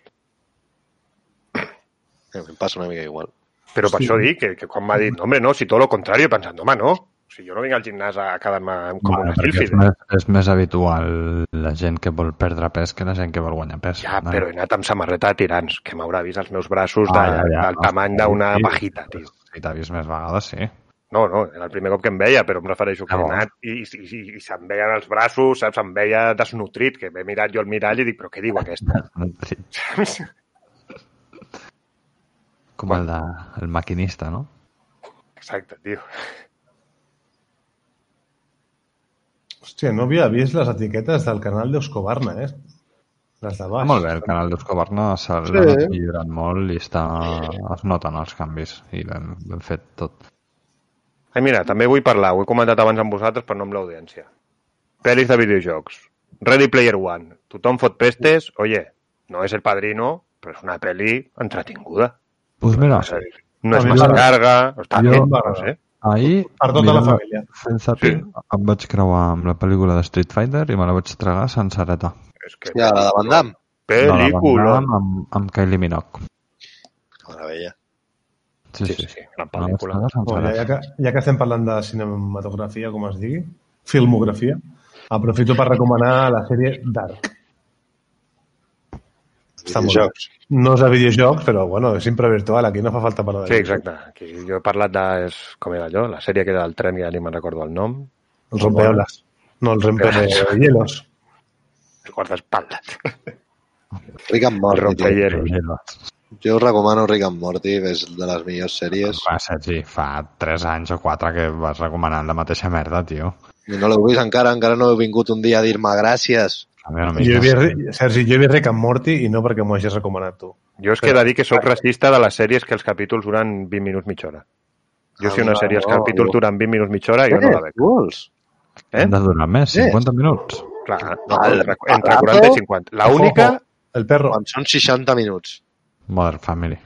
Speaker 2: A mi em passa una mica igual.
Speaker 1: Però per això dic que, que quan m'ha dit, no, home, no, si tot el contrari, he pensat, home, no, si jo no vinc al gimnàs a quedar-me com
Speaker 4: Bueno,
Speaker 1: una
Speaker 4: perquè és,
Speaker 1: sílfide.
Speaker 4: més, és més habitual la gent que vol perdre pes que la gent que vol guanyar pes.
Speaker 1: Ja, però he anat amb samarreta de tirants, que m'haurà vist els meus braços de,
Speaker 4: Ah, ja, ja,
Speaker 1: del
Speaker 4: no,
Speaker 1: tamany d'una
Speaker 4: sí.
Speaker 1: pajita, tio.
Speaker 4: Si t'ha vist més vegades, sí.
Speaker 1: No, no, era el primer cop que em veia, però em refereixo que
Speaker 4: Ah,
Speaker 1: he
Speaker 4: bo.
Speaker 1: anat i, i, i, i se'm veien els braços, saps? Se'm veia desnutrit, que m'he mirat jo al mirall i dic, però què diu aquesta?
Speaker 4: Com el, de, el maquinista, no?
Speaker 1: Exacte, tio.
Speaker 3: Hòstia, no havia vist les etiquetes del canal d'Euskobarna, eh? Les de
Speaker 4: Ah,
Speaker 3: baix.
Speaker 4: molt bé, el canal d'Escobarna s'ha sí. millorat molt i està, es noten els canvis i l'hem l'hem fet tot.
Speaker 1: Ai, mira, també vull parlar, ho he comentat abans amb vosaltres, però no amb l'audiència. Pel·lis de videojocs. Ready Player One. Tothom fot pestes, oye, no és el padrino, però és una pel·li entretinguda.
Speaker 4: Pues mira,
Speaker 1: És a dir, No és
Speaker 3: Ah, A mi
Speaker 1: massa
Speaker 3: m'agrada.
Speaker 1: llarga, no està
Speaker 4: Jo-
Speaker 1: bé, no sé.
Speaker 4: ahir...
Speaker 3: Per tota la
Speaker 4: mirant-
Speaker 3: família.
Speaker 4: Fent zapping, em vaig creuar amb la pel·lícula de Street Fighter i me la vaig tragar sencereta.
Speaker 1: És que...
Speaker 2: Ja, la de Van Damme.
Speaker 1: Pel·lícula.
Speaker 4: No, amb, amb Kylie Minogue.
Speaker 2: Meravella.
Speaker 4: Sí,
Speaker 1: Sí,
Speaker 4: sí,
Speaker 1: sí,
Speaker 4: sí.
Speaker 1: sí, gran
Speaker 4: Me la vaig
Speaker 1: pel·lícula.
Speaker 4: tragar
Speaker 3: Bueno, ja,
Speaker 4: sencereta.
Speaker 3: ja, que, ja que estem parlant de cinematografia, com es digui, filmografia, aprofito per recomanar la sèrie Dark. Està molt bé.
Speaker 2: Videojocs.
Speaker 3: No és de videojocs, però bueno, és imprevirtual, aquí no fa falta parlar de
Speaker 1: Sí, exacte. Aquí jo he parlat de... És, com era allò? La sèrie que era del tren, que ja ni me'n recordo el nom.
Speaker 3: Els rompeoles. No, els rompehielos.
Speaker 1: El guardaespatlles.
Speaker 2: Rick and
Speaker 1: El
Speaker 2: Morty. tio.
Speaker 1: rompehielos.
Speaker 2: Jo us recomano Rick and Morty, que és de les millors sèries.
Speaker 4: Va, Sergi, fa 3 anys o 4 que vas recomanant la mateixa merda, tio.
Speaker 2: I no l'heu vist encara, encara no heu vingut un dia a dir-me gràcies.
Speaker 4: A mi no m'hi
Speaker 3: Jo he vist,
Speaker 4: interessa.
Speaker 3: Ri- Sergi, jo he vist Rick and Morty i no perquè m'ho hagis recomanat tu.
Speaker 1: Jo és que he de dir que sóc racista de les sèries que els capítols duren 20 minuts mitja hora. Jo si una
Speaker 2: Ah,
Speaker 1: sèrie els
Speaker 2: no,
Speaker 1: capítols
Speaker 2: no.
Speaker 1: duren 20 minuts mitja hora, jo no la veig.
Speaker 2: vols?
Speaker 1: Eh?
Speaker 4: Hem de durar més,
Speaker 2: Eh?
Speaker 4: 50 minuts.
Speaker 1: Clar, no,
Speaker 2: Al-
Speaker 1: entre,
Speaker 2: al
Speaker 1: entre
Speaker 2: rato.
Speaker 1: 40 i 50. La única...
Speaker 3: Ojo, El perro.
Speaker 2: Quan són 60 minuts.
Speaker 4: Mother Family.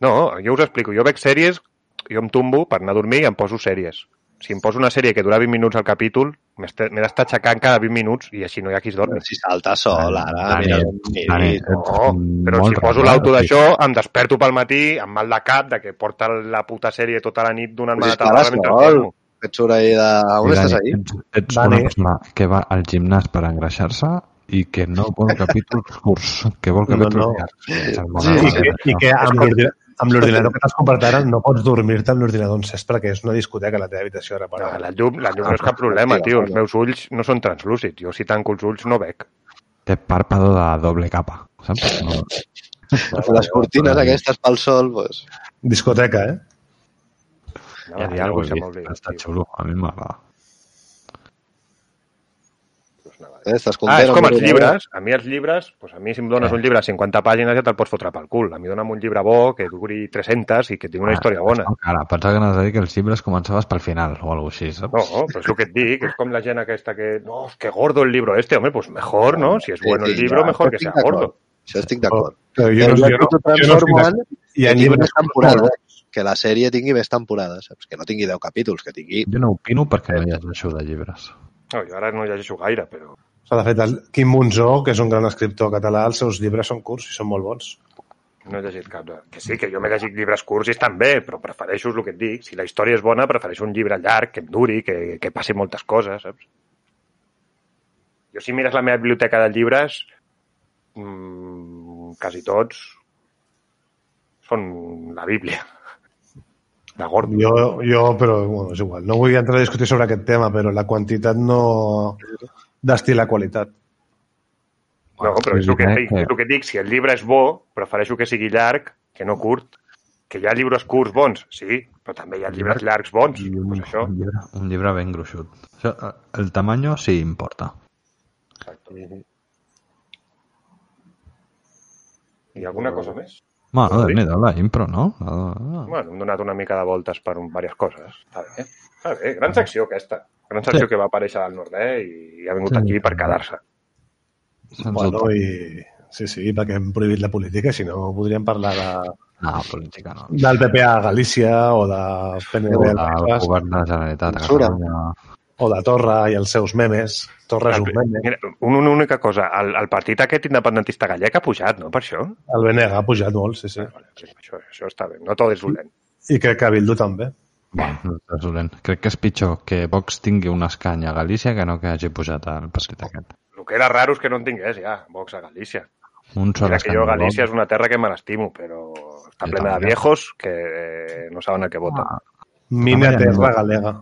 Speaker 1: No, jo us explico. Jo veig sèries, jo em tombo per anar a dormir i em poso sèries. Si em poso una sèrie que dura 20 minuts al capítol, m'est- m'he d'estar aixecant cada 20t minuts i així no hi ha qui es dormi.
Speaker 2: Si salta sol, ara, mira,
Speaker 4: Dani,
Speaker 2: mira,
Speaker 4: ets
Speaker 1: No, però
Speaker 4: molt eh?
Speaker 1: si poso
Speaker 4: radical,
Speaker 1: l'auto
Speaker 4: tio.
Speaker 1: d'això, em desperto pel matí amb mal de cap de que porta la puta sèrie tota la nit donant-me
Speaker 2: Pues
Speaker 1: la
Speaker 2: és que ara
Speaker 1: tabarra
Speaker 2: és
Speaker 1: mentre
Speaker 2: sol.
Speaker 1: dormo.
Speaker 2: et surt ahí de... On
Speaker 4: Dani,
Speaker 2: estàs ahí?
Speaker 4: Ets, ets
Speaker 3: Dani.
Speaker 4: una persona que va al gimnàs per engreixar-se i que no vol capítols curts, que vol
Speaker 3: No,
Speaker 4: capítols
Speaker 3: no.
Speaker 4: llargs.
Speaker 2: Sí,
Speaker 3: I que, i que amb l'ordina- amb l'ordinador que t'has comprat ara no pots dormir-te amb l'ordinador encès perquè és una discoteca a la teva habitació ara. Per
Speaker 1: No,
Speaker 3: ara.
Speaker 1: la llum, la llum no
Speaker 2: Ah,
Speaker 1: és cap problema, tio. Els meus ulls no són translúcids. Jo si tanco els ulls no veig.
Speaker 4: Té pàrpado de doble capa, saps? No.
Speaker 2: Les cortines aquestes pel sol, doncs...
Speaker 3: Discoteca, eh?
Speaker 1: Anava
Speaker 4: Ja,
Speaker 1: a dir
Speaker 4: ja ho
Speaker 1: alguna
Speaker 4: he
Speaker 1: cosa i se m'ha
Speaker 4: vist,
Speaker 1: oblidat,
Speaker 4: està
Speaker 1: tio.
Speaker 4: xulo, a mi m'agrada.
Speaker 1: Doncs anava a dir.
Speaker 2: Eh, estàs content?
Speaker 1: Ah, és com
Speaker 2: amb
Speaker 1: els
Speaker 2: l'ordinador?
Speaker 1: llibres. A mi els llibres, doncs a mi si em
Speaker 4: Eh.
Speaker 1: dones un llibre a 50 pàgines ja te'l pots fotre pel cul. A mi dona'm un llibre bo que duri 300 i que
Speaker 4: Ah,
Speaker 1: tingui una història bona.
Speaker 4: No, cara, pensava que anaves a dir que els llibres començaves pel final o alguna cosa així, saps?
Speaker 1: No, però és el que et dic, és com la gent aquesta que... No, és que gordo el libro este, home, pues mejor, ¿no? Si es
Speaker 2: Sí,
Speaker 1: bueno el
Speaker 2: sí,
Speaker 1: libro,
Speaker 2: ja,
Speaker 1: mejor
Speaker 2: això
Speaker 1: que sea
Speaker 2: estic d'acord.
Speaker 1: gordo. Oh,
Speaker 2: Això estic d'acord.
Speaker 3: Però jo
Speaker 2: Però
Speaker 3: no,
Speaker 2: jo
Speaker 3: jo no,
Speaker 2: t'ho
Speaker 3: jo no estic
Speaker 2: transformo en...
Speaker 3: d'acord. Hi ha
Speaker 2: que tingui
Speaker 3: llibres
Speaker 2: més
Speaker 3: que em molen.
Speaker 2: temporades. eh? Que la sèrie tingui més temporades, saps? Que no tingui 10 capítols, que tingui...
Speaker 4: Jo no opino perquè no hi ha això de llibres.
Speaker 1: No, jo ara no llegeixo gaire, però...
Speaker 3: O sigui, de fet, el Quim Monzó, que és un gran escriptor català, els seus llibres són curts i són molt bons.
Speaker 1: No he llegit cap. de- Que sí, que jo m'he llegit llibres curts i estan bé, però prefereixo el que et dic. Si la història és bona, prefereixo un llibre llarg, que em duri, que, que passi moltes coses, saps? Jo, si mires la meva biblioteca de llibres, mmm, quasi tots són la Bíblia. La Gordo.
Speaker 3: Jo, jo però, bueno, és igual. No vull entrar a discutir sobre aquest tema, però la quantitat no destila qualitat.
Speaker 1: No, però és el que,
Speaker 4: Vull dir,
Speaker 1: dic, és el que dic. Si el llibre és bo, prefereixo que sigui llarg que no curt. Que hi ha llibres curts bons, sí, però també hi ha llibres llargs bons.
Speaker 4: I
Speaker 1: Doncs això.
Speaker 4: un, llibre, un llibre ben gruixut. Això, eh, el tamaño sí importa.
Speaker 1: I alguna cosa més?
Speaker 4: Ma, no, déu nhi la impro, no? Ah, ah.
Speaker 1: Bueno, hem donat una mica de voltes per un, diverses coses. Està bé. Està bé. Gran secció aquesta. Gran secció
Speaker 4: Sí.
Speaker 1: que va aparèixer al nord eh? i ha vingut
Speaker 4: Sí.
Speaker 1: aquí per quedar-se.
Speaker 4: Sens
Speaker 3: Bueno,
Speaker 4: dubte.
Speaker 3: i... Sí, sí, perquè hem prohibit la política, si no podríem parlar de,
Speaker 4: No, Ah, política no.
Speaker 3: del PP a Galícia o de
Speaker 4: El
Speaker 3: PNB al País Basc,
Speaker 4: govern de la Generalitat de
Speaker 2: Censura.
Speaker 4: Catalunya...
Speaker 3: o de Torra i els seus memes. Torra és un
Speaker 4: eh?
Speaker 3: meme.
Speaker 1: Mira, un- una única cosa. El, el partit aquest independentista gallec ha pujat, no? Per això.
Speaker 3: El BNG ha pujat molt, sí, sí.
Speaker 1: Vale, això, això està bé. No tot és dolent.
Speaker 3: I crec que Bildu també.
Speaker 4: Bueno, no és dolent. Crec que és pitjor que Vox tingui un escany a Galícia que no que hagi pujat al partit aquest.
Speaker 1: El que era raro és que no en tingués ja, Vox a Galícia.
Speaker 4: Un sol
Speaker 1: Mira que
Speaker 4: escany.
Speaker 1: jo
Speaker 4: de Vox.
Speaker 1: Galícia és una terra que me l'estimo, però està
Speaker 4: Jo
Speaker 1: plena de
Speaker 4: també.
Speaker 1: viejos que no saben a què voten.
Speaker 4: Ah,
Speaker 3: Mina
Speaker 4: Home,
Speaker 3: terra
Speaker 4: no.
Speaker 3: galega.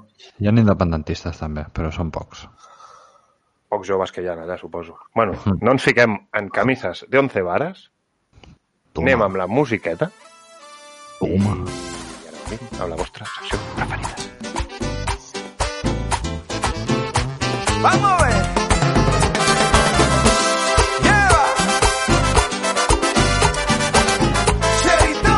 Speaker 4: hi ha independentistes també, però són pocs.
Speaker 1: Pocs joves que hi ha allà, suposo. Bueno,
Speaker 4: Hmm.
Speaker 1: no ens fiquem en camises de 11 vares,
Speaker 4: Toma.
Speaker 1: anem amb la musiqueta
Speaker 4: Toma.
Speaker 1: i ara venim amb la vostra secció preferida.
Speaker 6: Vamos a ver. Lleva. Cherito.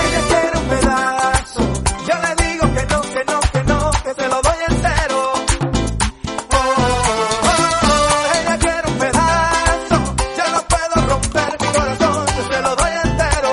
Speaker 6: Ella quiere un pedazo. Yo le digo que no, que no, que no, que se lo doy entero. Oh, oh, oh, ella quiere un pedazo. Yo no puedo romper mi corazón, yo se lo doy entero.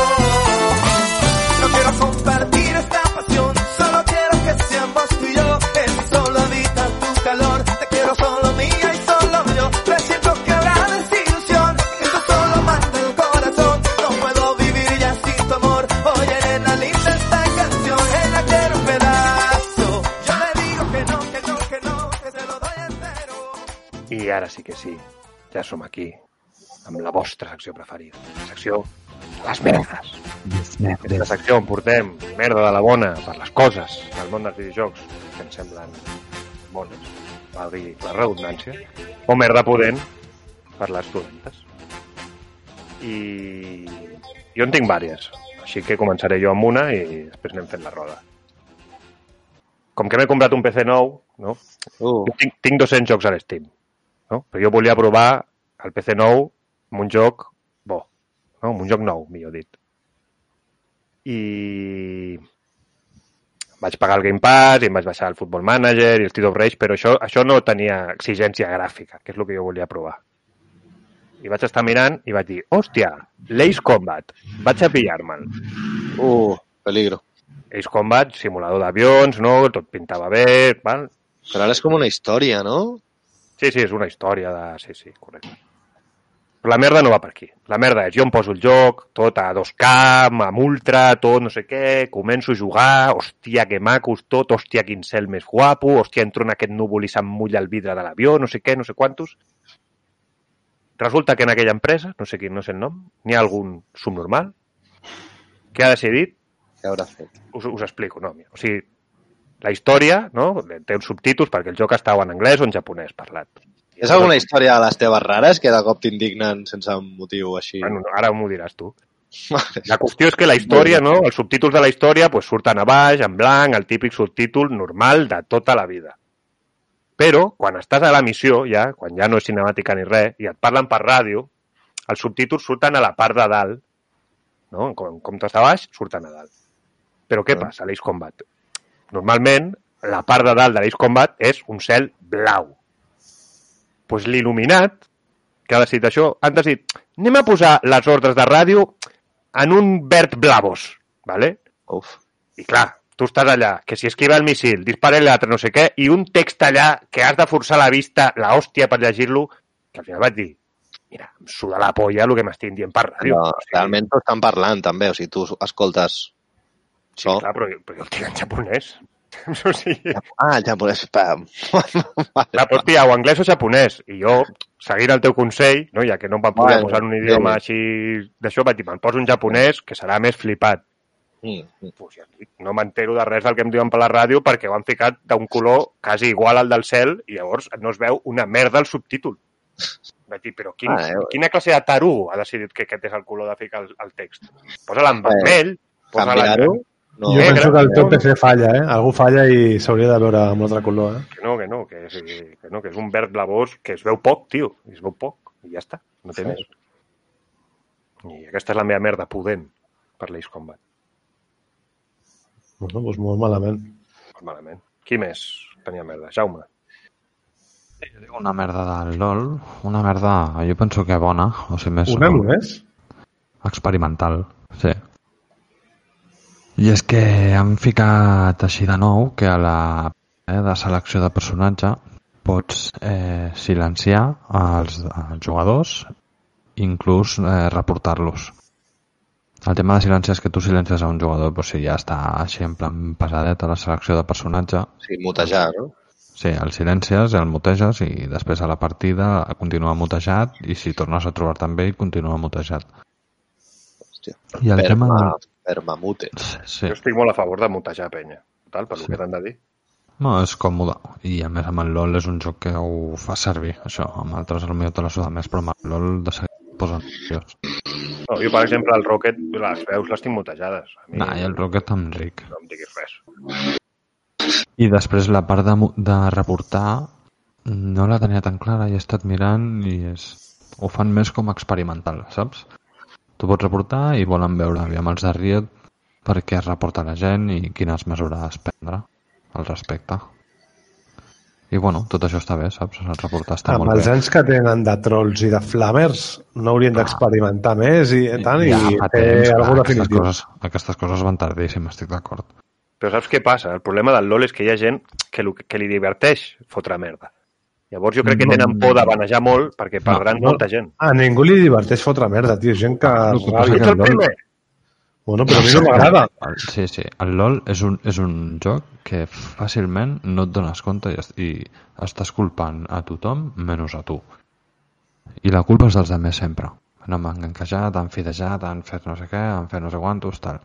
Speaker 6: Oh, no quiero compartir esta pasión, solo quiero que seamos tú y yo. En mi soledad tu calor, te quiero solo mía y solo yo. Me siento quebrada en desilusión, esto solo manda el corazón. No puedo vivir ya sin tu amor. Oye, nena linda, esta canción, ella quiere un pedazo. Yo le digo que no, que no, que no, que se lo doy entero.
Speaker 1: I ara sí que sí, ja som aquí amb la vostra secció preferida. La secció Les Merdes. Aquesta secció on portem merda de la bona per les coses del món dels videojocs que ens semblen bones, val dir la redundància, o merda pudent per les dolentes. I jo en tinc vàries, així que començaré jo amb una i després anem fent la roda. Com que m'he comprat un PC nou, no?
Speaker 2: Uh,
Speaker 1: Jo tinc, tinc 200 jocs a l'Steam, no? però jo volia provar el PC nou amb un joc bo, no? amb un joc nou, millor dit. I vaig pagar el Game Pass i em vaig baixar el Football Manager i el Street of Rage, però això, això no tenia exigència gràfica, que és el que jo volia provar. I vaig estar mirant i vaig dir, hòstia, l'Ace Combat, vaig a pillar-me'l.
Speaker 2: uh, peligro.
Speaker 1: Ace Combat, simulador d'avions, no? tot pintava bé, val?
Speaker 2: Però ara és com una història, no?
Speaker 1: Sí, sí, és una història de... Sí, sí, correcte. Però la merda no va per aquí. La merda és, jo em poso el joc, tot a 2K, amb ultra, tot no sé què, començo a jugar, hòstia, que macos tot, hòstia, quin cel més guapo, hòstia, entro en aquest núvol i s'emmulla el vidre de l'avió, no sé què, no sé quantos. Resulta que en aquella empresa, no sé quin, no sé el nom, n'hi ha algun subnormal que ha decidit
Speaker 2: Què haurà fet?
Speaker 1: us, us explico, no? Mira, o sigui, la història, no?, té uns subtítols perquè el joc estava en anglès o en japonès parlat.
Speaker 2: És alguna història de les teves rares que de cop t'indignen sense motiu així?
Speaker 1: Bueno, ara m'ho diràs tu. La qüestió és que la història, no? els subtítols de la història pues, surten a baix, en blanc, el típic subtítol normal de tota la vida. Però, quan estàs a la missió, ja, quan ja no és cinemàtica ni res, i et parlen per ràdio, els subtítols surten a la part de dalt. No? En com- en comptes de baix, surten a dalt. Però què passa a l'Ace Combat? Normalment, la part de dalt de l'Ace Combat és un cel blau. Doncs pues l'il·luminat, que ha decidit això, han decidit, anem a posar les ordres de ràdio en un verd blavos, ¿vale?
Speaker 2: Uf.
Speaker 1: I clar, tu estàs allà, que si esquiva el missil, dispara el altre, no sé què, i un text allà que has de forçar la vista, la hòstia per llegir-lo, que al final vaig dir, mira, em suda la polla el que m'estic dient per ràdio.
Speaker 2: No,
Speaker 1: O sigui,
Speaker 2: realment t'ho estan parlant, també. O sigui, tu escoltes
Speaker 1: Sí,
Speaker 2: això.
Speaker 1: clar, però, jo- però jo el tinc en japonès. o sigui,
Speaker 2: Ah, el japonès. Pam. Mm,
Speaker 1: clar, però, hòstia, o anglès o japonès. I jo, seguint el teu consell, no, ja que no em van poder
Speaker 2: Bueno,
Speaker 1: posar un
Speaker 2: bé.
Speaker 1: idioma així d'això, vaig dir, me'n poso un japonès que serà més flipat.
Speaker 2: Mm, mm.
Speaker 1: pues, ja et dic, no m'entero de res del que em diuen per la ràdio perquè ho han ficat d'un color quasi igual al del cel i llavors no es veu una merda el subtítol. Vaig dir, però quin,
Speaker 2: Ah, eh,
Speaker 1: quina classe de tarú ha decidit que aquest és el color de ficar el, el text? Posa-la en vermell, posa-la en...
Speaker 2: Eh, Canviar-ho? No.
Speaker 3: Jo
Speaker 4: Eh,
Speaker 1: Negre,
Speaker 3: penso que el
Speaker 1: negre.
Speaker 3: PPC falla, eh? Algú falla i s'hauria de veure amb un altre color, eh?
Speaker 1: Que no, que no, que, és, que no, que és un verd blavós que es veu poc, tio, es veu poc, i ja està, no té
Speaker 2: Sí.
Speaker 1: més. I aquesta és la meva merda pudent per l'Ace Combat,
Speaker 3: Bueno, doncs molt malament.
Speaker 1: molt malament. Qui més tenia merda? Jaume.
Speaker 4: Una merda del LOL, una merda, jo penso que bona, o si més...
Speaker 3: Una només?
Speaker 4: experimental, sí. I és que han ficat així de nou que a la eh, de selecció de personatge pots eh, silenciar els, els jugadors inclús eh, reportar-los. El tema de silenciar és que tu silencies a un jugador, però si ja està així en plan pesadet a la selecció de personatge,
Speaker 2: Sí, mutejar, no?
Speaker 4: Sí, el silencies, el muteges i després a la partida continua mutejat i si tornes a trobar també ell continua mutejat.
Speaker 2: Hòstia.
Speaker 4: I el tema...
Speaker 2: Perma, permamute.
Speaker 4: Sí,
Speaker 1: Jo estic molt a favor de mutejar penya, tal, per sí.
Speaker 4: Sí.
Speaker 1: que t'han de dir.
Speaker 4: no, és còmode. I a més amb el LOL és un joc que ho fa servir, això. Amb altres potser te la suda més, però amb el LOL de seguida et posen nerviós.
Speaker 1: No, jo, per exemple, el Rocket, les veus les tinc mutejades. A mi
Speaker 4: Nah, i el Rocket amb Rick.
Speaker 1: no em diguis res.
Speaker 4: I després la part de, mu- de reportar no la tenia tan clara i he estat mirant i és... ho fan més com a experimental, saps? Tu pots reportar i volen veure aviam els de Riot per què es reporta la gent i quines mesures prendre al respecte. I bueno, tot això està bé, saps? El reportar està
Speaker 3: Amb
Speaker 4: molt
Speaker 3: els
Speaker 4: bé.
Speaker 3: Ah,
Speaker 4: Ah.
Speaker 3: anys que tenen de trolls i de flamers, no haurien d'experimentar més i tant, i eh,
Speaker 4: fa
Speaker 3: fer
Speaker 4: temps, clar,
Speaker 3: alguna
Speaker 4: aquestes,
Speaker 3: definitiva.
Speaker 4: coses, aquestes coses van tardíssim, estic d'acord.
Speaker 1: Però saps què passa? El problema del LOL és que hi ha gent que, lo, que li diverteix fotre merda. Llavors jo crec que
Speaker 4: No,
Speaker 1: tenen por de banejar molt perquè
Speaker 4: No,
Speaker 1: perdran
Speaker 3: no.
Speaker 1: molta gent.
Speaker 3: A ningú li diverteix fotre merda, tio. Gent que...
Speaker 4: Ah, el
Speaker 3: es
Speaker 4: que passa
Speaker 3: rabia.
Speaker 4: que el LOL-
Speaker 3: Bueno, però a mi no m'agrada.
Speaker 4: El- Sí, sí. El LOL és un, és un joc que fàcilment no et dones compte i, es- i estàs culpant a tothom menys a tu. I la culpa és dels altres sempre. No m'han encaixat, han fidejat, han fet no sé què, han fet no sé quantos, tal.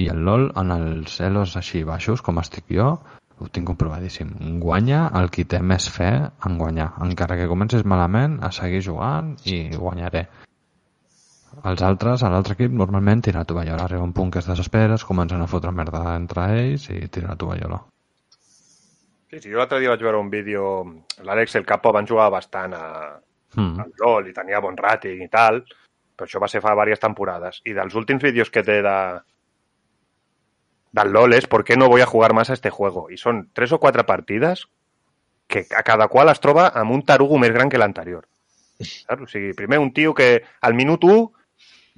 Speaker 4: I el LOL, en els elos així baixos, com estic jo, ho tinc comprovadíssim. Guanya el qui té més fe en guanyar. Encara que comencis malament, a seguir jugant i guanyaré. Els altres, a l'altre equip, normalment tira la tovallola. Arriba un punt que es desespera, es comencen a fotre merda entre ells i tira la tovallola.
Speaker 1: Sí, sí, jo l'altre dia vaig veure un vídeo... L'Àlex el Capo van jugar bastant a,
Speaker 4: Mm.
Speaker 1: al LOL i tenia bon rating i tal, però això va ser fa diverses temporades. I dels últims vídeos que té de, del LOL es ¿por qué no voy a jugar más a este juego? Y son tres o cuatro partides que a cada qual es troba amb un tarugo més gran que l'anterior. Saps? O sigui, primer un tio que al minut 1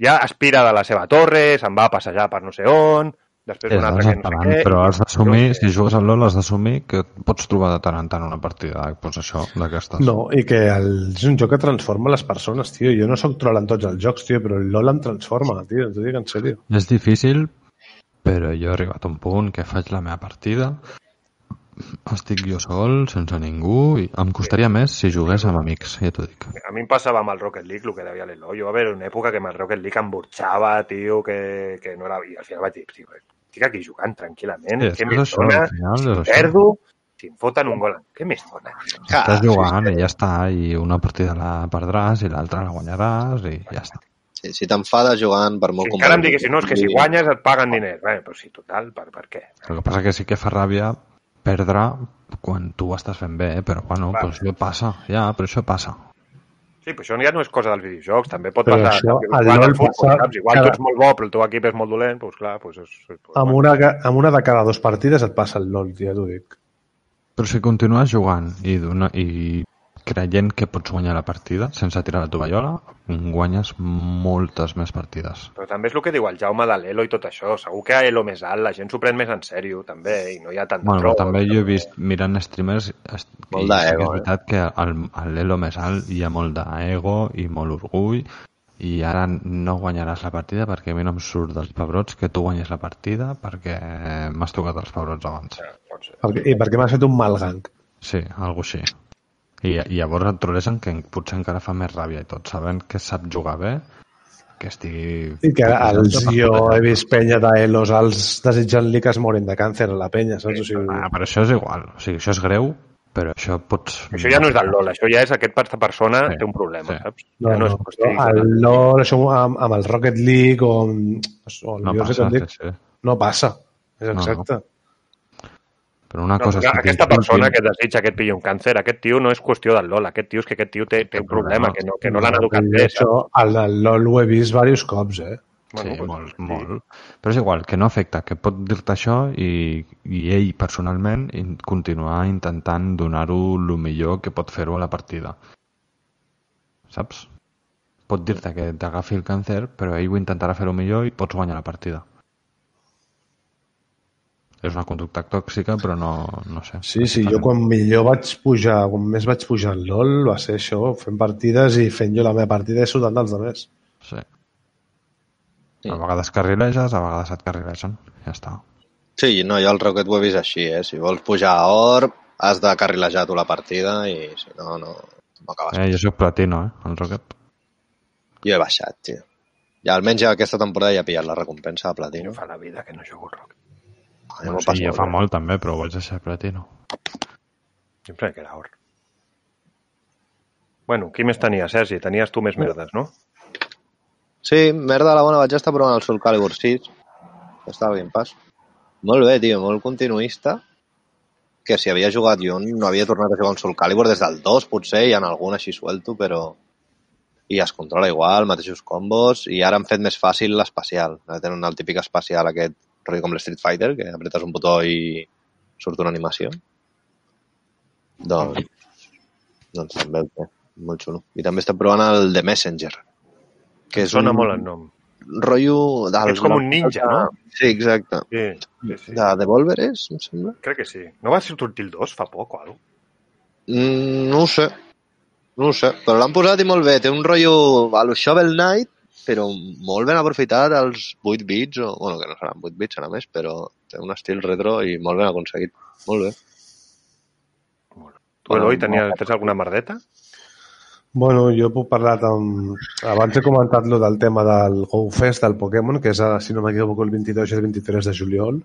Speaker 1: ja aspira de la seva torre, se'n va a passejar per no sé on, després
Speaker 4: És
Speaker 1: un altre que no sé
Speaker 4: desesperant,
Speaker 1: què...
Speaker 4: però has d'assumir,
Speaker 1: Jo
Speaker 4: si jugues al LoL, has d'assumir que et pots trobar de tant en tant una partida doncs això, d'aquestes.
Speaker 3: No, i que el, és un joc que transforma les persones, tio. Jo no sóc troll en tots els jocs, tio, però el LoL em transforma, tio. T'ho dic en sèrio.
Speaker 4: És difícil, però jo he arribat a un punt que faig la meva partida, estic jo sol, sense ningú, i em costaria més si jugués amb amics, ja t'ho dic.
Speaker 1: A mi em passava amb el Rocket League el que devia l'Elo. Jo va haver una època que amb el Rocket League em burxava, tio, que, que no era... I al final vaig dir, "Tio, estic aquí jugant tranquil·lament,
Speaker 4: Sí, és
Speaker 1: què
Speaker 4: que és
Speaker 1: més
Speaker 4: això,
Speaker 1: dona?
Speaker 4: al final
Speaker 1: Si
Speaker 4: és això.
Speaker 1: perdo, si em foten un gol, què més dona?
Speaker 4: Estàs
Speaker 2: sí,
Speaker 4: jugant i ja està, i una partida la perdràs i l'altra la guanyaràs i ja està.
Speaker 2: Sí, si t'enfades jugant per molt
Speaker 1: Si encara em
Speaker 2: competir-
Speaker 1: diguessin, no, és que si guanyes et paguen diners. Bé, però sí, total, per, per què?
Speaker 4: El que passa que sí que fa ràbia perdre quan tu ho estàs fent bé, eh? però bueno,
Speaker 1: Clar.
Speaker 4: però això passa, ja, però això passa.
Speaker 1: Sí, però això ja no és cosa dels videojocs, també pot
Speaker 3: Però
Speaker 1: passar.
Speaker 3: això,
Speaker 1: saps?
Speaker 3: al
Speaker 1: Igual
Speaker 3: LOL
Speaker 1: al futbol,
Speaker 3: passa
Speaker 1: saps? Igual
Speaker 3: cada-
Speaker 1: tu ets molt bo, però el teu equip és molt dolent, doncs clar, doncs és... és doncs,
Speaker 3: Amb una, ca- amb una de cada dos partides et passa el LOL, ja t'ho dic.
Speaker 4: Però si continues jugant i, dona, i creient que pots guanyar la partida sense tirar la tovallola, guanyes moltes més partides.
Speaker 1: Però també és el que diu el Jaume de l'Elo i tot això. Segur que a Elo més alt la gent s'ho pren més en sèrio, també, i no hi ha tant
Speaker 4: Bueno, però
Speaker 1: troll,
Speaker 4: també jo he vist mirant streamers est-
Speaker 2: Molt
Speaker 4: i
Speaker 2: d'ego,
Speaker 4: sí que és
Speaker 2: eh?
Speaker 4: veritat que al- a l'elo més alt hi ha molt d'ego i molt orgull i ara no guanyaràs la partida perquè a mi no em surt dels pebrots que tu guanyes la partida perquè m'has tocat els pebrots abans.
Speaker 1: Pot ser.
Speaker 3: Perquè, I perquè m'has fet un mal gank.
Speaker 4: Sí, algo així. I, i llavors et trolesen que potser encara fa més ràbia i tot, sabent que sap jugar bé, que estigui... tota
Speaker 3: I que els, jo he vist penya d'Elos als desitjant-li que es morin de càncer a la penya, saps? O sigui,
Speaker 4: Ah, però això és igual. O sigui, això és greu, però això pots...
Speaker 1: Això ja no és del LOL, això ja és aquest per aquesta persona
Speaker 4: Sí,
Speaker 1: té un problema,
Speaker 4: sí.
Speaker 1: saps?
Speaker 3: no,
Speaker 1: ja
Speaker 3: no,
Speaker 1: és
Speaker 3: no,
Speaker 1: qüestió de-
Speaker 3: el LOL, això amb, amb el Rocket League o, amb, o el
Speaker 4: No
Speaker 3: Dios
Speaker 4: passa,
Speaker 3: Rocket League,
Speaker 4: sí, sí.
Speaker 3: no passa. És
Speaker 4: No, no.
Speaker 3: exacte.
Speaker 4: Però una
Speaker 1: No,
Speaker 4: cosa és
Speaker 1: però
Speaker 4: que
Speaker 1: aquesta
Speaker 4: t'insultin.
Speaker 1: persona que desitja que et pilli un càncer, aquest tio no és qüestió del LOL, aquest tio és que aquest tio té, té un problema, que no, que no l'han educat
Speaker 3: I
Speaker 1: bé.
Speaker 3: Això, el del LOL ho he vist diversos cops, eh?
Speaker 4: Sí,
Speaker 1: Bueno,
Speaker 4: molt, molt. Però és igual, que no afecta, que pot dir-te això i, i ell personalment in, continuar intentant donar-ho el millor que pot fer-ho a la partida. Saps? Pot dir-te que t'agafi el càncer, però ell ho intentarà fer-ho millor i pots guanyar la partida. És una conducta tòxica, però no, no sé.
Speaker 3: Sí, sí, jo quan millor vaig pujar, quan més vaig pujar al LOL, va ser això, fent partides i fent jo la meva partida i sudant dels altres.
Speaker 4: Sí. A vegades carrileges, a vegades et carrilegen. Ja està.
Speaker 2: Sí, no, jo el Rocket ho he vist així, eh? Si vols pujar a or, has de carrilejar tu la partida i si no, no, no acabes.
Speaker 4: Eh, jo soc platino, eh, el Rocket.
Speaker 2: Jo he baixat, tio. Ja almenys ja aquesta temporada ja he pillat la recompensa de platino.
Speaker 1: no fa la vida que no jugo al rock.
Speaker 2: A mi m'ho
Speaker 4: Bueno,
Speaker 2: passo
Speaker 4: sí, ja
Speaker 2: molt
Speaker 4: fa
Speaker 2: bé.
Speaker 4: molt també, però ho vaig deixar platino.
Speaker 1: Sempre que era or. Bueno, qui més tenia, Sergi? Tenies tu més merdes, no?
Speaker 2: Sí, merda la bona, vaig estar provant el Soul Calibur 6. que Estava bien pas. Molt bé, tio, molt continuista. Que si havia jugat jo no havia tornat a jugar un Soul Calibur des del 2, potser, i en algun així suelto, però... I es controla igual, mateixos combos, i ara han fet més fàcil l'espacial. Ara Tenen el típic espacial aquest, rotllo com l'Street Fighter, que apretes un botó i surt una animació. Doncs, doncs també el té. Molt xulo. I també estem provant el The Messenger. Que és
Speaker 1: Sona
Speaker 2: un-
Speaker 1: molt el nom.
Speaker 2: rotllo... Del,
Speaker 1: Ets com un ninja, no?
Speaker 2: Sí, exacte.
Speaker 1: Sí, sí, sí.
Speaker 2: De Devolver és, em sembla?
Speaker 1: Crec que sí. No va sortir el 2 fa poc o alguna cosa?
Speaker 2: Mm, no ho sé. No ho sé, però l'han posat i molt bé. Té un rotllo a lo Shovel Knight, però molt ben aprofitat als 8 bits, o, bueno, que no seran 8 bits, serà més, però té un estil retro i molt ben aconseguit. Molt bé.
Speaker 1: Tu, Eloi, tenies, tens alguna merdeta?
Speaker 3: Bueno, jo puc parlar amb... Abans he comentat lo del tema del Go Fest del Pokémon, que és, ara, si no m'equivoco, el 22 i el 23 de juliol.